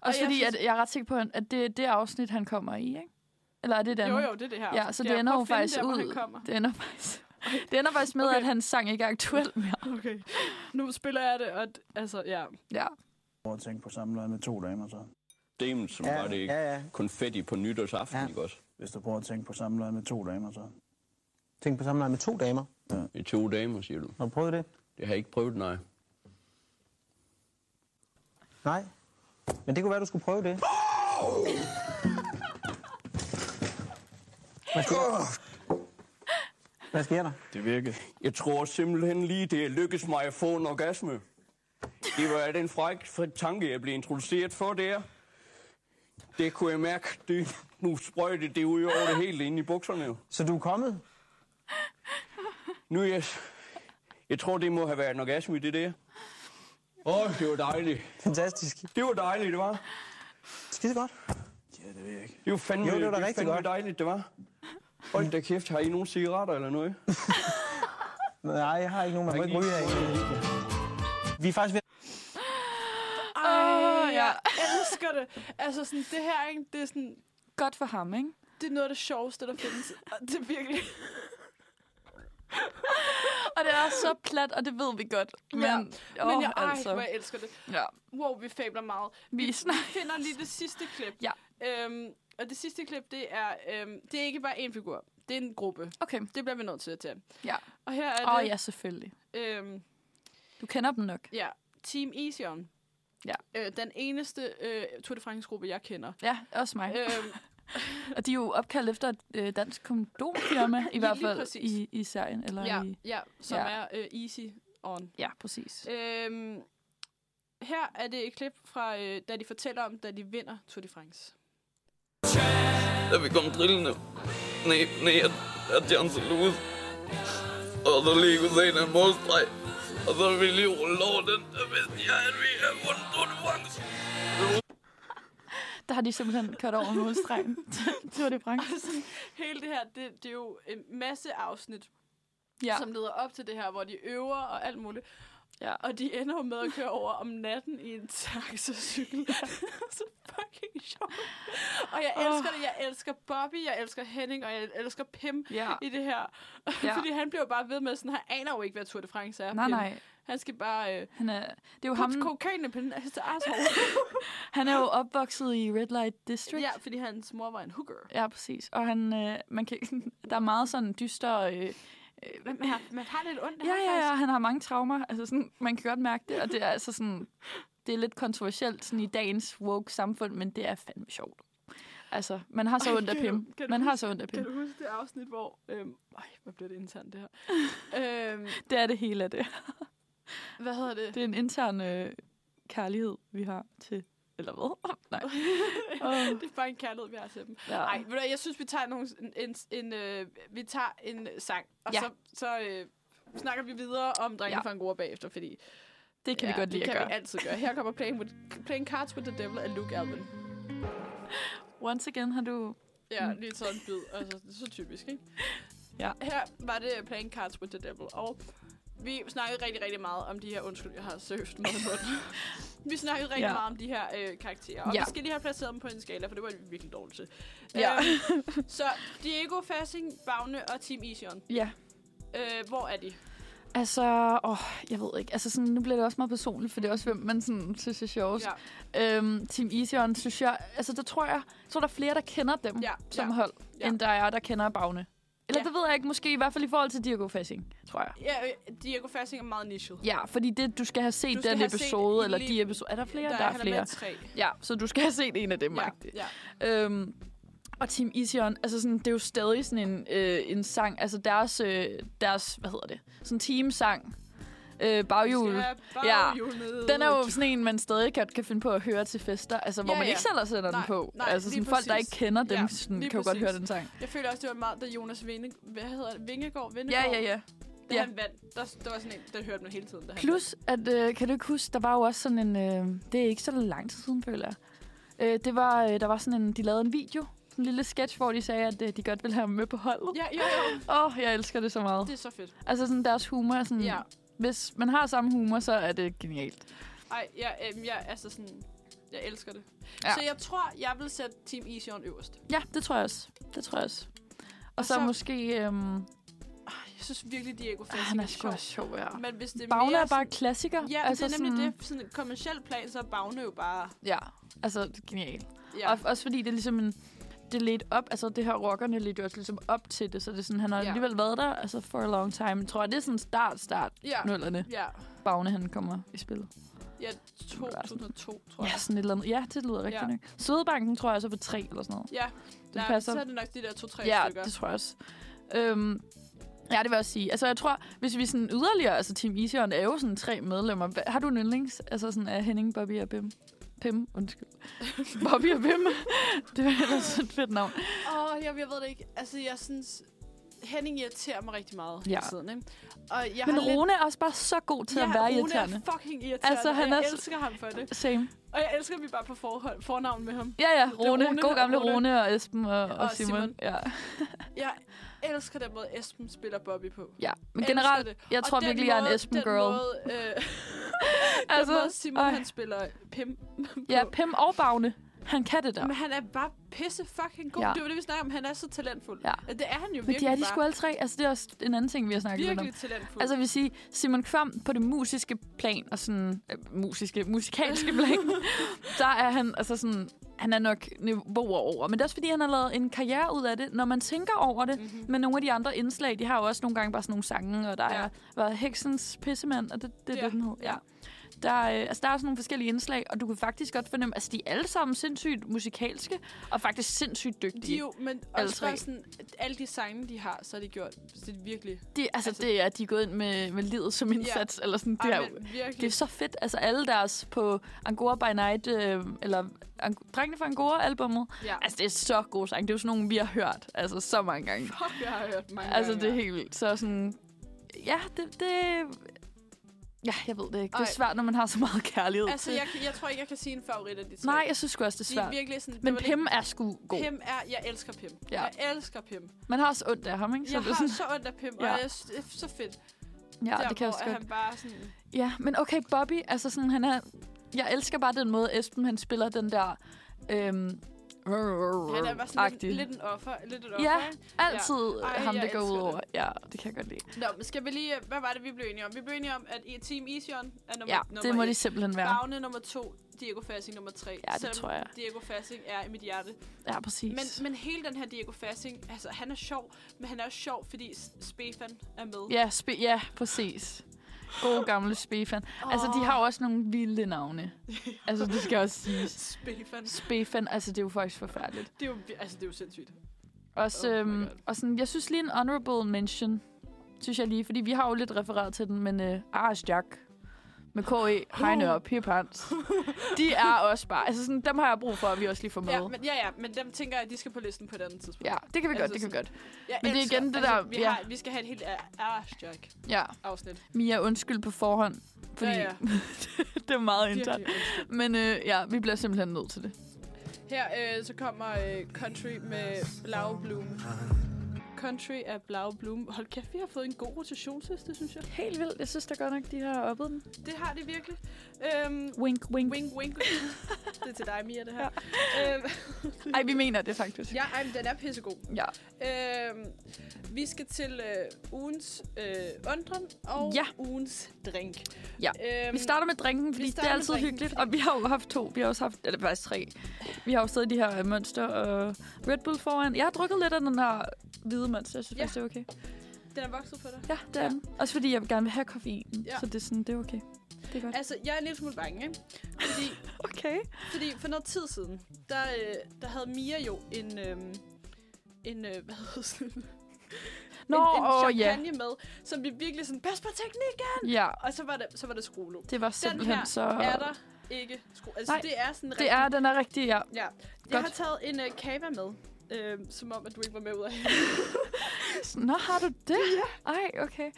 Speaker 2: Også
Speaker 1: jeg
Speaker 2: fordi,
Speaker 1: synes-
Speaker 2: synes... at jeg er ret sikker på, at- at det er det afsnit, han kommer i, ikke? Eller er det den?
Speaker 1: Jo, jo, det er det her.
Speaker 2: Ja, så
Speaker 1: Skal
Speaker 2: det
Speaker 1: jeg
Speaker 2: ender
Speaker 1: prøve
Speaker 2: jo
Speaker 1: at finde
Speaker 2: faktisk
Speaker 1: der, hvor han
Speaker 2: ud.
Speaker 1: kommer?
Speaker 2: Det ender faktisk, det ender faktisk med,
Speaker 1: Okay.
Speaker 2: okay. at hans sang ikke er aktuel mere.
Speaker 1: Okay. Nu spiller jeg det, og d- altså, ja.
Speaker 2: Ja.
Speaker 9: over at tænke på samleje med to damer så.
Speaker 7: Dem, som ja, var det ikke. Ja.
Speaker 8: ja, ja.
Speaker 7: Konfetti på nytårsaften,
Speaker 8: Ja.
Speaker 7: ja. ikke også?
Speaker 9: Hvis du prøver at tænke på samleje med to damer så.
Speaker 8: Tænk på samleje med to damer.
Speaker 7: I to damer, siger du.
Speaker 8: Har du prøvet det?
Speaker 7: Det har jeg ikke prøvet, nej.
Speaker 8: Nej. Men det kunne være, du skulle prøve det. Hvad sker, Hvad sker der?
Speaker 9: Det virkede.
Speaker 7: Jeg tror simpelthen lige, det er lykkedes mig at få en orgasme. Det var den fræk fræk tanke, jeg blev introduceret for der. Det kunne jeg mærke. Det, nu sprøjte det ud over det hele inde i bukserne. jo.
Speaker 8: Så du er kommet?
Speaker 7: Nu er jeg... Jeg tror, det må have været en orgasme, det der. Åh, oh, det var dejligt.
Speaker 8: Fantastisk.
Speaker 7: Det var dejligt, det var.
Speaker 8: Skide godt.
Speaker 9: Ja, det ved jeg ikke.
Speaker 7: Det var fandme,
Speaker 8: Jo, det var da
Speaker 7: det
Speaker 8: rigtig
Speaker 7: fandme
Speaker 8: godt.
Speaker 7: dejligt, det var. Hold da kæft, har I nogen cigaretter eller noget?
Speaker 8: Nej, jeg har ikke nogen. Man må ikke ryge af. Vi er faktisk ved
Speaker 1: Ej,
Speaker 2: ja.
Speaker 1: jeg elsker det. Altså, sådan, det her, ikke? Det er, sådan,
Speaker 2: Godt for ham, ikke?
Speaker 1: det er noget af det sjoveste, der findes. Og det er virkelig...
Speaker 2: Og det er så plat, og det ved vi godt. Men,
Speaker 1: Ja.
Speaker 2: ja.
Speaker 1: Oh, Men jeg, ej, altså.
Speaker 2: altså.
Speaker 1: hvor jeg elsker det.
Speaker 2: Ja.
Speaker 1: Wow, vi fabler meget.
Speaker 2: Vi snakker.
Speaker 1: finder lige det sidste klip.
Speaker 2: Ja.
Speaker 1: Øhm, og det sidste klip, det er... Øhm, det er ikke bare én figur. Det er en gruppe.
Speaker 2: Okay.
Speaker 1: Det bliver vi nødt til at tage.
Speaker 2: Ja.
Speaker 1: Og her er
Speaker 2: Åh,
Speaker 1: det...
Speaker 2: ja, selvfølgelig.
Speaker 1: Øhm,
Speaker 2: Du kender dem nok.
Speaker 1: ja. Team Easy On.
Speaker 2: Ja.
Speaker 1: Øh, den eneste øh, Tour de France-gruppe, jeg kender.
Speaker 2: Ja, også mig. Øh.
Speaker 1: øhm,
Speaker 2: Og de er jo opkaldt efter et øh, dansk kondomfirma, i hvert
Speaker 1: lige
Speaker 2: fald
Speaker 1: præcis.
Speaker 2: i, i serien. Eller
Speaker 1: ja,
Speaker 2: I,
Speaker 1: ja, som
Speaker 2: ja.
Speaker 1: er øh, Easy On.
Speaker 2: ja, præcis.
Speaker 1: Øhm, her er det et klip fra, øh, da de fortæller om, da de vinder Tour de France.
Speaker 10: Da vi kom trillende ned, ned af Chance Lewis. Og så lige kunne se den målstreg. Og så ville vi lige rulle over den, der vidste jeg, at vi havde vundet Tour de France.
Speaker 2: Der har de simpelthen kørt over målstregen. det var det, Frank.
Speaker 1: Sådan, hele det her, det, det er jo en masse afsnit, ja.
Speaker 2: Ja.
Speaker 1: som leder op til det her, hvor de øver og alt muligt.
Speaker 2: Ja.
Speaker 1: Og de ender jo med at køre over om natten i en taxacykel. så fucking sjovt. Og jeg elsker det. Jeg elsker Bobby, jeg elsker Henning, og jeg elsker Pim
Speaker 2: Ja.
Speaker 1: i det her.
Speaker 2: Ja.
Speaker 1: Fordi han bliver jo bare ved med sådan, han aner jo ikke, hvad Tour de France er.
Speaker 2: Nej,
Speaker 1: Pim.
Speaker 2: nej.
Speaker 1: Han skal bare... Øh,
Speaker 2: Han er, det er jo
Speaker 1: Puts
Speaker 2: ham,
Speaker 1: kokain i pinden af hans asshole.
Speaker 2: han er jo opvokset i Red Light District.
Speaker 1: ja, fordi hans mor var en hooker.
Speaker 2: Ja, præcis. Og han, øh, man kan, der er meget sådan dyster... Øh, øh,
Speaker 1: Men man har, man har lidt ondt af
Speaker 2: ja,
Speaker 1: ham
Speaker 2: ja, ja,
Speaker 1: faktisk.
Speaker 2: han har mange traumer. Altså sådan, man kan godt mærke det, og det er altså sådan... Det er lidt kontroversielt sådan i dagens woke samfund, men det er fandme sjovt. Altså, man har så
Speaker 1: Ej,
Speaker 2: ondt af
Speaker 1: kan du-
Speaker 2: Pim.
Speaker 1: kan du
Speaker 2: Man har
Speaker 1: huske-
Speaker 2: så ondt af
Speaker 1: Kan
Speaker 2: Pim.
Speaker 1: du huske det afsnit, hvor... Øhm, ej, hvor blev det internt, det her. øhm,
Speaker 2: Det er det hele af det.
Speaker 1: hvad hedder det?
Speaker 2: Det er en intern øh, kærlighed, vi har til Eller hvad? Nej.
Speaker 1: Oh. det er bare en kærlighed, vi har til dem.
Speaker 2: Ja.
Speaker 1: Nej, ja. jeg synes, vi tager, nogle, en, en, en, øh, vi tager en øh, sang, og
Speaker 2: Ja.
Speaker 1: ja. så, så øh, snakker vi videre om drenge
Speaker 2: Ja.
Speaker 1: ja. fra Angora bagefter, fordi
Speaker 2: Det kan ja, vi godt lide
Speaker 1: det
Speaker 2: at
Speaker 1: kan
Speaker 2: gøre.
Speaker 1: vi altid gøre. Her kommer Playing, with, Playing Cards with the Devil af Luke Alvin.
Speaker 2: Once again har du...
Speaker 1: Ja, lige taget en bid. Altså, det er så typisk, ikke?
Speaker 2: Mm. Ja.
Speaker 1: Her var det Playing Cards with the Devil, og vi snakkede rigtig, rigtig meget om de her... Undskyld, jeg har seriøst noget i munden. Vi snakkede rigtig
Speaker 2: Ja.
Speaker 1: ja. meget om de her øh, karakterer, og
Speaker 2: Ja.
Speaker 1: ja. vi skal lige have placeret dem på en skala, for det var vi virkelig dårligt til.
Speaker 2: Ja.
Speaker 1: Øhm, så Diego, Fassing, Bagne og Team Ision.
Speaker 2: Ja,
Speaker 1: Øh, hvor er de?
Speaker 2: altså... Åh, jeg ved ikke. Altså, sådan, nu bliver det også meget personligt, for det er også, hvem man sådan, synes er sjovest.
Speaker 1: Ja.
Speaker 2: Ja. Øhm, Team Easyon, synes jeg... Altså, der tror jeg... Jeg tror, der er flere, der kender dem
Speaker 1: Ja,
Speaker 2: som
Speaker 1: ja.
Speaker 2: hold,
Speaker 1: Ja.
Speaker 2: end der er, der kender Bagne. Eller
Speaker 1: Ja.
Speaker 2: det ved jeg ikke. Måske i hvert fald i forhold til Diego Fassing, tror jeg.
Speaker 1: Ja, øh, Diego Fassing er meget nichet.
Speaker 2: Ja, fordi det, du skal have set
Speaker 1: Du skal
Speaker 2: den
Speaker 1: have
Speaker 2: episode,
Speaker 1: set
Speaker 2: eller
Speaker 1: lige-
Speaker 2: de episoder. Er der flere? Der, er
Speaker 1: han
Speaker 2: flere.
Speaker 1: Med tre.
Speaker 2: Ja, så du skal have set en af dem,
Speaker 1: Ja,
Speaker 2: ja.
Speaker 1: ja.
Speaker 2: Øhm, og Team Ision, altså sådan, det er jo stadig sådan en, øh, en sang, altså deres, øh, deres, hvad hedder det, sådan teamsang, øh, baghjul.
Speaker 1: Skal have
Speaker 2: Ja.
Speaker 1: baghjulet.
Speaker 2: Den er jo sådan en, man stadig kan, kan finde på at høre til fester, altså hvor
Speaker 1: Ja,
Speaker 2: man
Speaker 1: ja.
Speaker 2: ikke selv sætter den
Speaker 1: Nej,
Speaker 2: på.
Speaker 1: nej,
Speaker 2: altså sådan
Speaker 1: lige
Speaker 2: folk, der ikke
Speaker 1: præcis.
Speaker 2: kender dem,
Speaker 1: Ja,
Speaker 2: sådan,
Speaker 1: lige
Speaker 2: kan jo godt
Speaker 1: præcis.
Speaker 2: høre den sang.
Speaker 1: Jeg føler også, det var meget, da Jonas Vinde, hvad hedder det? Vingegaard,
Speaker 2: Ja,
Speaker 1: Vindegård,
Speaker 2: ja, ja.
Speaker 1: Da
Speaker 2: Ja.
Speaker 1: han vandt, der, der var sådan en, der hørte man hele tiden. Da
Speaker 2: Plus, at, øh, kan du ikke huske, der var jo også sådan en... Øh, det er ikke så lang tid siden, føler jeg. Øh, det var, øh, der var sådan en... De lavede en video, sådan en lille sketch, hvor de sagde, at øh, de godt ville have ham med på holdet.
Speaker 1: han vandt. Ja, jo, jo.
Speaker 2: Åh, oh, jeg elsker det så meget.
Speaker 1: Det er så fedt.
Speaker 2: Altså sådan deres humor er sådan...
Speaker 1: Ja.
Speaker 2: Hvis man har samme humor, så er det genialt.
Speaker 1: Ej, jeg, øhm, jeg, altså sådan, jeg elsker det.
Speaker 2: Ja.
Speaker 1: Ja. Så jeg tror, jeg vil sætte Team Ision øverst.
Speaker 2: Ja, det tror jeg også. Det tror jeg også. Og, og
Speaker 1: Og
Speaker 2: så, så
Speaker 1: så-
Speaker 2: måske... Øhm, ah,
Speaker 1: Jeg synes virkelig, Diego Fassi
Speaker 2: han er sgu også sjov, ja.
Speaker 1: Men hvis det er
Speaker 2: Bagne
Speaker 1: mere...
Speaker 2: er bare
Speaker 1: sådan-
Speaker 2: klassiker.
Speaker 1: Ja, altså det er nemlig
Speaker 2: sådan,
Speaker 1: sådan... det. Sådan en kommersiel plan, så er Bagne jo bare...
Speaker 2: Ja, altså det er genialt.
Speaker 1: Ja,
Speaker 2: Ja. Og også fordi det er ligesom en... Det ledte op, altså det her rockerne ledte jo også ligesom op til det, så det er sådan, han har ja.
Speaker 1: Ja.
Speaker 2: alligevel været der, altså for a long time. Jeg tror, det er sådan start, start
Speaker 1: ja,
Speaker 2: ja. nullerne.
Speaker 1: ja.
Speaker 2: Bagne, han kommer i spillet.
Speaker 1: ja
Speaker 2: må være sådan-
Speaker 1: 2002, tror jeg.
Speaker 2: Ja, sådan et eller andet. Ja, det lyder rigtigt ja.
Speaker 1: Ja.
Speaker 2: nok. Sødebanken tror jeg også er på tre eller sådan noget.
Speaker 1: Ja,
Speaker 2: Det
Speaker 1: nej,
Speaker 2: passer.
Speaker 1: så er det nok de der to-tre
Speaker 2: ja,
Speaker 1: stykker.
Speaker 2: det tror jeg også. Øhm, ja, det vil jeg også sige. Altså, jeg tror, hvis vi sådan yderligere, altså Team Ision er jo sådan tre medlemmer. Hva- Har du en yndlings? Altså sådan af Henning, Bobby og Bim? Pim, undskyld. Bobby og Bim. det var ellers et fedt navn.
Speaker 1: Åh, oh, jeg, jeg ved det ikke. Altså, jeg synes... Henning irriterer mig rigtig meget
Speaker 2: Ja.
Speaker 1: hele tiden, ikke? Og jeg
Speaker 2: Men
Speaker 1: har lidt...
Speaker 2: Rune er også bare så god til
Speaker 1: ja,
Speaker 2: at være
Speaker 1: Rune
Speaker 2: irriterende.
Speaker 1: er fucking irriterende.
Speaker 2: Altså,
Speaker 1: og
Speaker 2: han
Speaker 1: jeg
Speaker 2: er så-
Speaker 1: elsker ham for det.
Speaker 2: Same.
Speaker 1: Og jeg elsker, at vi bare er på forhold, fornavn med ham.
Speaker 2: Ja, ja,
Speaker 1: er
Speaker 2: Rune. Rune
Speaker 1: Rune
Speaker 2: god
Speaker 1: og
Speaker 2: gamle Rune.
Speaker 1: Rune.
Speaker 2: Rune og Esben og, og, og
Speaker 1: Og
Speaker 2: Simon. Simon.
Speaker 1: Simon.
Speaker 2: Ja.
Speaker 1: Jeg elsker den måde, Esben spiller Bobby på.
Speaker 2: ja. Men
Speaker 1: Elsker
Speaker 2: generelt,
Speaker 1: det.
Speaker 2: jeg
Speaker 1: Og
Speaker 2: tror
Speaker 1: den
Speaker 2: virkelig, jeg er en
Speaker 1: måde-
Speaker 2: Esben
Speaker 1: den
Speaker 2: girl.
Speaker 1: Måde, øh, altså,
Speaker 2: altså,
Speaker 1: den måde Simon,
Speaker 2: ej.
Speaker 1: han spiller Pim
Speaker 2: ja, Pim og Bagne. Han kan det der.
Speaker 1: Men han er bare pisse fucking god.
Speaker 2: Ja.
Speaker 1: Ja. Det var det, vi snakker om. Han er så talentfuld.
Speaker 2: Ja.
Speaker 1: Det er han jo
Speaker 2: Men
Speaker 1: virkelig
Speaker 2: de er de
Speaker 1: bare.
Speaker 2: sgu alle tre. Altså, det er også en anden ting, vi har snakket lidt om.
Speaker 1: virkelig talentfuld.
Speaker 2: Altså, jeg vil sige, Simon Kvam på det musiske plan, og sådan, øh, musiske, musikalske plan, der er han, altså sådan, han er nok niveauer over. Men det er også, fordi han har lavet en karriere ud af det, når man tænker over det. Mm-hmm. Men nogle af de andre indslag, de har jo også nogle gange bare sådan nogle sange, og der ja.
Speaker 1: Mhm. Ja.
Speaker 2: er været Heksens Pissemand, og det, det er ja.
Speaker 1: Ja.
Speaker 2: det, den hed. Ja. Der, øh, altså, der er sådan nogle forskellige indslag, og du kan faktisk godt fornemme, at altså, de er alle sammen sindssygt musikalske, og faktisk sindssygt dygtige.
Speaker 1: de er jo, men
Speaker 2: alle
Speaker 1: også
Speaker 2: tre.
Speaker 1: bare sådan, alle de sange, de har, så har de gjort så det er virkelig...
Speaker 2: de, altså, altså,
Speaker 1: altså-
Speaker 2: det er, at de er gået ind med, med livet som indsats, ja. eller sådan, det
Speaker 1: Ej,
Speaker 2: er jo
Speaker 1: men virkelig.
Speaker 2: Det er så fedt. Altså alle deres på Angora by Night, øh, eller Ang- Drengene fra Angora-albummet.
Speaker 1: Ja.
Speaker 2: Altså det er så gode sange. Det er jo sådan nogle, vi har hørt altså, så mange gange.
Speaker 1: Fuck, jeg har hørt mange
Speaker 2: Altså
Speaker 1: gange.
Speaker 2: det er helt vildt. Så sådan, ja, det, det Ja, jeg ved det ikke. Det er
Speaker 1: Ej.
Speaker 2: svært, når man har så meget kærlighed.
Speaker 1: Altså,
Speaker 2: til-
Speaker 1: jeg, kan- jeg tror ikke, jeg kan sige en favorit af de tre.
Speaker 2: Nej, jeg synes sgu også, det er
Speaker 1: de er
Speaker 2: svært.
Speaker 1: virkelig sådan... det
Speaker 2: Men
Speaker 1: var lidt-
Speaker 2: Pim er sgu god.
Speaker 1: Pim er... Jeg elsker Pim.
Speaker 2: Ja.
Speaker 1: Jeg elsker Pim.
Speaker 2: Man har også ondt af ham, ikke?
Speaker 1: jeg
Speaker 2: det er
Speaker 1: har
Speaker 2: sådan,
Speaker 1: så ondt af Pim, og
Speaker 2: Ja.
Speaker 1: jeg, det er så fedt.
Speaker 2: ja,
Speaker 1: der,
Speaker 2: det kan
Speaker 1: hvor
Speaker 2: jeg også
Speaker 1: at
Speaker 2: godt.
Speaker 1: han bare sådan...
Speaker 2: Ja, men okay, Bobby, altså sådan, han er... Jeg elsker bare den måde, Esben, han spiller den der... Øhm,
Speaker 1: Han er bare sådan
Speaker 2: agtig.
Speaker 1: lidt, lidt, en offer. Lidt et offer.
Speaker 2: Ja,
Speaker 1: ikke?
Speaker 2: altid ja.
Speaker 1: Ej,
Speaker 2: ham,
Speaker 1: jeg
Speaker 2: det går ud
Speaker 1: elsker det.
Speaker 2: over. Ja, det kan jeg godt lide.
Speaker 1: Nå, men skal vi lige... Hvad var det, vi blev enige om? Vi blev enige om, at i Team Ision er nummer,
Speaker 2: Ja,
Speaker 1: nummer
Speaker 2: det må
Speaker 1: et.
Speaker 2: de simpelthen være.
Speaker 1: Bagne nummer to, Diego Fassing nummer tre.
Speaker 2: Ja, det
Speaker 1: Selvom
Speaker 2: tror jeg.
Speaker 1: Diego Fassing er i mit hjerte.
Speaker 2: Ja, præcis.
Speaker 1: Men, men hele den her Diego Fassing, altså han er sjov, men han er også sjov, fordi S- Stefan er med.
Speaker 2: Ja, spe- ja, præcis. Gode gamle Spefan. Altså, de har jo også nogle vilde navne. Altså, det skal også siges.
Speaker 1: Stefan.
Speaker 2: Spefan, altså, det er jo faktisk forfærdeligt.
Speaker 1: Det er jo, vi- altså, det er jo sindssygt.
Speaker 2: Også,
Speaker 1: Oh my
Speaker 2: øhm,
Speaker 1: God.
Speaker 2: og sådan, jeg synes lige en honorable mention, synes jeg lige, fordi vi har jo lidt refereret til den, men øh, Aras Jack med KE, Heine og Pip Hans, de er også bare... Altså sådan, dem har jeg brug for, at vi også lige får med.
Speaker 1: Ja, men, ja, ja, men dem tænker jeg, at de skal på listen på et andet tidspunkt.
Speaker 2: Ja, det kan vi
Speaker 1: Altså
Speaker 2: godt, det kan vi
Speaker 1: sådan-
Speaker 2: godt.
Speaker 1: Jeg
Speaker 2: Men det er
Speaker 1: elsker- altså,
Speaker 2: igen det der-
Speaker 1: Vi,
Speaker 2: ja.
Speaker 1: har, vi skal have et helt Arsjok
Speaker 2: Ja,
Speaker 1: afsnit.
Speaker 2: Mia, undskyld på forhånd, fordi
Speaker 1: Ja, ja.
Speaker 2: det er meget internt.
Speaker 1: Virkelig undskyld.
Speaker 2: Men øh, ja, vi bliver simpelthen nødt til det.
Speaker 1: Her øh, så kommer øh, Country med Blau Bloom. Country af Blau Bloom. Hold kæft, vi har fået en god rotationsliste, synes jeg.
Speaker 2: Helt vildt. Jeg synes da godt nok, de har oppet den.
Speaker 1: Det har det virkelig. Øhm,
Speaker 2: Wink, wink.
Speaker 1: wink, wink. det er til dig, Mia, det her. øhm,
Speaker 2: Ej, vi mener det faktisk.
Speaker 1: ja, ej, men den er pissegod.
Speaker 2: Ja.
Speaker 1: Øhm, vi skal til øh, ugens øh, undren og
Speaker 2: Ja.
Speaker 1: ugens drink.
Speaker 2: Ja.
Speaker 1: Øhm,
Speaker 2: Vi starter med drinken, fordi det
Speaker 1: starter
Speaker 2: er
Speaker 1: med
Speaker 2: altid
Speaker 1: drinken,
Speaker 2: hyggeligt.
Speaker 1: fordi-
Speaker 2: Og vi har jo haft to. Vi har også haft, eller faktisk tre. Vi har jo stadig de her øh, Monster og Red Bull foran. Jeg har drukket lidt af den her hvide Monster. Jeg synes
Speaker 1: Ja.
Speaker 2: faktisk, det er okay.
Speaker 1: Den er vokset på dig.
Speaker 2: Ja, det er
Speaker 1: Ja.
Speaker 2: den. Også fordi jeg gerne vil have koffeinen.
Speaker 1: Ja.
Speaker 2: Så det er sådan, det er okay. Det er godt.
Speaker 1: Altså, jeg er en lille smule bange, ikke? Fordi
Speaker 2: Okay.
Speaker 1: Fordi for noget tid siden, der, øh, der havde Mia jo en, øhm, en øh, hvad hedder sådan en-
Speaker 2: Nå,
Speaker 1: en, en
Speaker 2: åh, ja.
Speaker 1: champagne med, som vi virkelig sådan, pas på teknikken!
Speaker 2: Ja,
Speaker 1: Og så var det, så var det skruelåg.
Speaker 2: det var simpelthen
Speaker 1: her
Speaker 2: så...
Speaker 1: Er der ikke skru... Altså,
Speaker 2: Nej,
Speaker 1: det er sådan
Speaker 2: Det er, den er rigtig, ja.
Speaker 1: Ja. Jeg
Speaker 2: Godt.
Speaker 1: har taget en øh, kava med, øh, som om, at du ikke var med ud af
Speaker 2: Nå, har du det? Ja. Ej, okay.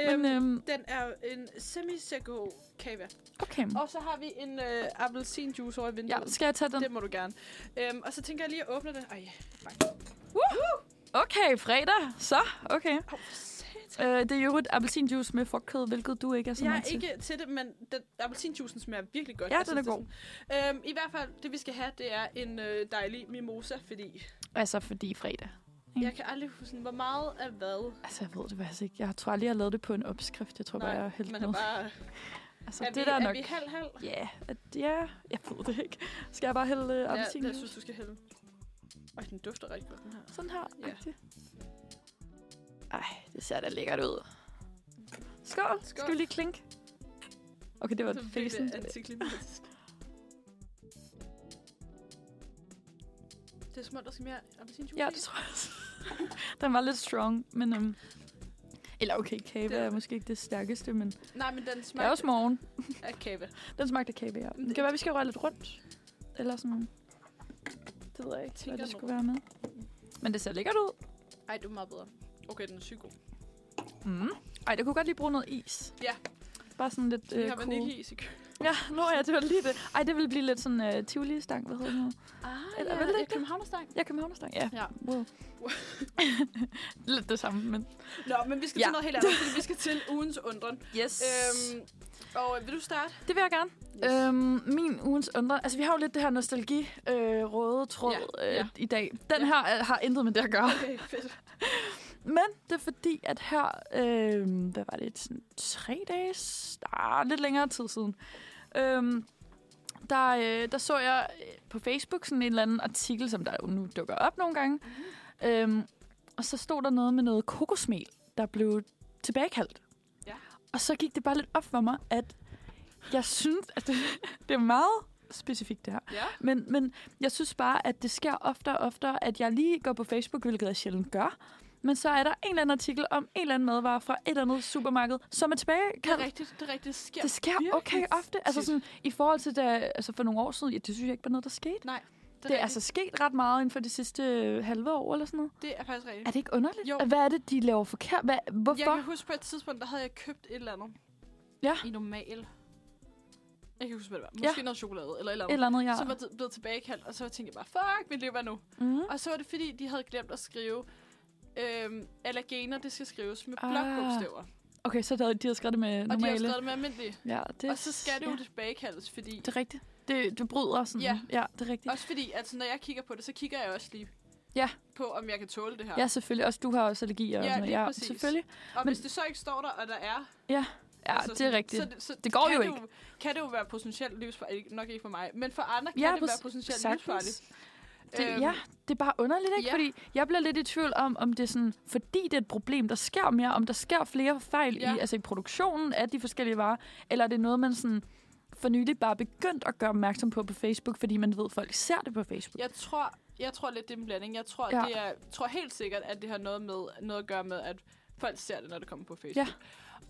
Speaker 1: øhm,
Speaker 2: Men, øhm,
Speaker 1: Den er en semi secco kava.
Speaker 2: okay.
Speaker 1: Og så har vi en øh, appelsinjuice over i
Speaker 2: Ja,
Speaker 1: vinduet.
Speaker 2: skal jeg tage den?
Speaker 1: det må du gerne. Øhm, og så tænker jeg lige at åbne det. Ej,
Speaker 2: Okay, fredag. Så, okay.
Speaker 1: oh, satan.
Speaker 2: Øh, det er jo et appelsinjuice med frugtkød, hvilket du ikke er så
Speaker 1: Jeg
Speaker 2: meget
Speaker 1: er
Speaker 2: til.
Speaker 1: ikke til det, men den, appelsinjuicen smager virkelig godt.
Speaker 2: Ja,
Speaker 1: Jeg
Speaker 2: den
Speaker 1: synes,
Speaker 2: er
Speaker 1: det sådan- Øhm, I hvert fald, det vi skal have, det er en øh, dejlig mimosa, fordi
Speaker 2: Altså, fordi fredag. Mm.
Speaker 1: jeg kan aldrig huske, sådan, hvor meget er hvad.
Speaker 2: Altså, jeg ved det faktisk ikke. Jeg tror aldrig, jeg har lavet det på en opskrift. Jeg tror bare, jeg har hældt
Speaker 1: man er
Speaker 2: noget.
Speaker 1: bare...
Speaker 2: Altså,
Speaker 1: Så er
Speaker 2: det
Speaker 1: det vi,
Speaker 2: der
Speaker 1: er
Speaker 2: er nok...
Speaker 1: vi halv, halv?
Speaker 2: Ja, at- ja, jeg ved det ikke. Skal jeg bare hælde øh,
Speaker 1: Ja, jeg
Speaker 2: appelsinjuice?
Speaker 1: synes, du skal hælde. Og den dufter rigtig godt, den her.
Speaker 2: Sådan her.
Speaker 1: Ja.
Speaker 2: Ja. Ej, det ser da lækkert ud. Skål. Skål. Skal vi lige klink? Okay, det var
Speaker 1: Det er
Speaker 2: fæsen.
Speaker 1: virkelig antiklimatisk. Det er som om, der skal mere appelsinjuice
Speaker 2: Ja,
Speaker 1: i.
Speaker 2: det tror jeg også. Den var lidt strong, men... Um, eller okay, kage
Speaker 1: Det er
Speaker 2: er
Speaker 1: det.
Speaker 2: måske ikke det stærkeste, men det
Speaker 1: Nej, men den
Speaker 2: er
Speaker 1: smager
Speaker 2: også morgen.
Speaker 1: af kave.
Speaker 2: Den smagte af kage, ja. Det kan være, vi skal røre lidt rundt. Eller sådan... Det ved jeg ikke,
Speaker 1: Tænker
Speaker 2: hvad det
Speaker 1: nu.
Speaker 2: skulle være med. Men det ser lækkert ud.
Speaker 1: Ej, du er meget bedre. Okay, den er syg god.
Speaker 2: Mm. Ej, der kunne godt lige bruge noget is.
Speaker 1: Ja.
Speaker 2: Bare sådan lidt
Speaker 1: Vi
Speaker 2: øh,
Speaker 1: har
Speaker 2: cool.
Speaker 1: vaniljeis i kø.
Speaker 2: Ja, nå ja, det var lige det. Ej, det ville blive lidt sådan øh, Tivoli-stang, hvad hedder det nu?
Speaker 1: Ah,
Speaker 2: Eller- eller-
Speaker 1: Københavnerstang.
Speaker 2: Ja, Københavnerstang, ja.
Speaker 1: Ja.
Speaker 2: Wow. lidt det samme, men...
Speaker 1: Nå, men vi skal ja.
Speaker 2: Ja.
Speaker 1: til noget helt andet, fordi vi skal til ugens undren.
Speaker 2: Yes. Øhm,
Speaker 1: Øhm, og øh, vil du starte?
Speaker 2: det vil jeg gerne. Yes. Øhm, min ugens undren... Altså, vi har jo lidt det her nostalgi-røde tråd
Speaker 1: Ja, ja.
Speaker 2: Øh, i dag. Den
Speaker 1: Ja.
Speaker 2: ja. her øh, har intet med det at gøre.
Speaker 1: Okay, fedt.
Speaker 2: Men det er fordi, at her, øh, hvad var det, sådan tre dage, ah, lidt længere tid siden, øh, der, øh, der så jeg øh, på Facebook sådan en eller anden artikel, som der jo nu dukker op nogle gange. Mm. Øh, og så stod der noget med noget kokosmel, der blev tilbagekaldt.
Speaker 1: Ja.
Speaker 2: Og så gik det bare lidt op for mig, at jeg synes, at det, det er meget specifikt det her.
Speaker 1: Ja.
Speaker 2: Men, men jeg synes bare, at det sker oftere og oftere, at jeg lige går på Facebook, hvilket jeg sjældent gør. Men så er der en eller anden artikel om en eller anden madvare fra et eller andet supermarked, som er tilbage.
Speaker 1: Det er rigtigt, det er rigtigt. Det sker.
Speaker 2: det sker okay ofte. Altså
Speaker 1: tit.
Speaker 2: sådan, i forhold til da, altså for nogle år siden, ja, det synes jeg ikke var noget, der skete.
Speaker 1: Nej,
Speaker 2: Det er altså sket ret meget inden for de sidste øh, halve år eller sådan noget.
Speaker 1: det er faktisk rigtigt.
Speaker 2: Er det ikke underligt?
Speaker 1: Jo.
Speaker 2: Hvad er det, de laver forkert? Hvad,
Speaker 1: Jeg
Speaker 2: hvorfor?
Speaker 1: kan huske på et tidspunkt, der havde jeg købt et eller andet.
Speaker 2: Ja.
Speaker 1: I normal. Jeg kan ikke huske, hvad det var.
Speaker 2: Ja.
Speaker 1: Måske noget chokolade eller et eller
Speaker 2: Et
Speaker 1: andet.
Speaker 2: eller andet, ja.
Speaker 1: Som var t- blevet tilbagekaldt, og så tænkte jeg bare, fuck, mit liv er nu.
Speaker 2: Mm.
Speaker 1: Og så var det, fordi de havde glemt at skrive, øhm, allergener, det skal skrives med
Speaker 2: Ah,
Speaker 1: blokbogstaver.
Speaker 2: Okay, så havde de havde skrevet det med
Speaker 1: Og de har
Speaker 2: normale.
Speaker 1: jo skrevet det med almindelige.
Speaker 2: ja, det,
Speaker 1: Og så skal det jo
Speaker 2: ja,
Speaker 1: tilbagekaldes, fordi...
Speaker 2: det er rigtigt. Det, det bryder sådan.
Speaker 1: Ja.
Speaker 2: ja det er rigtigt.
Speaker 1: Også fordi, altså når jeg kigger på det, så kigger jeg også lige
Speaker 2: Ja.
Speaker 1: på, om jeg kan tåle det her.
Speaker 2: Ja, selvfølgelig. Også du har også allergi og
Speaker 1: Ja,
Speaker 2: sådan noget.
Speaker 1: lige
Speaker 2: ja,
Speaker 1: præcis.
Speaker 2: selvfølgelig.
Speaker 1: og
Speaker 2: men-
Speaker 1: hvis det så ikke står der, og der er...
Speaker 2: Ja, altså, det er
Speaker 1: sådan-
Speaker 2: rigtigt.
Speaker 1: Så, så
Speaker 2: Det går
Speaker 1: kan
Speaker 2: jo
Speaker 1: Det jo, kan det jo være potentielt livsfarligt. Nok ikke for mig, men for andre kan
Speaker 2: Ja,
Speaker 1: det være
Speaker 2: præcis.
Speaker 1: potentielt
Speaker 2: Sagtens.
Speaker 1: livsfarligt.
Speaker 2: Det,
Speaker 1: Øhm,
Speaker 2: øhm, ja, det er bare underligt, ikke?
Speaker 1: ja.
Speaker 2: Ja. Fordi jeg bliver lidt i tvivl om, om det er sådan, fordi det er et problem, der sker mere, om der sker flere fejl
Speaker 1: Ja.
Speaker 2: ja. i, altså i produktionen af de forskellige varer, eller er det noget, man sådan for nylig bare er begyndt at gøre opmærksom på på Facebook, fordi man ved, at folk ser det på Facebook.
Speaker 1: Jeg tror, jeg tror lidt, det er en blanding. Jeg tror, ja.
Speaker 2: Ja.
Speaker 1: det er, tror helt sikkert, at det har noget, med, noget at gøre med, at folk ser det, når det kommer på Facebook.
Speaker 2: Ja.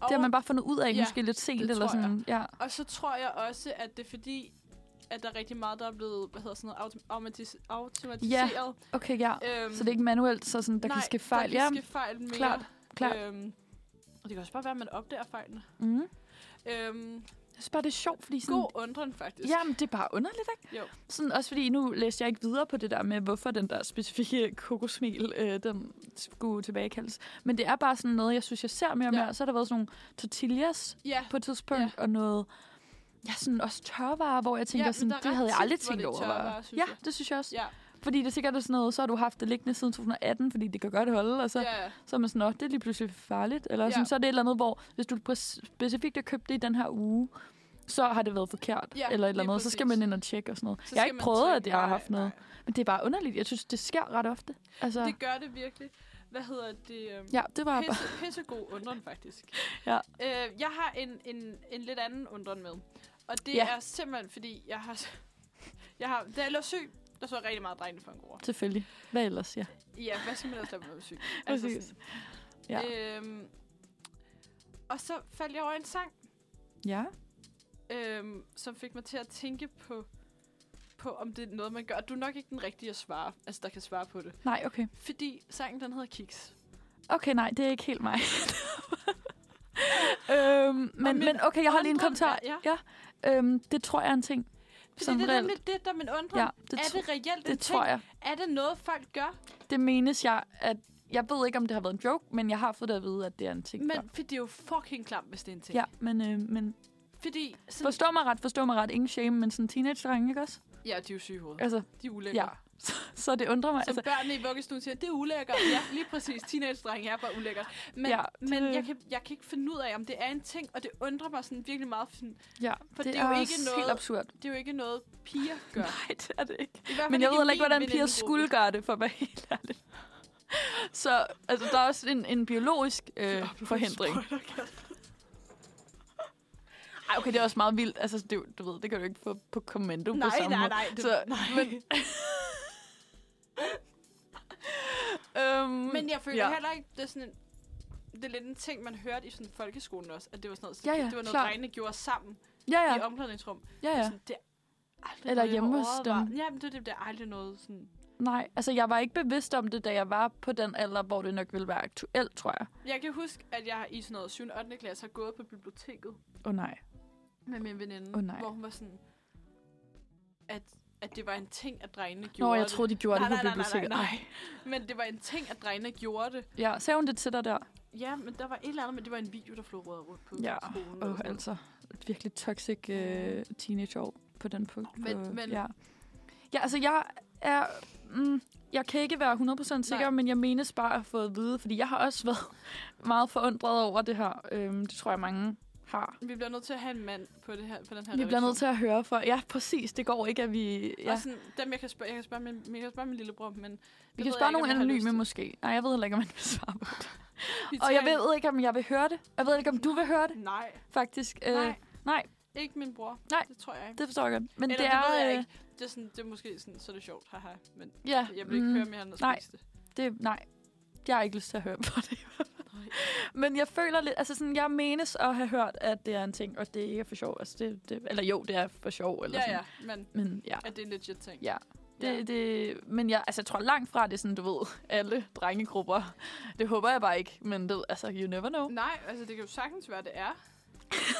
Speaker 1: Og,
Speaker 2: Det har man bare fundet ud af,
Speaker 1: Ja,
Speaker 2: ja, måske lidt sent
Speaker 1: det
Speaker 2: eller
Speaker 1: tror jeg.
Speaker 2: sådan. Ja.
Speaker 1: og så tror jeg også, at det er fordi, at der er rigtig meget, der er blevet hvad hedder sådan noget, autom- automatis- automatiseret.
Speaker 2: Okay, ja.
Speaker 1: Øhm,
Speaker 2: Så det er ikke manuelt, så sådan, der
Speaker 1: nej,
Speaker 2: kan ske fejl.
Speaker 1: Der
Speaker 2: Ja,
Speaker 1: kan ske fejl mere.
Speaker 2: klart, klart.
Speaker 1: Øhm, og det kan også bare være, at man opdager fejlene.
Speaker 2: Mm.
Speaker 1: Øhm,
Speaker 2: Jeg synes bare, det er sjovt, fordi sådan...
Speaker 1: god undren, faktisk.
Speaker 2: Jamen, det er bare underligt, ikke?
Speaker 1: Jo.
Speaker 2: Sådan, også fordi nu læste jeg ikke videre på det der med, hvorfor den der specifikke kokosmil, øh, den skulle tilbagekaldes. Men det er bare sådan noget, jeg synes, jeg ser mere og
Speaker 1: Ja.
Speaker 2: mere. Så har der været sådan nogle tortillas
Speaker 1: Ja,
Speaker 2: på et tidspunkt, ja. og noget... Ja, sådan også tørvarer, hvor jeg tænker,
Speaker 1: men
Speaker 2: sådan,
Speaker 1: der er
Speaker 2: det
Speaker 1: ret
Speaker 2: havde jeg
Speaker 1: tit,
Speaker 2: aldrig
Speaker 1: hvor
Speaker 2: tænkt
Speaker 1: det er
Speaker 2: over.
Speaker 1: tørvarer, synes
Speaker 2: ja,
Speaker 1: jeg.
Speaker 2: det synes jeg også. Ja.
Speaker 1: Ja,
Speaker 2: Fordi det er sikkert sådan noget, så har du haft det liggende siden 2018, fordi det kan godt holde, og så
Speaker 1: ja,
Speaker 2: så er man sådan, "Nå, det er lige pludselig farligt. Eller
Speaker 1: Ja.
Speaker 2: ja. sådan, så er det et eller andet, hvor hvis du præ- specifikt har købt det i den her uge, så har det været forkert,
Speaker 1: Ja,
Speaker 2: ja, eller et
Speaker 1: lige
Speaker 2: eller andet. Så skal
Speaker 1: præcis.
Speaker 2: man ind og tjekke og sådan noget.
Speaker 1: Så
Speaker 2: Så jeg har
Speaker 1: skal
Speaker 2: ikke
Speaker 1: man
Speaker 2: prøvet,
Speaker 1: tjekke.
Speaker 2: at jeg har
Speaker 1: Nej,
Speaker 2: haft noget.
Speaker 1: nej.
Speaker 2: Men det er bare underligt. Jeg synes, det sker ret ofte. Altså, det,
Speaker 1: Det gør det virkelig. Hvad hedder det? øhm,
Speaker 2: ja, det var bare...
Speaker 1: Pisse, pissegod undren, faktisk.
Speaker 2: Ja.
Speaker 1: Øh, jeg har en, en, en lidt anden undren med. Og det
Speaker 2: Ja.
Speaker 1: er simpelthen, fordi jeg har... Jeg har da jeg lå syg, der så jeg rigtig meget drengene for en god
Speaker 2: Selvfølgelig. Hvad ellers, ja.
Speaker 1: Ja, hvad skal man ellers lave, når man er syg? Altså
Speaker 2: Præcis.
Speaker 1: sådan.
Speaker 2: Ja.
Speaker 1: Øhm, og så faldt jeg over en sang,
Speaker 2: Ja.
Speaker 1: øhm, som fik mig til at tænke på, på, om det er noget, man gør. Og Du er nok ikke den rigtige at svare, altså der kan svare på det.
Speaker 2: Nej, okay.
Speaker 1: Fordi sangen, den hedder Kiks.
Speaker 2: Okay, nej, det er ikke helt mig. øhm, men,
Speaker 1: min
Speaker 2: men okay, jeg har lige en
Speaker 1: undren
Speaker 2: kommentar.
Speaker 1: er-
Speaker 2: Ja. Øhm, det tror jeg er en ting.
Speaker 1: Fordi
Speaker 2: Som
Speaker 1: det er
Speaker 2: reelt-
Speaker 1: nemlig det, der er min undren.
Speaker 2: Ja,
Speaker 1: det
Speaker 2: det,
Speaker 1: er
Speaker 2: tr-
Speaker 1: det reelt en
Speaker 2: det
Speaker 1: ting?
Speaker 2: tror jeg.
Speaker 1: Er det noget, folk gør?
Speaker 2: Det menes jeg, at... Jeg ved ikke, om det har været en joke, men jeg har fået det at vide, at det er en ting. der-
Speaker 1: Men for det er jo fucking klamt, hvis det er en ting.
Speaker 2: Ja, men, øh, men
Speaker 1: Fordi, sådan,
Speaker 2: forstå mig ret, forstå mig ret. Ingen shame, men sådan teenage ikke også?
Speaker 1: ja, de er jo syge i hovedet.
Speaker 2: Altså,
Speaker 1: De er ulækre.
Speaker 2: ja.
Speaker 1: Ja.
Speaker 2: Så, så det undrer mig.
Speaker 1: Som altså,
Speaker 2: Altså,
Speaker 1: børnene i vuggestuen siger, det er ulækkert. Ja, lige præcis. Teenage-drenge er bare ulækkert. Men, ja,
Speaker 2: Ja,
Speaker 1: men
Speaker 2: det-
Speaker 1: jeg, kan, jeg kan ikke finde ud af, om det er en ting, og det undrer mig sådan virkelig meget. for Sådan,
Speaker 2: ja,
Speaker 1: for
Speaker 2: for
Speaker 1: det
Speaker 2: det,
Speaker 1: er jo
Speaker 2: også
Speaker 1: ikke noget-
Speaker 2: helt absurd.
Speaker 1: det er jo ikke noget, piger gør. I
Speaker 2: Nej, det er det ikke.
Speaker 1: hvert fald
Speaker 2: Men jeg ved
Speaker 1: i
Speaker 2: heller ikke,
Speaker 1: min
Speaker 2: hvordan piger
Speaker 1: venindegruppe.
Speaker 2: skulle gøre det, for at være helt ærlig. Så altså, der er også en, en biologisk øh, forhindring. Ej, okay, det er også meget vildt. Altså, det, er jo- du ved, det kan du ikke få på kommando på
Speaker 1: Nej,
Speaker 2: samme
Speaker 1: nej,
Speaker 2: måde.
Speaker 1: nej. Det,
Speaker 2: Så-
Speaker 1: nej. Men,
Speaker 2: men- Øhm,
Speaker 1: men jeg føler ja.
Speaker 2: ja.
Speaker 1: heller ikke, det er sådan en, det er lidt en ting, man hørte i sådan folkeskolen også, at det var sådan noget,
Speaker 2: Ja, ja,
Speaker 1: det var noget
Speaker 2: klart.
Speaker 1: drengene gjorde sammen
Speaker 2: Ja,
Speaker 1: ja.
Speaker 2: ja,
Speaker 1: i omklædningsrum.
Speaker 2: ja, ja.
Speaker 1: Sådan, det er aldrig
Speaker 2: Eller
Speaker 1: noget, jeg
Speaker 2: hjemme
Speaker 1: har
Speaker 2: hos
Speaker 1: overvejet. Jamen, det, det, det er aldrig noget sådan...
Speaker 2: Nej, altså jeg var ikke bevidst om det, da jeg var på den alder, hvor det nok ville være aktuelt, tror jeg.
Speaker 1: Jeg kan huske, at jeg i sådan noget 7. og 8. klasse har gået på biblioteket
Speaker 2: Åh oh, nej.
Speaker 1: med min veninde,
Speaker 2: Åh, nej.
Speaker 1: hvor hun var sådan, at, at det var en ting, at drengene gjorde
Speaker 2: Nå, jeg
Speaker 1: det.
Speaker 2: troede, de gjorde
Speaker 1: Nej,
Speaker 2: det
Speaker 1: nej,
Speaker 2: på
Speaker 1: nej, nej,
Speaker 2: biblioteket.
Speaker 1: nej.
Speaker 2: Ej.
Speaker 1: Men det var en ting, at drengene gjorde det.
Speaker 2: Ja, sagde hun det til dig der?
Speaker 1: Ja, men der var et eller andet, men det var en video, der florerede rundt på
Speaker 2: Ja,
Speaker 1: skolen. eller
Speaker 2: Åh, oh,
Speaker 1: sådan noget.
Speaker 2: altså. Et virkelig toxic øh, teenageår på den punkt.
Speaker 1: Mm. Men-
Speaker 2: på,
Speaker 1: men-
Speaker 2: Ja. ja, altså jeg er... Mm, jeg kan ikke være 100% sikker,
Speaker 1: Nej.
Speaker 2: Nej. men jeg menes bare at have fået at vide, fordi jeg har også været meget forundret over det her. Øhm, det tror jeg, mange har.
Speaker 1: Vi bliver nødt til at have en mand på, det her, på den her
Speaker 2: Vi bliver
Speaker 1: redaktion.
Speaker 2: nødt til at høre for... Ja, præcis. Det går ikke, at vi... Ja.
Speaker 1: Og sådan, dem jeg kan spørge, jeg kan spørge min, jeg kan spørge min lillebror, men
Speaker 2: Vi
Speaker 1: det
Speaker 2: kan
Speaker 1: ved jeg
Speaker 2: spørge
Speaker 1: ikke, om
Speaker 2: nogle
Speaker 1: jeg har lyst
Speaker 2: anonyme
Speaker 1: til.
Speaker 2: måske. Nej, jeg ved heller ikke, om man vil svare på det.
Speaker 1: Vi
Speaker 2: Og
Speaker 1: tager
Speaker 2: jeg
Speaker 1: en-
Speaker 2: ved ikke, om jeg vil høre det. Jeg ved ikke, om du vil høre det,
Speaker 1: Nej,
Speaker 2: faktisk. Øh,
Speaker 1: nej.
Speaker 2: nej.
Speaker 1: Ikke min bror.
Speaker 2: Nej.
Speaker 1: Det tror jeg ikke.
Speaker 2: Det forstår jeg godt. Men
Speaker 1: Eller
Speaker 2: det er...
Speaker 1: det ved jeg
Speaker 2: øh,
Speaker 1: ikke. Det er, sådan, det er måske sådan, så er det sjovt, haha. Men
Speaker 2: Ja,
Speaker 1: jeg vil ikke
Speaker 2: mm,
Speaker 1: høre mere, end at
Speaker 2: nej.
Speaker 1: spise det.
Speaker 2: Det, nej, jeg har ikke lyst til at høre på det. Men jeg føler lidt, altså sådan, jeg menes at have hørt, at det er en ting, og det ikke er for sjov. Altså det, det, eller jo, det er for sjov. Eller
Speaker 1: Ja,
Speaker 2: sådan.
Speaker 1: ja, men
Speaker 2: Men ja,
Speaker 1: at det er en legit ting.
Speaker 2: ja. Det,
Speaker 1: Ja.
Speaker 2: det, men jeg, altså, jeg tror langt fra, det er sådan, du ved, alle drengegrupper. Det håber jeg bare ikke, men det, altså, you never know.
Speaker 1: Nej, altså det kan jo sagtens være, det er.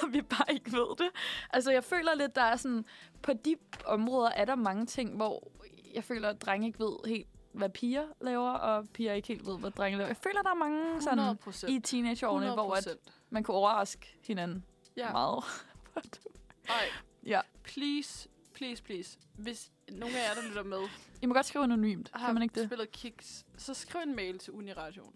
Speaker 2: og vi bare ikke ved det. Altså, jeg føler lidt, der er sådan... På de områder er der mange ting, hvor jeg føler, at drenge ikke ved helt, hvad piger laver, og piger ikke helt ved, hvad drenge laver. Jeg føler, der er mange sådan
Speaker 1: 100 procent.
Speaker 2: i teenageårene, hvor at man kunne overraske hinanden
Speaker 1: Ja.
Speaker 2: ja. meget.
Speaker 1: Ej,
Speaker 2: Ja.
Speaker 1: please, please, please. Hvis nogen af jer, der lytter med,
Speaker 2: I må godt skrive anonymt,
Speaker 1: har
Speaker 2: kan man ikke det?
Speaker 1: spillet Kicks, så skriv en mail til Uniradioen.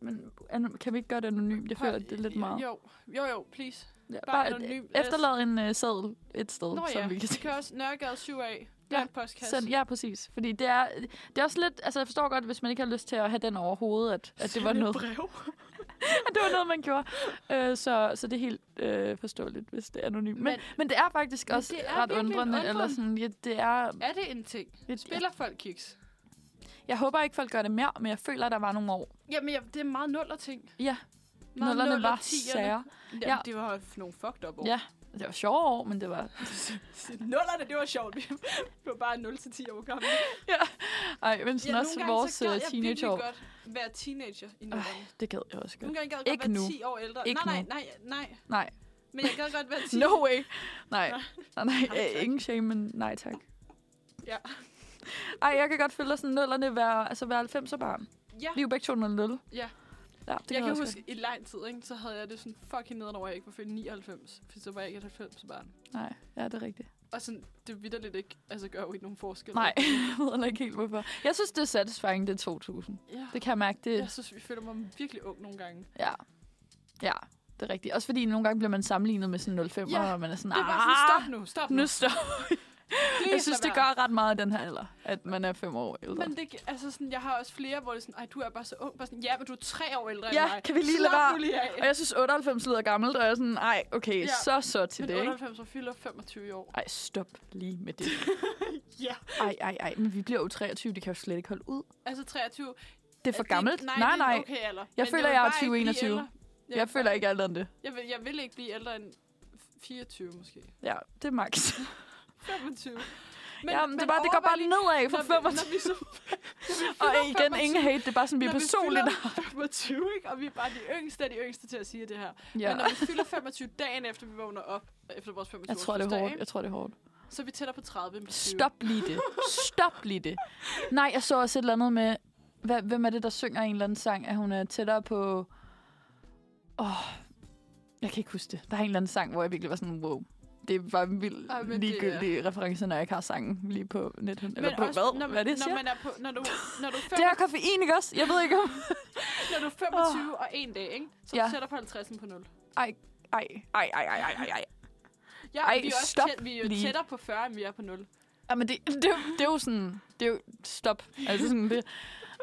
Speaker 2: Men an- kan vi ikke gøre det anonymt? Jeg føler, at det er lidt meget.
Speaker 1: Jo, jo, jo, please.
Speaker 2: Ja,
Speaker 1: bare
Speaker 2: bare
Speaker 1: anonym.
Speaker 2: efterlad en uh, seddel et sted,
Speaker 1: Nå ja,
Speaker 2: som vi kan
Speaker 1: vi
Speaker 2: se.
Speaker 1: kan også Nørregade 7 af. Blank postkasse.
Speaker 2: Send, ja, præcis. Fordi det er, det er også lidt... Altså, jeg forstår godt, hvis man ikke har lyst til at have den overhovedet, at, at det var noget,
Speaker 1: brev.
Speaker 2: det var noget, man gjorde. Øh, så, så det er helt øh, forståeligt, hvis det er anonymt. Men,
Speaker 1: Men-
Speaker 2: men, men det er faktisk
Speaker 1: men
Speaker 2: også
Speaker 1: det er
Speaker 2: ret
Speaker 1: virkelig en
Speaker 2: undrende.
Speaker 1: undren.
Speaker 2: Eller sådan, ja, det er,
Speaker 1: Er det en ting?
Speaker 2: et, jeg,
Speaker 1: Spiller folk Kicks?
Speaker 2: jeg håber ikke, folk gør det mere, men jeg føler, der var nogle år.
Speaker 1: Jamen, jeg, det er meget nuller ting.
Speaker 2: Ja, Nullerne var sære.
Speaker 1: Jamen, ja.
Speaker 2: Ja.
Speaker 1: det var nogle fucked up år.
Speaker 2: Ja, det var sjove år, men det var...
Speaker 1: Nullerne, det var sjovt. Vi var bare 0-10 år gamle.
Speaker 2: Ej, men sådan
Speaker 1: nogle
Speaker 2: også
Speaker 1: gange,
Speaker 2: vores
Speaker 1: så gad
Speaker 2: øh,
Speaker 1: jeg virkelig
Speaker 2: teenageår.
Speaker 1: godt være teenager i
Speaker 2: Ej,
Speaker 1: nullerne.
Speaker 2: det gad jeg også
Speaker 1: Nogle
Speaker 2: godt.
Speaker 1: gange gad jeg godt
Speaker 2: Ikke
Speaker 1: være
Speaker 2: nu.
Speaker 1: 10 år ældre.
Speaker 2: Ikke
Speaker 1: nej,
Speaker 2: nu.
Speaker 1: nej, nej, nej.
Speaker 2: Nej.
Speaker 1: Men jeg gad godt være 10.
Speaker 2: No way. Nej,
Speaker 1: Nej.
Speaker 2: nej, nej,
Speaker 1: Nej, tak.
Speaker 2: øh, ingen shame, men nej tak.
Speaker 1: Ja.
Speaker 2: Ej, jeg kan godt føle dig sådan nullerne være, altså være 90'er barn.
Speaker 1: Ja,
Speaker 2: Vi er jo begge to 00.
Speaker 1: Ja.
Speaker 2: Ja, det
Speaker 1: jeg kan
Speaker 2: også
Speaker 1: huske, i lang tid, ikke, så havde jeg det sådan fucking nedenover, at jeg ikke var født i 99. For så var jeg ikke et 90 barn.
Speaker 2: godt. Nej, ja, det er rigtigt.
Speaker 1: Og sådan, det vidderligt ikke, altså gør jo ikke nogen forskel.
Speaker 2: Nej, jeg ved heller ikke helt hvorfor. Jeg synes, det er satisfying, det er 2000.
Speaker 1: Ja.
Speaker 2: Det kan jeg mærke, det
Speaker 1: Jeg synes, vi føler mig virkelig ung nogle gange.
Speaker 2: Ja. Ja, det er rigtigt. Også fordi nogle gange bliver man sammenlignet med sådan 05,
Speaker 1: Ja,
Speaker 2: ja, og man er sådan,
Speaker 1: Det er bare sådan,
Speaker 2: "Ah,
Speaker 1: stop nu, stop nu.
Speaker 2: Nu stop.
Speaker 1: Please,
Speaker 2: Jeg synes,
Speaker 1: lad
Speaker 2: det
Speaker 1: være.
Speaker 2: gør ret meget i den her alder, at man er fem år ældre.
Speaker 1: Men det, gi- altså sådan, jeg har også flere, hvor det er sådan, ej, du er bare så ung. Bare sådan, ja, men du er tre år ældre
Speaker 2: Ja,
Speaker 1: end mig.
Speaker 2: kan vi lige
Speaker 1: Slap
Speaker 2: lade være?
Speaker 1: nu lige af.
Speaker 2: Og jeg synes, 98 lyder gammelt, og jeg er sådan, ej, okay,
Speaker 1: Ja.
Speaker 2: ja. så så til
Speaker 1: Men
Speaker 2: det, ikke?
Speaker 1: 98 og fylder 25 i år.
Speaker 2: Ej, stop lige med det.
Speaker 1: Ja.
Speaker 2: Ej, ej, ej, men vi bliver jo 23, det kan jeg jo slet ikke holde ud.
Speaker 1: Altså 23.
Speaker 2: Det er for gammelt.
Speaker 1: Nej,
Speaker 2: nej.
Speaker 1: det er
Speaker 2: nej.
Speaker 1: en okay alder.
Speaker 2: Jeg
Speaker 1: Men
Speaker 2: føler,
Speaker 1: vil
Speaker 2: jeg er
Speaker 1: bare ikke blive
Speaker 2: 20-21.
Speaker 1: ældre.
Speaker 2: Jeg,
Speaker 1: vil
Speaker 2: jeg føler
Speaker 1: bare-
Speaker 2: ikke alt andet det.
Speaker 1: Jeg vil, jeg vil ikke blive ældre end 24 måske.
Speaker 2: Ja, det er max.
Speaker 1: 25.
Speaker 2: Men, ja, men det, er bare, det går bare nedad for
Speaker 1: når, vi-
Speaker 2: 25.
Speaker 1: når vi så,
Speaker 2: Og igen, ingen hate, det er bare sådan, vi er
Speaker 1: Når vi
Speaker 2: personligt.
Speaker 1: fylder 25, ikke? Og vi er bare de yngste af de yngste til at sige det her. Ja.
Speaker 2: Ja.
Speaker 1: Men når vi fylder 25 dagen efter, vi vågner op, efter vores 25
Speaker 2: Jeg tror, det er hårdt. Jeg tror, det er hårdt.
Speaker 1: så er vi tættere på 30 end på 20.
Speaker 2: Stop lige det. Stop lige det. Nej, jeg så også et eller andet med... Hvad, hvem er det, der synger en eller anden sang? At hun er tættere på... Åh, oh, jeg kan ikke huske det. Der er en eller anden sang, hvor jeg virkelig var sådan, wow. Det var en vild
Speaker 1: Ej,
Speaker 2: Ej,
Speaker 1: men det er-
Speaker 2: ligegyldig det, reference, når jeg ikke har sangen lige på nettet. Eller
Speaker 1: Men
Speaker 2: på
Speaker 1: også,
Speaker 2: hvad?
Speaker 1: Når,
Speaker 2: hvad er det, jeg
Speaker 1: når
Speaker 2: siger?
Speaker 1: man er på, når du, når du, er
Speaker 2: Det
Speaker 1: 25,
Speaker 2: er koffein, ikke også? Jeg ved ikke om...
Speaker 1: når du er 25 og en dag, ikke? Så ja.
Speaker 2: Ja.
Speaker 1: du sætter på 50'en på 0.
Speaker 2: Ej, ej, ej, ej, ej, ej, ej.
Speaker 1: Ja,
Speaker 2: Ej,
Speaker 1: Ej, vi er, også
Speaker 2: stop
Speaker 1: tæt, vi er jo
Speaker 2: lige.
Speaker 1: tættere på 40, end vi er på 0.
Speaker 2: Ja, men det, det, er jo- det er jo sådan... Det er jo... Stop. Altså sådan det.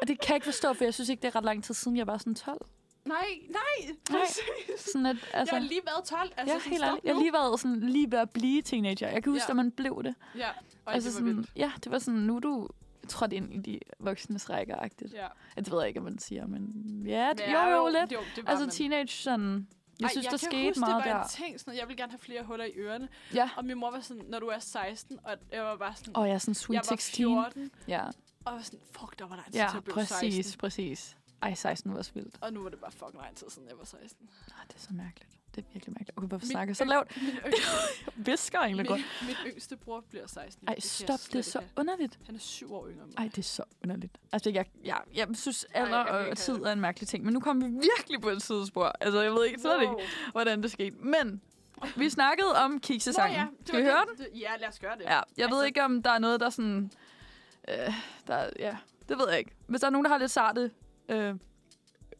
Speaker 2: Og det kan jeg ikke forstå, for jeg synes ikke, det er ret lang tid siden, jeg var sådan 12.
Speaker 1: Nej, nej, præcis.
Speaker 2: Sådan at,
Speaker 1: Altså,
Speaker 2: altså...
Speaker 1: jeg har lige været 12, altså
Speaker 2: Altså, ja,
Speaker 1: sådan,
Speaker 2: helt
Speaker 1: stop
Speaker 2: ærligt. Jeg har
Speaker 1: nu.
Speaker 2: lige været sådan, lige ved at blive teenager. Jeg kan huske,
Speaker 1: Ja.
Speaker 2: ja. at man blev det.
Speaker 1: Ja, og
Speaker 2: altså,
Speaker 1: det var
Speaker 2: sådan,
Speaker 1: vildt.
Speaker 2: Ja, det var sådan, nu er du trådt ind i de voksnes rækker -agtigt. Ja.
Speaker 1: Ja,
Speaker 2: Det ved jeg ikke, om man siger, men ja, det,
Speaker 1: Men
Speaker 2: jo,
Speaker 1: er
Speaker 2: jo, lidt.
Speaker 1: Jo, det var
Speaker 2: Altså,
Speaker 1: man.
Speaker 2: teenage, sådan... Jeg synes,
Speaker 1: Ej,
Speaker 2: der
Speaker 1: kan
Speaker 2: skete
Speaker 1: huske,
Speaker 2: meget
Speaker 1: det var
Speaker 2: der.
Speaker 1: En ting, sådan, jeg vil gerne have flere huller i ørerne.
Speaker 2: Ja.
Speaker 1: Og min mor var sådan, når du er 16, og jeg var bare sådan,
Speaker 2: Og jeg er sådan
Speaker 1: jeg
Speaker 2: sweet
Speaker 1: var
Speaker 2: 16.
Speaker 1: 14,
Speaker 2: Ja,
Speaker 1: og var sådan, fuck, der var lang tid,
Speaker 2: ja
Speaker 1: Altså, til jeg blev
Speaker 2: præcis,
Speaker 1: 16.
Speaker 2: præcis. Ej, 16 var også vildt.
Speaker 1: Og nu var det bare fucking lang tid, siden jeg var 16.
Speaker 2: Ej, det er så mærkeligt. Det er virkelig mærkeligt. Okay, hvorfor
Speaker 1: Min
Speaker 2: snakker jeg så
Speaker 1: yng-
Speaker 2: lavt?
Speaker 1: Min yngste,
Speaker 2: Visker egentlig
Speaker 1: min,
Speaker 2: godt.
Speaker 1: min yngste bror bliver 16. i år.
Speaker 2: Ej,
Speaker 1: kan jeg
Speaker 2: stop,
Speaker 1: slet
Speaker 2: det er
Speaker 1: ikke
Speaker 2: så
Speaker 1: have.
Speaker 2: underligt.
Speaker 1: Han er syv år yngre end mig.
Speaker 2: Ej, det er så underligt. Altså, jeg, jeg, jeg synes, alder
Speaker 1: jeg kan ikke
Speaker 2: og
Speaker 1: have
Speaker 2: tid
Speaker 1: det.
Speaker 2: er en mærkelig ting, men nu kom vi virkelig på et sidespor. Altså, jeg ved ikke, slet ikke, hvordan det skete. Men vi snakkede om kiksesangen.
Speaker 1: Nå det
Speaker 2: Skal vi
Speaker 1: var
Speaker 2: høre den?
Speaker 1: det, den? Ja, lad os gøre det.
Speaker 2: Ja, jeg ved
Speaker 1: Altså-
Speaker 2: ikke, om der er noget, der sådan... Øh, der, ja, det ved jeg ikke. Hvis der er nogen, der har lidt sarte øh,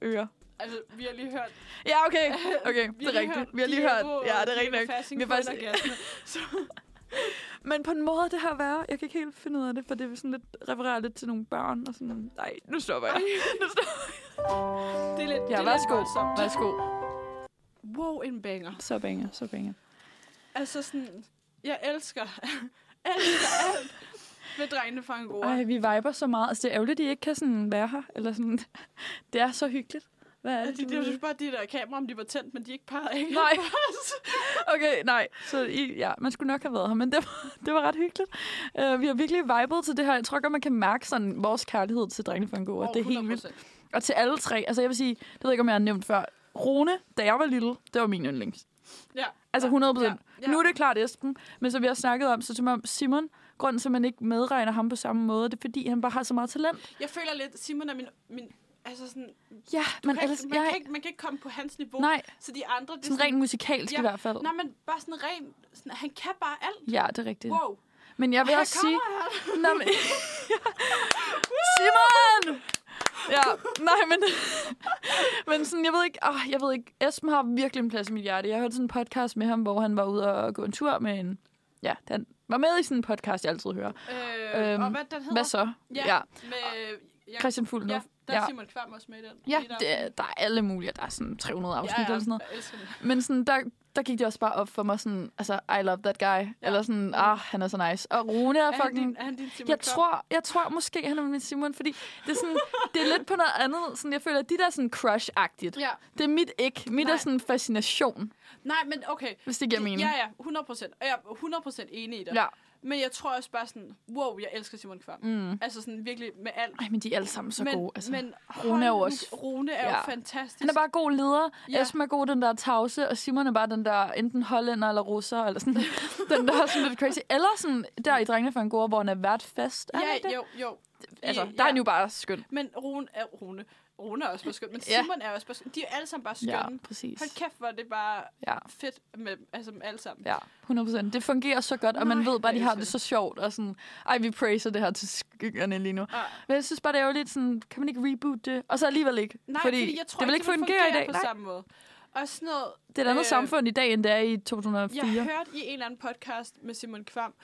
Speaker 2: ører.
Speaker 1: Altså, vi har lige hørt...
Speaker 2: Ja, okay. Okay,
Speaker 1: Vi
Speaker 2: det er rigtigt. Vi har lige hørt. Ja, det er rigtigt nok.
Speaker 1: Vi
Speaker 2: Vi
Speaker 1: har
Speaker 2: har faktisk- Men på en måde, det her værre. Jeg kan ikke helt finde ud af det, for det er sådan lidt refererer lidt til nogle børn og sådan... Nej, nu stopper jeg. nu stopper jeg.
Speaker 1: Det er lidt,
Speaker 2: Ja,
Speaker 1: det er
Speaker 2: værsgo.
Speaker 1: lidt voldsomt.
Speaker 2: Værsgo.
Speaker 1: Wow, en banger.
Speaker 2: Så banger, så banger.
Speaker 1: Altså sådan... Jeg elsker... elsker alt ved drengene fra Angora.
Speaker 2: Ej, vi viber så meget. Altså, det er ærgerligt, at I ikke kan sådan være her. Eller sådan. Det er så hyggeligt. Hvad er det,
Speaker 1: Altså, det,
Speaker 2: du-
Speaker 1: jeg synes bare, at de der kameraer, om de var tændt, men de ikke pegede af.
Speaker 2: Nej. Okay, nej. Så I, ja, man skulle nok have været her, men det var, det var ret hyggeligt. Uh, vi har virkelig vibet til det her. Jeg tror godt, man kan mærke sådan, vores kærlighed til Drengene for Angora. det er helt vildt. Og til alle tre. Altså, jeg vil sige, det ved jeg ikke, om jeg har nævnt før. Rune, da jeg var lille, det var min yndlings.
Speaker 1: Ja.
Speaker 2: Altså 100 procent.
Speaker 1: Ja, ja.
Speaker 2: Nu er det klart Esben, men som vi har snakket om, så som om Simon, grunden til, at man ikke medregner ham på samme måde, det er, fordi han bare har så meget talent.
Speaker 1: Jeg føler lidt, Simon er min... min altså sådan,
Speaker 2: Ja, men
Speaker 1: kan,
Speaker 2: ellers...
Speaker 1: ikke- man,
Speaker 2: jeg,
Speaker 1: kan ikke, man kan ikke komme på hans niveau.
Speaker 2: Nej,
Speaker 1: Så de andre, det er
Speaker 2: sådan rent musikalsk
Speaker 1: Ja,
Speaker 2: ja. i hvert fald.
Speaker 1: Nej, men bare sådan ren... Sådan, han kan bare alt.
Speaker 2: Ja, det er rigtigt.
Speaker 1: Wow.
Speaker 2: Men jeg vil
Speaker 1: Her
Speaker 2: også sige...
Speaker 1: kommer han.
Speaker 2: Nå, men... Simon! Ja, nej, men... men sådan, jeg ved ikke... Oh, jeg ved ikke... Esben har virkelig en plads i mit hjerte. Jeg hørte sådan en podcast med ham, hvor han var ude og gå en tur med en... Ja, han var med i sådan en podcast, jeg altid hører.
Speaker 1: Øh, og
Speaker 2: Øhm,
Speaker 1: hvad den hedder?
Speaker 2: Hvad så?
Speaker 1: Ja.
Speaker 2: ja.
Speaker 1: Med, jeg,
Speaker 2: Christian Fuglendorf.
Speaker 1: Ja. Der er
Speaker 2: Ja.
Speaker 1: Simon Kvam også med i den.
Speaker 2: Ja,
Speaker 1: Lige der.
Speaker 2: det, er- der er alle mulige. Der er sådan 300 afsnit ja, ja. eller sådan noget.
Speaker 1: Jeg elsker den.
Speaker 2: Men sådan, der, der gik det også bare op for mig sådan, altså, I love that guy. Ja. Eller sådan, ah, han er så nice. Og Rune er,
Speaker 1: Er han
Speaker 2: fucking...
Speaker 1: din, er han din Simon
Speaker 2: Jeg
Speaker 1: Kvam?
Speaker 2: tror, jeg tror måske, han er min Simon, fordi det er, sådan, det er lidt på noget andet. Sådan, jeg føler, at de der er sådan crush-agtigt.
Speaker 1: Ja.
Speaker 2: Det er mit ikke. Mit Nej.
Speaker 1: Nej.
Speaker 2: er sådan fascination,
Speaker 1: Nej, men okay.
Speaker 2: hvis det giver mening.
Speaker 1: Ja, ja, 100 procent. Jeg er 100 procent enig i det.
Speaker 2: ja.
Speaker 1: Men jeg tror også bare sådan, wow, jeg elsker Simon Kvam.
Speaker 2: Mm.
Speaker 1: Altså sådan virkelig med alt.
Speaker 2: Ej, men de er alle sammen så
Speaker 1: men,
Speaker 2: gode. Altså.
Speaker 1: men
Speaker 2: Rune er jo
Speaker 1: hold nu-
Speaker 2: også-
Speaker 1: Rune er ja.
Speaker 2: Ja.
Speaker 1: jo fantastisk.
Speaker 2: han er bare god leder. Ja.
Speaker 1: Ja.
Speaker 2: Esma er god, den der tavse, og Simon er bare den der enten hollænder eller russer, eller sådan den der er sådan lidt crazy. Eller sådan der i Drengene fra Angora, hvor han er vært fest. Er han ikke
Speaker 1: Ja,
Speaker 2: det?
Speaker 1: jo, jo.
Speaker 2: Altså, der
Speaker 1: ja.
Speaker 2: er han jo bare skøn.
Speaker 1: Men Rune er, Rune. Rune er også bare skøn, men
Speaker 2: Ja.
Speaker 1: Simon er også bare skøn. De er alle sammen bare skønne.
Speaker 2: Ja, præcis.
Speaker 1: Hold kæft, hvor er det bare
Speaker 2: Ja.
Speaker 1: fedt med altså, med alle sammen.
Speaker 2: Ja, 100%. Det fungerer så godt, og man
Speaker 1: Nej,
Speaker 2: ved bare, at de
Speaker 1: jeg
Speaker 2: har
Speaker 1: elsker
Speaker 2: det
Speaker 1: det.
Speaker 2: så sjovt, og sådan, ej, vi praiser det her til skyggerne lige nu.
Speaker 1: Ah.
Speaker 2: Men jeg synes bare, det er jo lidt sådan, kan man ikke reboot det? Og så alligevel ikke.
Speaker 1: Nej, fordi, fordi jeg tror
Speaker 2: det vil
Speaker 1: ikke,
Speaker 2: ikke
Speaker 1: det
Speaker 2: fungere i dag.
Speaker 1: på
Speaker 2: Nej,
Speaker 1: samme måde. Og sådan noget,
Speaker 2: det er et andet
Speaker 1: Øh,
Speaker 2: samfund i dag, end det er i 2004.
Speaker 1: Jeg hørte i en eller anden podcast med Simon Kvam,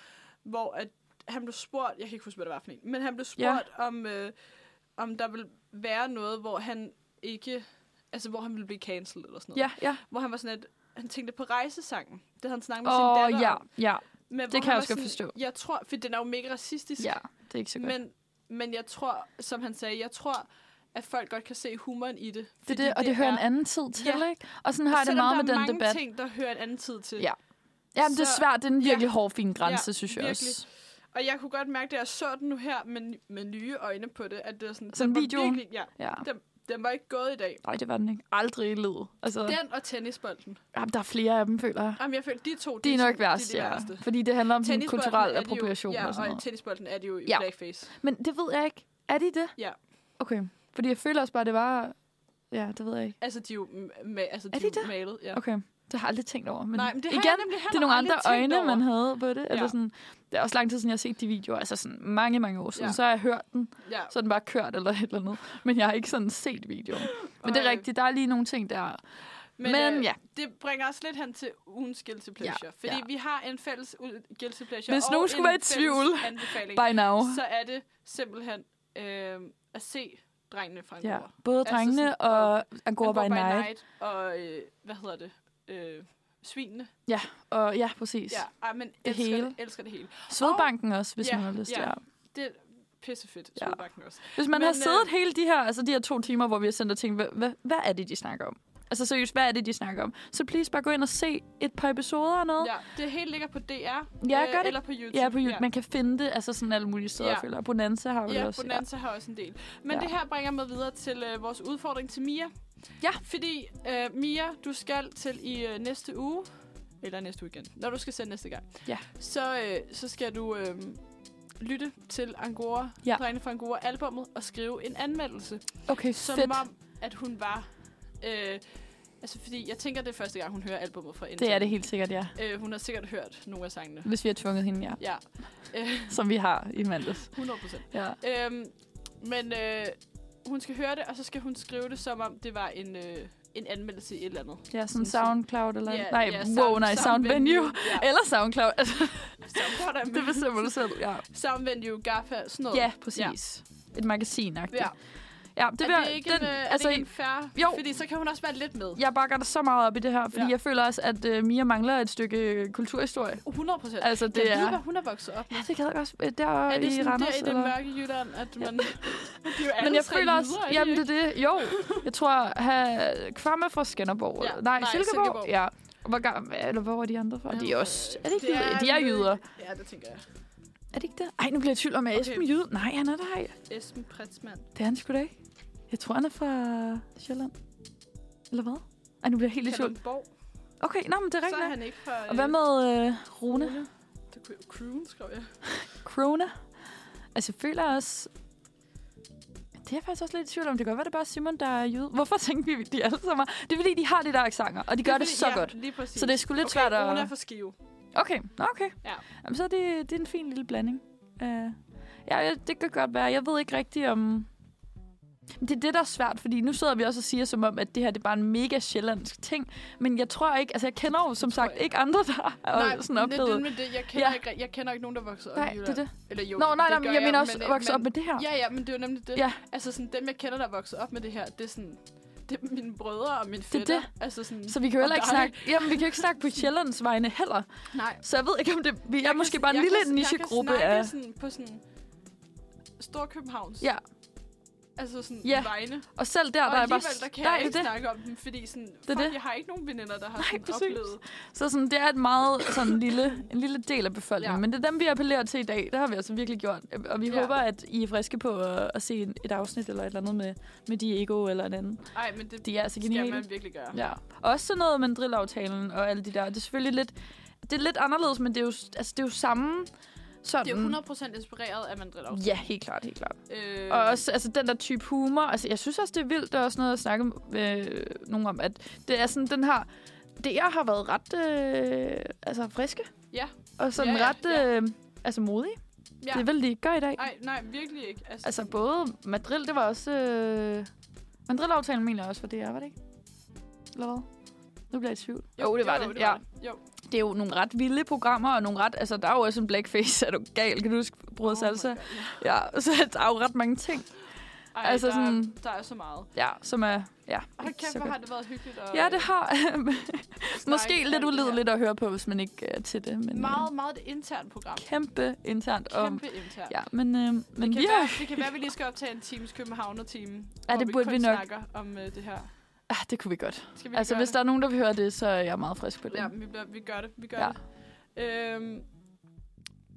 Speaker 1: hvor at han blev spurgt, jeg kan ikke huske, hvad det var for en, men han blev spurgt, ja. om, øh, om der ville være noget, hvor han ikke, altså hvor han ville blive cancelled eller sådan noget.
Speaker 2: Ja, ja.
Speaker 1: Hvor han var sådan, at han tænkte på rejsesangen. Det havde han snakket med
Speaker 2: Åh,
Speaker 1: sin datter
Speaker 2: ja,
Speaker 1: om.
Speaker 2: ja,
Speaker 1: Men hvor
Speaker 2: kan
Speaker 1: han
Speaker 2: jeg
Speaker 1: var
Speaker 2: også godt
Speaker 1: sådan,
Speaker 2: forstå.
Speaker 1: Jeg tror, for den er jo mega racistisk.
Speaker 2: ja. Det er ikke så godt.
Speaker 1: Men, men jeg tror, som han sagde, jeg tror, at folk godt kan se humoren i det.
Speaker 2: det er
Speaker 1: fordi
Speaker 2: det, og det, hører
Speaker 1: er-
Speaker 2: en anden tid til,
Speaker 1: Ja.
Speaker 2: ikke? Og sådan har jeg det
Speaker 1: Selvom
Speaker 2: meget med
Speaker 1: der er
Speaker 2: den
Speaker 1: mange
Speaker 2: debat.
Speaker 1: ting, der hører en anden tid til.
Speaker 2: Ja. Jamen, det er
Speaker 1: så-
Speaker 2: svært. Det er en virkelig
Speaker 1: Ja.
Speaker 2: hård, fin grænse,
Speaker 1: Ja,
Speaker 2: synes jeg
Speaker 1: virkelig.
Speaker 2: også.
Speaker 1: Og jeg kunne godt mærke, da jeg så den nu her med, med nye øjne på det, at det var sådan...
Speaker 2: Sådan
Speaker 1: den var
Speaker 2: videoen?
Speaker 1: Virkelig, ja,
Speaker 2: Ja.
Speaker 1: den, den var ikke gået i dag.
Speaker 2: Nej, det var den ikke. Aldrig i livet. Altså,
Speaker 1: Den og tennisbolden.
Speaker 2: jamen, der er flere af dem, føler jeg.
Speaker 1: Jamen, jeg følte, de to...
Speaker 2: Det er nok
Speaker 1: sådan-
Speaker 2: værst,
Speaker 1: de er de
Speaker 2: ja.
Speaker 1: værste.
Speaker 2: Fordi det handler om sådan
Speaker 1: Tennisbolden
Speaker 2: kulturel
Speaker 1: er de jo-
Speaker 2: appropriation
Speaker 1: ja,
Speaker 2: og sådan
Speaker 1: og
Speaker 2: noget.
Speaker 1: tennisbolden er de jo i
Speaker 2: Ja.
Speaker 1: ja. blackface.
Speaker 2: Men det ved jeg ikke. Er de det?
Speaker 1: Ja.
Speaker 2: Okay. Fordi jeg føler også bare, det var... Ja, det ved jeg ikke.
Speaker 1: Altså, de er jo, m- ma- altså, de
Speaker 2: Er
Speaker 1: er
Speaker 2: de
Speaker 1: jo
Speaker 2: det?
Speaker 1: malet. Ja.
Speaker 2: Okay. Det har jeg aldrig tænkt over. Men
Speaker 1: Nej, men det har
Speaker 2: igen,
Speaker 1: jeg nemlig heller
Speaker 2: det er nogle andre
Speaker 1: aldrig tænkt
Speaker 2: øjne,
Speaker 1: over.
Speaker 2: man havde på det. Ja. Eller
Speaker 1: Ja.
Speaker 2: sådan, det er også lang tid siden, jeg har set de videoer. Altså sådan mange, mange år siden. Ja.
Speaker 1: Ja.
Speaker 2: Så har jeg hørt den.
Speaker 1: Ja.
Speaker 2: Så er den bare kørt eller et eller andet. Men jeg har ikke sådan set videoen. Men det er
Speaker 1: Ej.
Speaker 2: rigtigt. Der er lige nogle ting der.
Speaker 1: Men,
Speaker 2: Men
Speaker 1: øh,
Speaker 2: ja.
Speaker 1: det bringer os lidt hen til ugens guilty pleasure. Ja, fordi
Speaker 2: ja.
Speaker 1: ja. vi har en fælles u- guilty pleasure
Speaker 2: Hvis
Speaker 1: og
Speaker 2: nogen skulle
Speaker 1: en
Speaker 2: være i
Speaker 1: fælles
Speaker 2: tvivl,
Speaker 1: anbefaling,
Speaker 2: By now.
Speaker 1: så er det simpelthen øh, at se drengene fra en
Speaker 2: Ja.
Speaker 1: ja.
Speaker 2: Både
Speaker 1: Altså
Speaker 2: drengene
Speaker 1: sådan,
Speaker 2: og Angora
Speaker 1: Han går
Speaker 2: by Night.
Speaker 1: og, øh, hvad hedder det, øh, svinene.
Speaker 2: Og ja, præcis.
Speaker 1: Ja, ej, men det elsker,
Speaker 2: hele.
Speaker 1: hele. Det, elsker det hele.
Speaker 2: Svedbanken også, hvis
Speaker 1: Ja,
Speaker 2: man har lyst til
Speaker 1: ja.
Speaker 2: ja.
Speaker 1: Det er pissefedt,
Speaker 2: Ja.
Speaker 1: ja. også.
Speaker 2: Hvis man Men,
Speaker 1: Men,
Speaker 2: har
Speaker 1: øh,
Speaker 2: siddet øh, hele de her, altså de her to timer, hvor vi har sendt og tænkt, hvad, hvad, hvad er det, de snakker om? Altså seriøst, hvad er det, de snakker om? Så please bare gå ind og se et par episoder og noget. Ja,
Speaker 1: Ja, det hele ligger på DR, ja,
Speaker 2: gør det.
Speaker 1: eller på YouTube.
Speaker 2: ja på YouTube. Ja. Man kan finde det, altså sådan alle mulige steder, ja.
Speaker 1: Ja.
Speaker 2: føler jeg. Bonanza har vi
Speaker 1: Ja,
Speaker 2: også.
Speaker 1: Bonanza har også en del. Men
Speaker 2: Ja.
Speaker 1: ja. det her bringer mig videre til øh, vores udfordring til Mia.
Speaker 2: Ja.
Speaker 1: Fordi, øh, Mia, du skal til i øh, næste uge, eller næste weekend, når du skal sende næste gang,
Speaker 2: Ja.
Speaker 1: så, øh, så skal du øh, lytte til Angora,
Speaker 2: Ja.
Speaker 1: ja. Drengene fra Angora albummet, og skrive en anmeldelse.
Speaker 2: Ja. Okay,
Speaker 1: Som
Speaker 2: fedt.
Speaker 1: om, at hun var... Øh, altså, fordi jeg tænker, det er første gang, hun hører albumet fra Intel.
Speaker 2: Det er det helt sikkert, ja.
Speaker 1: Øh, hun har sikkert hørt nogle af sangene.
Speaker 2: Hvis vi har tvunget hende, ja.
Speaker 1: Ja, øh,
Speaker 2: Som vi har i mandags.
Speaker 1: 100 procent.
Speaker 2: Ja.
Speaker 1: Øhm, men øh, hun skal høre det, og så skal hun skrive det, som om det var en, øh, en anmeldelse i et eller andet.
Speaker 2: ja, sådan
Speaker 1: Sådan så-
Speaker 2: SoundCloud eller...
Speaker 1: Ja,
Speaker 2: nej,
Speaker 1: ja,
Speaker 2: wow, nej, Sound Venue.
Speaker 1: Ja,
Speaker 2: Eller SoundCloud. Altså,
Speaker 1: sound,
Speaker 2: det bestemmer du selv, ja.
Speaker 1: Sound Venue, GAFA, sådan noget.
Speaker 2: Ja, præcis. Et magasin-agtigt.
Speaker 1: ja.
Speaker 2: ja det,
Speaker 1: Det
Speaker 2: vil,
Speaker 1: er det ikke
Speaker 2: den,
Speaker 1: en, øh,
Speaker 2: altså,
Speaker 1: altså, er det ikke en fair?
Speaker 2: jo.
Speaker 1: Fordi så kan hun også være lidt med.
Speaker 2: jeg bakker dig så meget op i det her, fordi ja.
Speaker 1: Ja.
Speaker 2: jeg føler også, at øh, Mia mangler et stykke øh, kulturhistorie.
Speaker 1: 100 procent.
Speaker 2: Altså, det
Speaker 1: jeg ved,
Speaker 2: er-
Speaker 1: hvad hun er vokset op med.
Speaker 2: Ja, det kan jeg godt. øh, Der
Speaker 1: Er det
Speaker 2: i
Speaker 1: sådan
Speaker 2: Randers,
Speaker 1: der i det
Speaker 2: eller?
Speaker 1: mørke Jylland, at man... de er jo
Speaker 2: Men
Speaker 1: alle
Speaker 2: jeg
Speaker 1: tre
Speaker 2: føler også,
Speaker 1: jyder, er de
Speaker 2: jamen
Speaker 1: ikke?
Speaker 2: det er det, jo. Jeg tror, ha, Kvam er fra Skanderborg.
Speaker 1: Ja,
Speaker 2: Ja. Nej,
Speaker 1: nej,
Speaker 2: Silkeborg. Silkeborg.
Speaker 1: Silkeborg.
Speaker 2: Ja. Hvor, gam- eller hvor er de andre fra? De er også... Er det ikke
Speaker 1: Det
Speaker 2: jyder? De er jyder.
Speaker 1: Ja, det tænker jeg.
Speaker 2: Er det ikke det? Ej, nu bliver jeg i tvivl om, er
Speaker 1: Okay.
Speaker 2: Esben jyde? Nej, han er der ej.
Speaker 1: Esben Pretzmann.
Speaker 2: Det er han sgu da ikke. Jeg tror, han er fra Sjælland. Eller hvad? Ej, nu bliver jeg helt i tvivl.
Speaker 1: Kalundborg.
Speaker 2: Okay, nej, men det er
Speaker 1: Så er
Speaker 2: rigtigt.
Speaker 1: han ikke fra...
Speaker 2: Og hvad med øh, Rune?
Speaker 1: Det kunne jeg- Crewen, skrev jeg.
Speaker 2: Corona. Altså, jeg føler også... Det er jeg faktisk også lidt i tvivl om. Det kan godt være, det er bare Simon, der er jøde. Hvorfor tænkte vi, de alle sammen er- Det er fordi, de har de der accenter, og de gør det,
Speaker 1: fordi-
Speaker 2: så ja. godt.
Speaker 1: Lige præcis.
Speaker 2: Så det er sgu lidt
Speaker 1: okay,
Speaker 2: svært at...
Speaker 1: Rune er fra Skive.
Speaker 2: Okay, nå, okay.
Speaker 1: Ja.
Speaker 2: Jamen, så er det, det er en Øh, fin lille blanding. Uh, ja, ja, det kan godt være. Jeg ved ikke rigtigt om... Men det er det, der er svært, fordi nu sidder vi også og siger som om, at det her det er bare en mega sjællandsk ting. Men jeg tror ikke, altså jeg kender jo som sagt ikke andre, der har
Speaker 1: Nej,
Speaker 2: sådan
Speaker 1: men det,
Speaker 2: oplevet.
Speaker 1: det, men det, jeg, kender
Speaker 2: Ja.
Speaker 1: ja. ikke, jeg kender ikke nogen, der vokser op
Speaker 2: Nej,
Speaker 1: i
Speaker 2: det er
Speaker 1: Jylland.
Speaker 2: det.
Speaker 1: Eller jo,
Speaker 2: Nå, nej, nej,
Speaker 1: det gør
Speaker 2: men jeg mener også
Speaker 1: øh,
Speaker 2: vokset op med det her.
Speaker 1: Ja, ja, men det er jo nemlig det.
Speaker 2: Ja.
Speaker 1: Altså sådan, dem jeg kender, der vokser op med det her, det er sådan, det er mine brødre og mine
Speaker 2: er
Speaker 1: fætter. Altså sådan,
Speaker 2: Så vi kan jo heller
Speaker 1: og
Speaker 2: ikke
Speaker 1: dig.
Speaker 2: snakke, jamen, vi kan jo ikke snakke på Sjællands vegne heller.
Speaker 1: Nej.
Speaker 2: Så jeg ved ikke, om det, vi er
Speaker 1: Jeg kan-
Speaker 2: måske bare en
Speaker 1: jeg
Speaker 2: lille
Speaker 1: kan-
Speaker 2: nichegruppe
Speaker 1: Jeg kan
Speaker 2: af...
Speaker 1: snakke sådan på sådan Storkøbenhavns.
Speaker 2: Ja,
Speaker 1: Altså sådan
Speaker 2: Ja.
Speaker 1: ja. vegne.
Speaker 2: og selv der,
Speaker 1: og
Speaker 2: der er
Speaker 1: alligevel, der
Speaker 2: bare...
Speaker 1: kan
Speaker 2: der
Speaker 1: jeg
Speaker 2: er
Speaker 1: ikke
Speaker 2: det.
Speaker 1: snakke om dem, fordi sådan, det
Speaker 2: er
Speaker 1: fuck,
Speaker 2: det.
Speaker 1: jeg har ikke nogen veninder, der har
Speaker 2: Nej,
Speaker 1: sådan
Speaker 2: præcis.
Speaker 1: oplevet.
Speaker 2: Så sådan, det er et meget sådan lille, en lille del af befolkningen. Ja.
Speaker 1: Ja.
Speaker 2: Men det er dem, vi appellerer til i dag. Det har vi altså virkelig gjort. Og vi ja.
Speaker 1: Ja.
Speaker 2: håber, at I er friske på at, at se en- et afsnit eller et eller andet med, med Diego eller en anden.
Speaker 1: Nej, men det, det
Speaker 2: De er altså
Speaker 1: skal
Speaker 2: geniale.
Speaker 1: man virkelig gøre.
Speaker 2: Ja. Også sådan noget med drillaftalen og alle de der. Det er selvfølgelig lidt, det er lidt anderledes, men det er jo, altså, det er jo samme sådan...
Speaker 1: Det er jo 100% inspireret af Mandrill også.
Speaker 2: Mm. Ja, helt klart, helt klart.
Speaker 1: Øh,
Speaker 2: Og også altså, den der type humor. Altså, jeg synes også, det er vildt, der er også noget at snakke med øh, nogen om, at det er sådan den her... Det jeg har været ret øh, altså friske.
Speaker 1: Ja.
Speaker 2: Og sådan
Speaker 1: Ja, ja,
Speaker 2: ret øh, altså modige. Ja.
Speaker 1: Ja.
Speaker 2: Det er vel, de ikke gør i dag. Ej.
Speaker 1: Nej, nej, virkelig ikke. Altså,
Speaker 2: Altså både Madrid, det var også... Øh, Madrid-aftalen mener jeg også, for det er, var det ikke? Eller hvad? Nu bliver jeg i tvivl. Jo, det var det. Ja.
Speaker 1: Jo.
Speaker 2: Det er jo nogle ret vilde programmer, og nogle ret... Altså, der er jo også en blackface. Er du gal? Kan du huske Brød oh
Speaker 1: my
Speaker 2: Salsa?
Speaker 1: God.
Speaker 2: Ja, så der er jo ret mange ting.
Speaker 1: Ej, altså
Speaker 2: Altså
Speaker 1: der, sådan...
Speaker 2: sådan-
Speaker 1: Er, der er så meget.
Speaker 2: Ja, som er... Ja,
Speaker 1: Hold
Speaker 2: ikke
Speaker 1: kæft,
Speaker 2: så
Speaker 1: hvor
Speaker 2: godt.
Speaker 1: har det været hyggeligt. At,
Speaker 2: Ja, det har.
Speaker 1: at snakke
Speaker 2: Måske
Speaker 1: om
Speaker 2: lidt
Speaker 1: det her.
Speaker 2: ulideligt at høre på, hvis man ikke er til det. Men, øh,
Speaker 1: Meget, meget et internt program.
Speaker 2: kæmpe internt om.
Speaker 1: Kæmpe internt.
Speaker 2: Ja, men, øh, men
Speaker 1: Det kan,
Speaker 2: vi har...
Speaker 1: være, det kan være, at vi lige skal optage en times Københavner-time.
Speaker 2: Ja, det burde
Speaker 1: kun
Speaker 2: vi nok.
Speaker 1: snakker om øh, det her.
Speaker 2: Ah, det kunne vi godt.
Speaker 1: Skal vi
Speaker 2: Altså,
Speaker 1: gøre
Speaker 2: hvis
Speaker 1: det?
Speaker 2: der er nogen, der vil høre det, så er jeg meget frisk på det.
Speaker 1: Ja, vi, bliver, vi gør det. Vi gør
Speaker 2: Ja.
Speaker 1: ja. det. Øhm,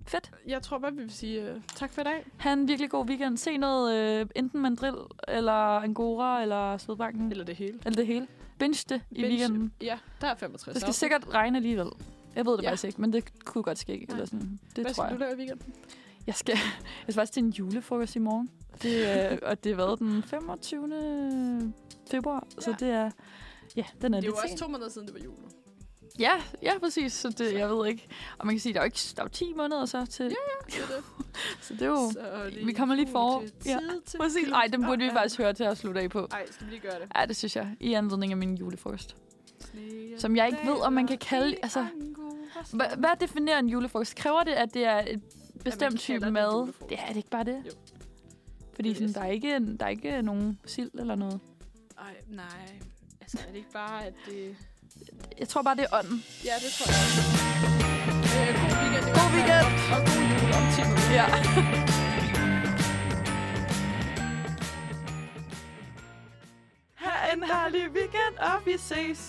Speaker 2: Fedt.
Speaker 1: jeg tror bare, vi vil sige øh, tak for i dag.
Speaker 2: Ha' en virkelig god weekend. Se noget, øh, enten mandril, eller angora, eller svedbanken, eller,
Speaker 1: Eller det hele.
Speaker 2: eller det hele. Binge det i
Speaker 1: Binge-
Speaker 2: weekenden.
Speaker 1: Ja, der er 65.
Speaker 2: Det skal
Speaker 1: afsnit.
Speaker 2: sikkert regne alligevel. Jeg ved det ja.
Speaker 1: Ja.
Speaker 2: faktisk ikke, men det kunne godt ske. Eller sådan. Det
Speaker 1: Hvad skal
Speaker 2: tror jeg.
Speaker 1: du lave i weekenden?
Speaker 2: Jeg skal, jeg skal faktisk til en julefrokost i morgen. Det, øh, og det har været den 25. februar, ja. så
Speaker 1: Ja.
Speaker 2: det er... Ja, den er
Speaker 1: Det er jo
Speaker 2: lidt
Speaker 1: også
Speaker 2: sen.
Speaker 1: to måneder siden, det var jul. nu.
Speaker 2: Ja, ja, præcis. Så det, jeg ved ikke. Og man kan sige, der er jo ikke der er jo 10 måneder så til. Ja.
Speaker 1: Det er det.
Speaker 2: Så det er jo...
Speaker 1: Så
Speaker 2: vi kommer lige
Speaker 1: fugl
Speaker 2: forår.
Speaker 1: til
Speaker 2: Ja,
Speaker 1: tid til
Speaker 2: Præcis.
Speaker 1: guld.
Speaker 2: Nej, den burde vi
Speaker 1: Ah, ah.
Speaker 2: faktisk høre til at slutte af på.
Speaker 1: Ej, skal vi lige gøre det?
Speaker 2: Ja, det synes jeg. I anledning af min julefrokost.
Speaker 1: Sne
Speaker 2: Som jeg ikke ved, om man kan kalde-
Speaker 1: daler
Speaker 2: altså,
Speaker 1: i Angora.
Speaker 2: Hva- Hvad definerer en julefrokost? Kræver det, at det er et bestemt
Speaker 1: kalder
Speaker 2: type
Speaker 1: det
Speaker 2: mad?
Speaker 1: julefrokost.
Speaker 2: Det er det ikke bare det?
Speaker 1: Jo.
Speaker 2: Fordi
Speaker 1: Det er
Speaker 2: sådan,
Speaker 1: det.
Speaker 2: der, er ikke, der er ikke nogen sild eller noget.
Speaker 1: Ej, nej. Altså, er det ikke bare, at det...
Speaker 2: Jeg tror bare, det er ånden.
Speaker 1: Ja, det tror jeg. Øh, god weekend.
Speaker 2: God weekend!
Speaker 1: Og god jul om 10 minutter.
Speaker 2: Ja. Ha' en herlig weekend, og vi ses.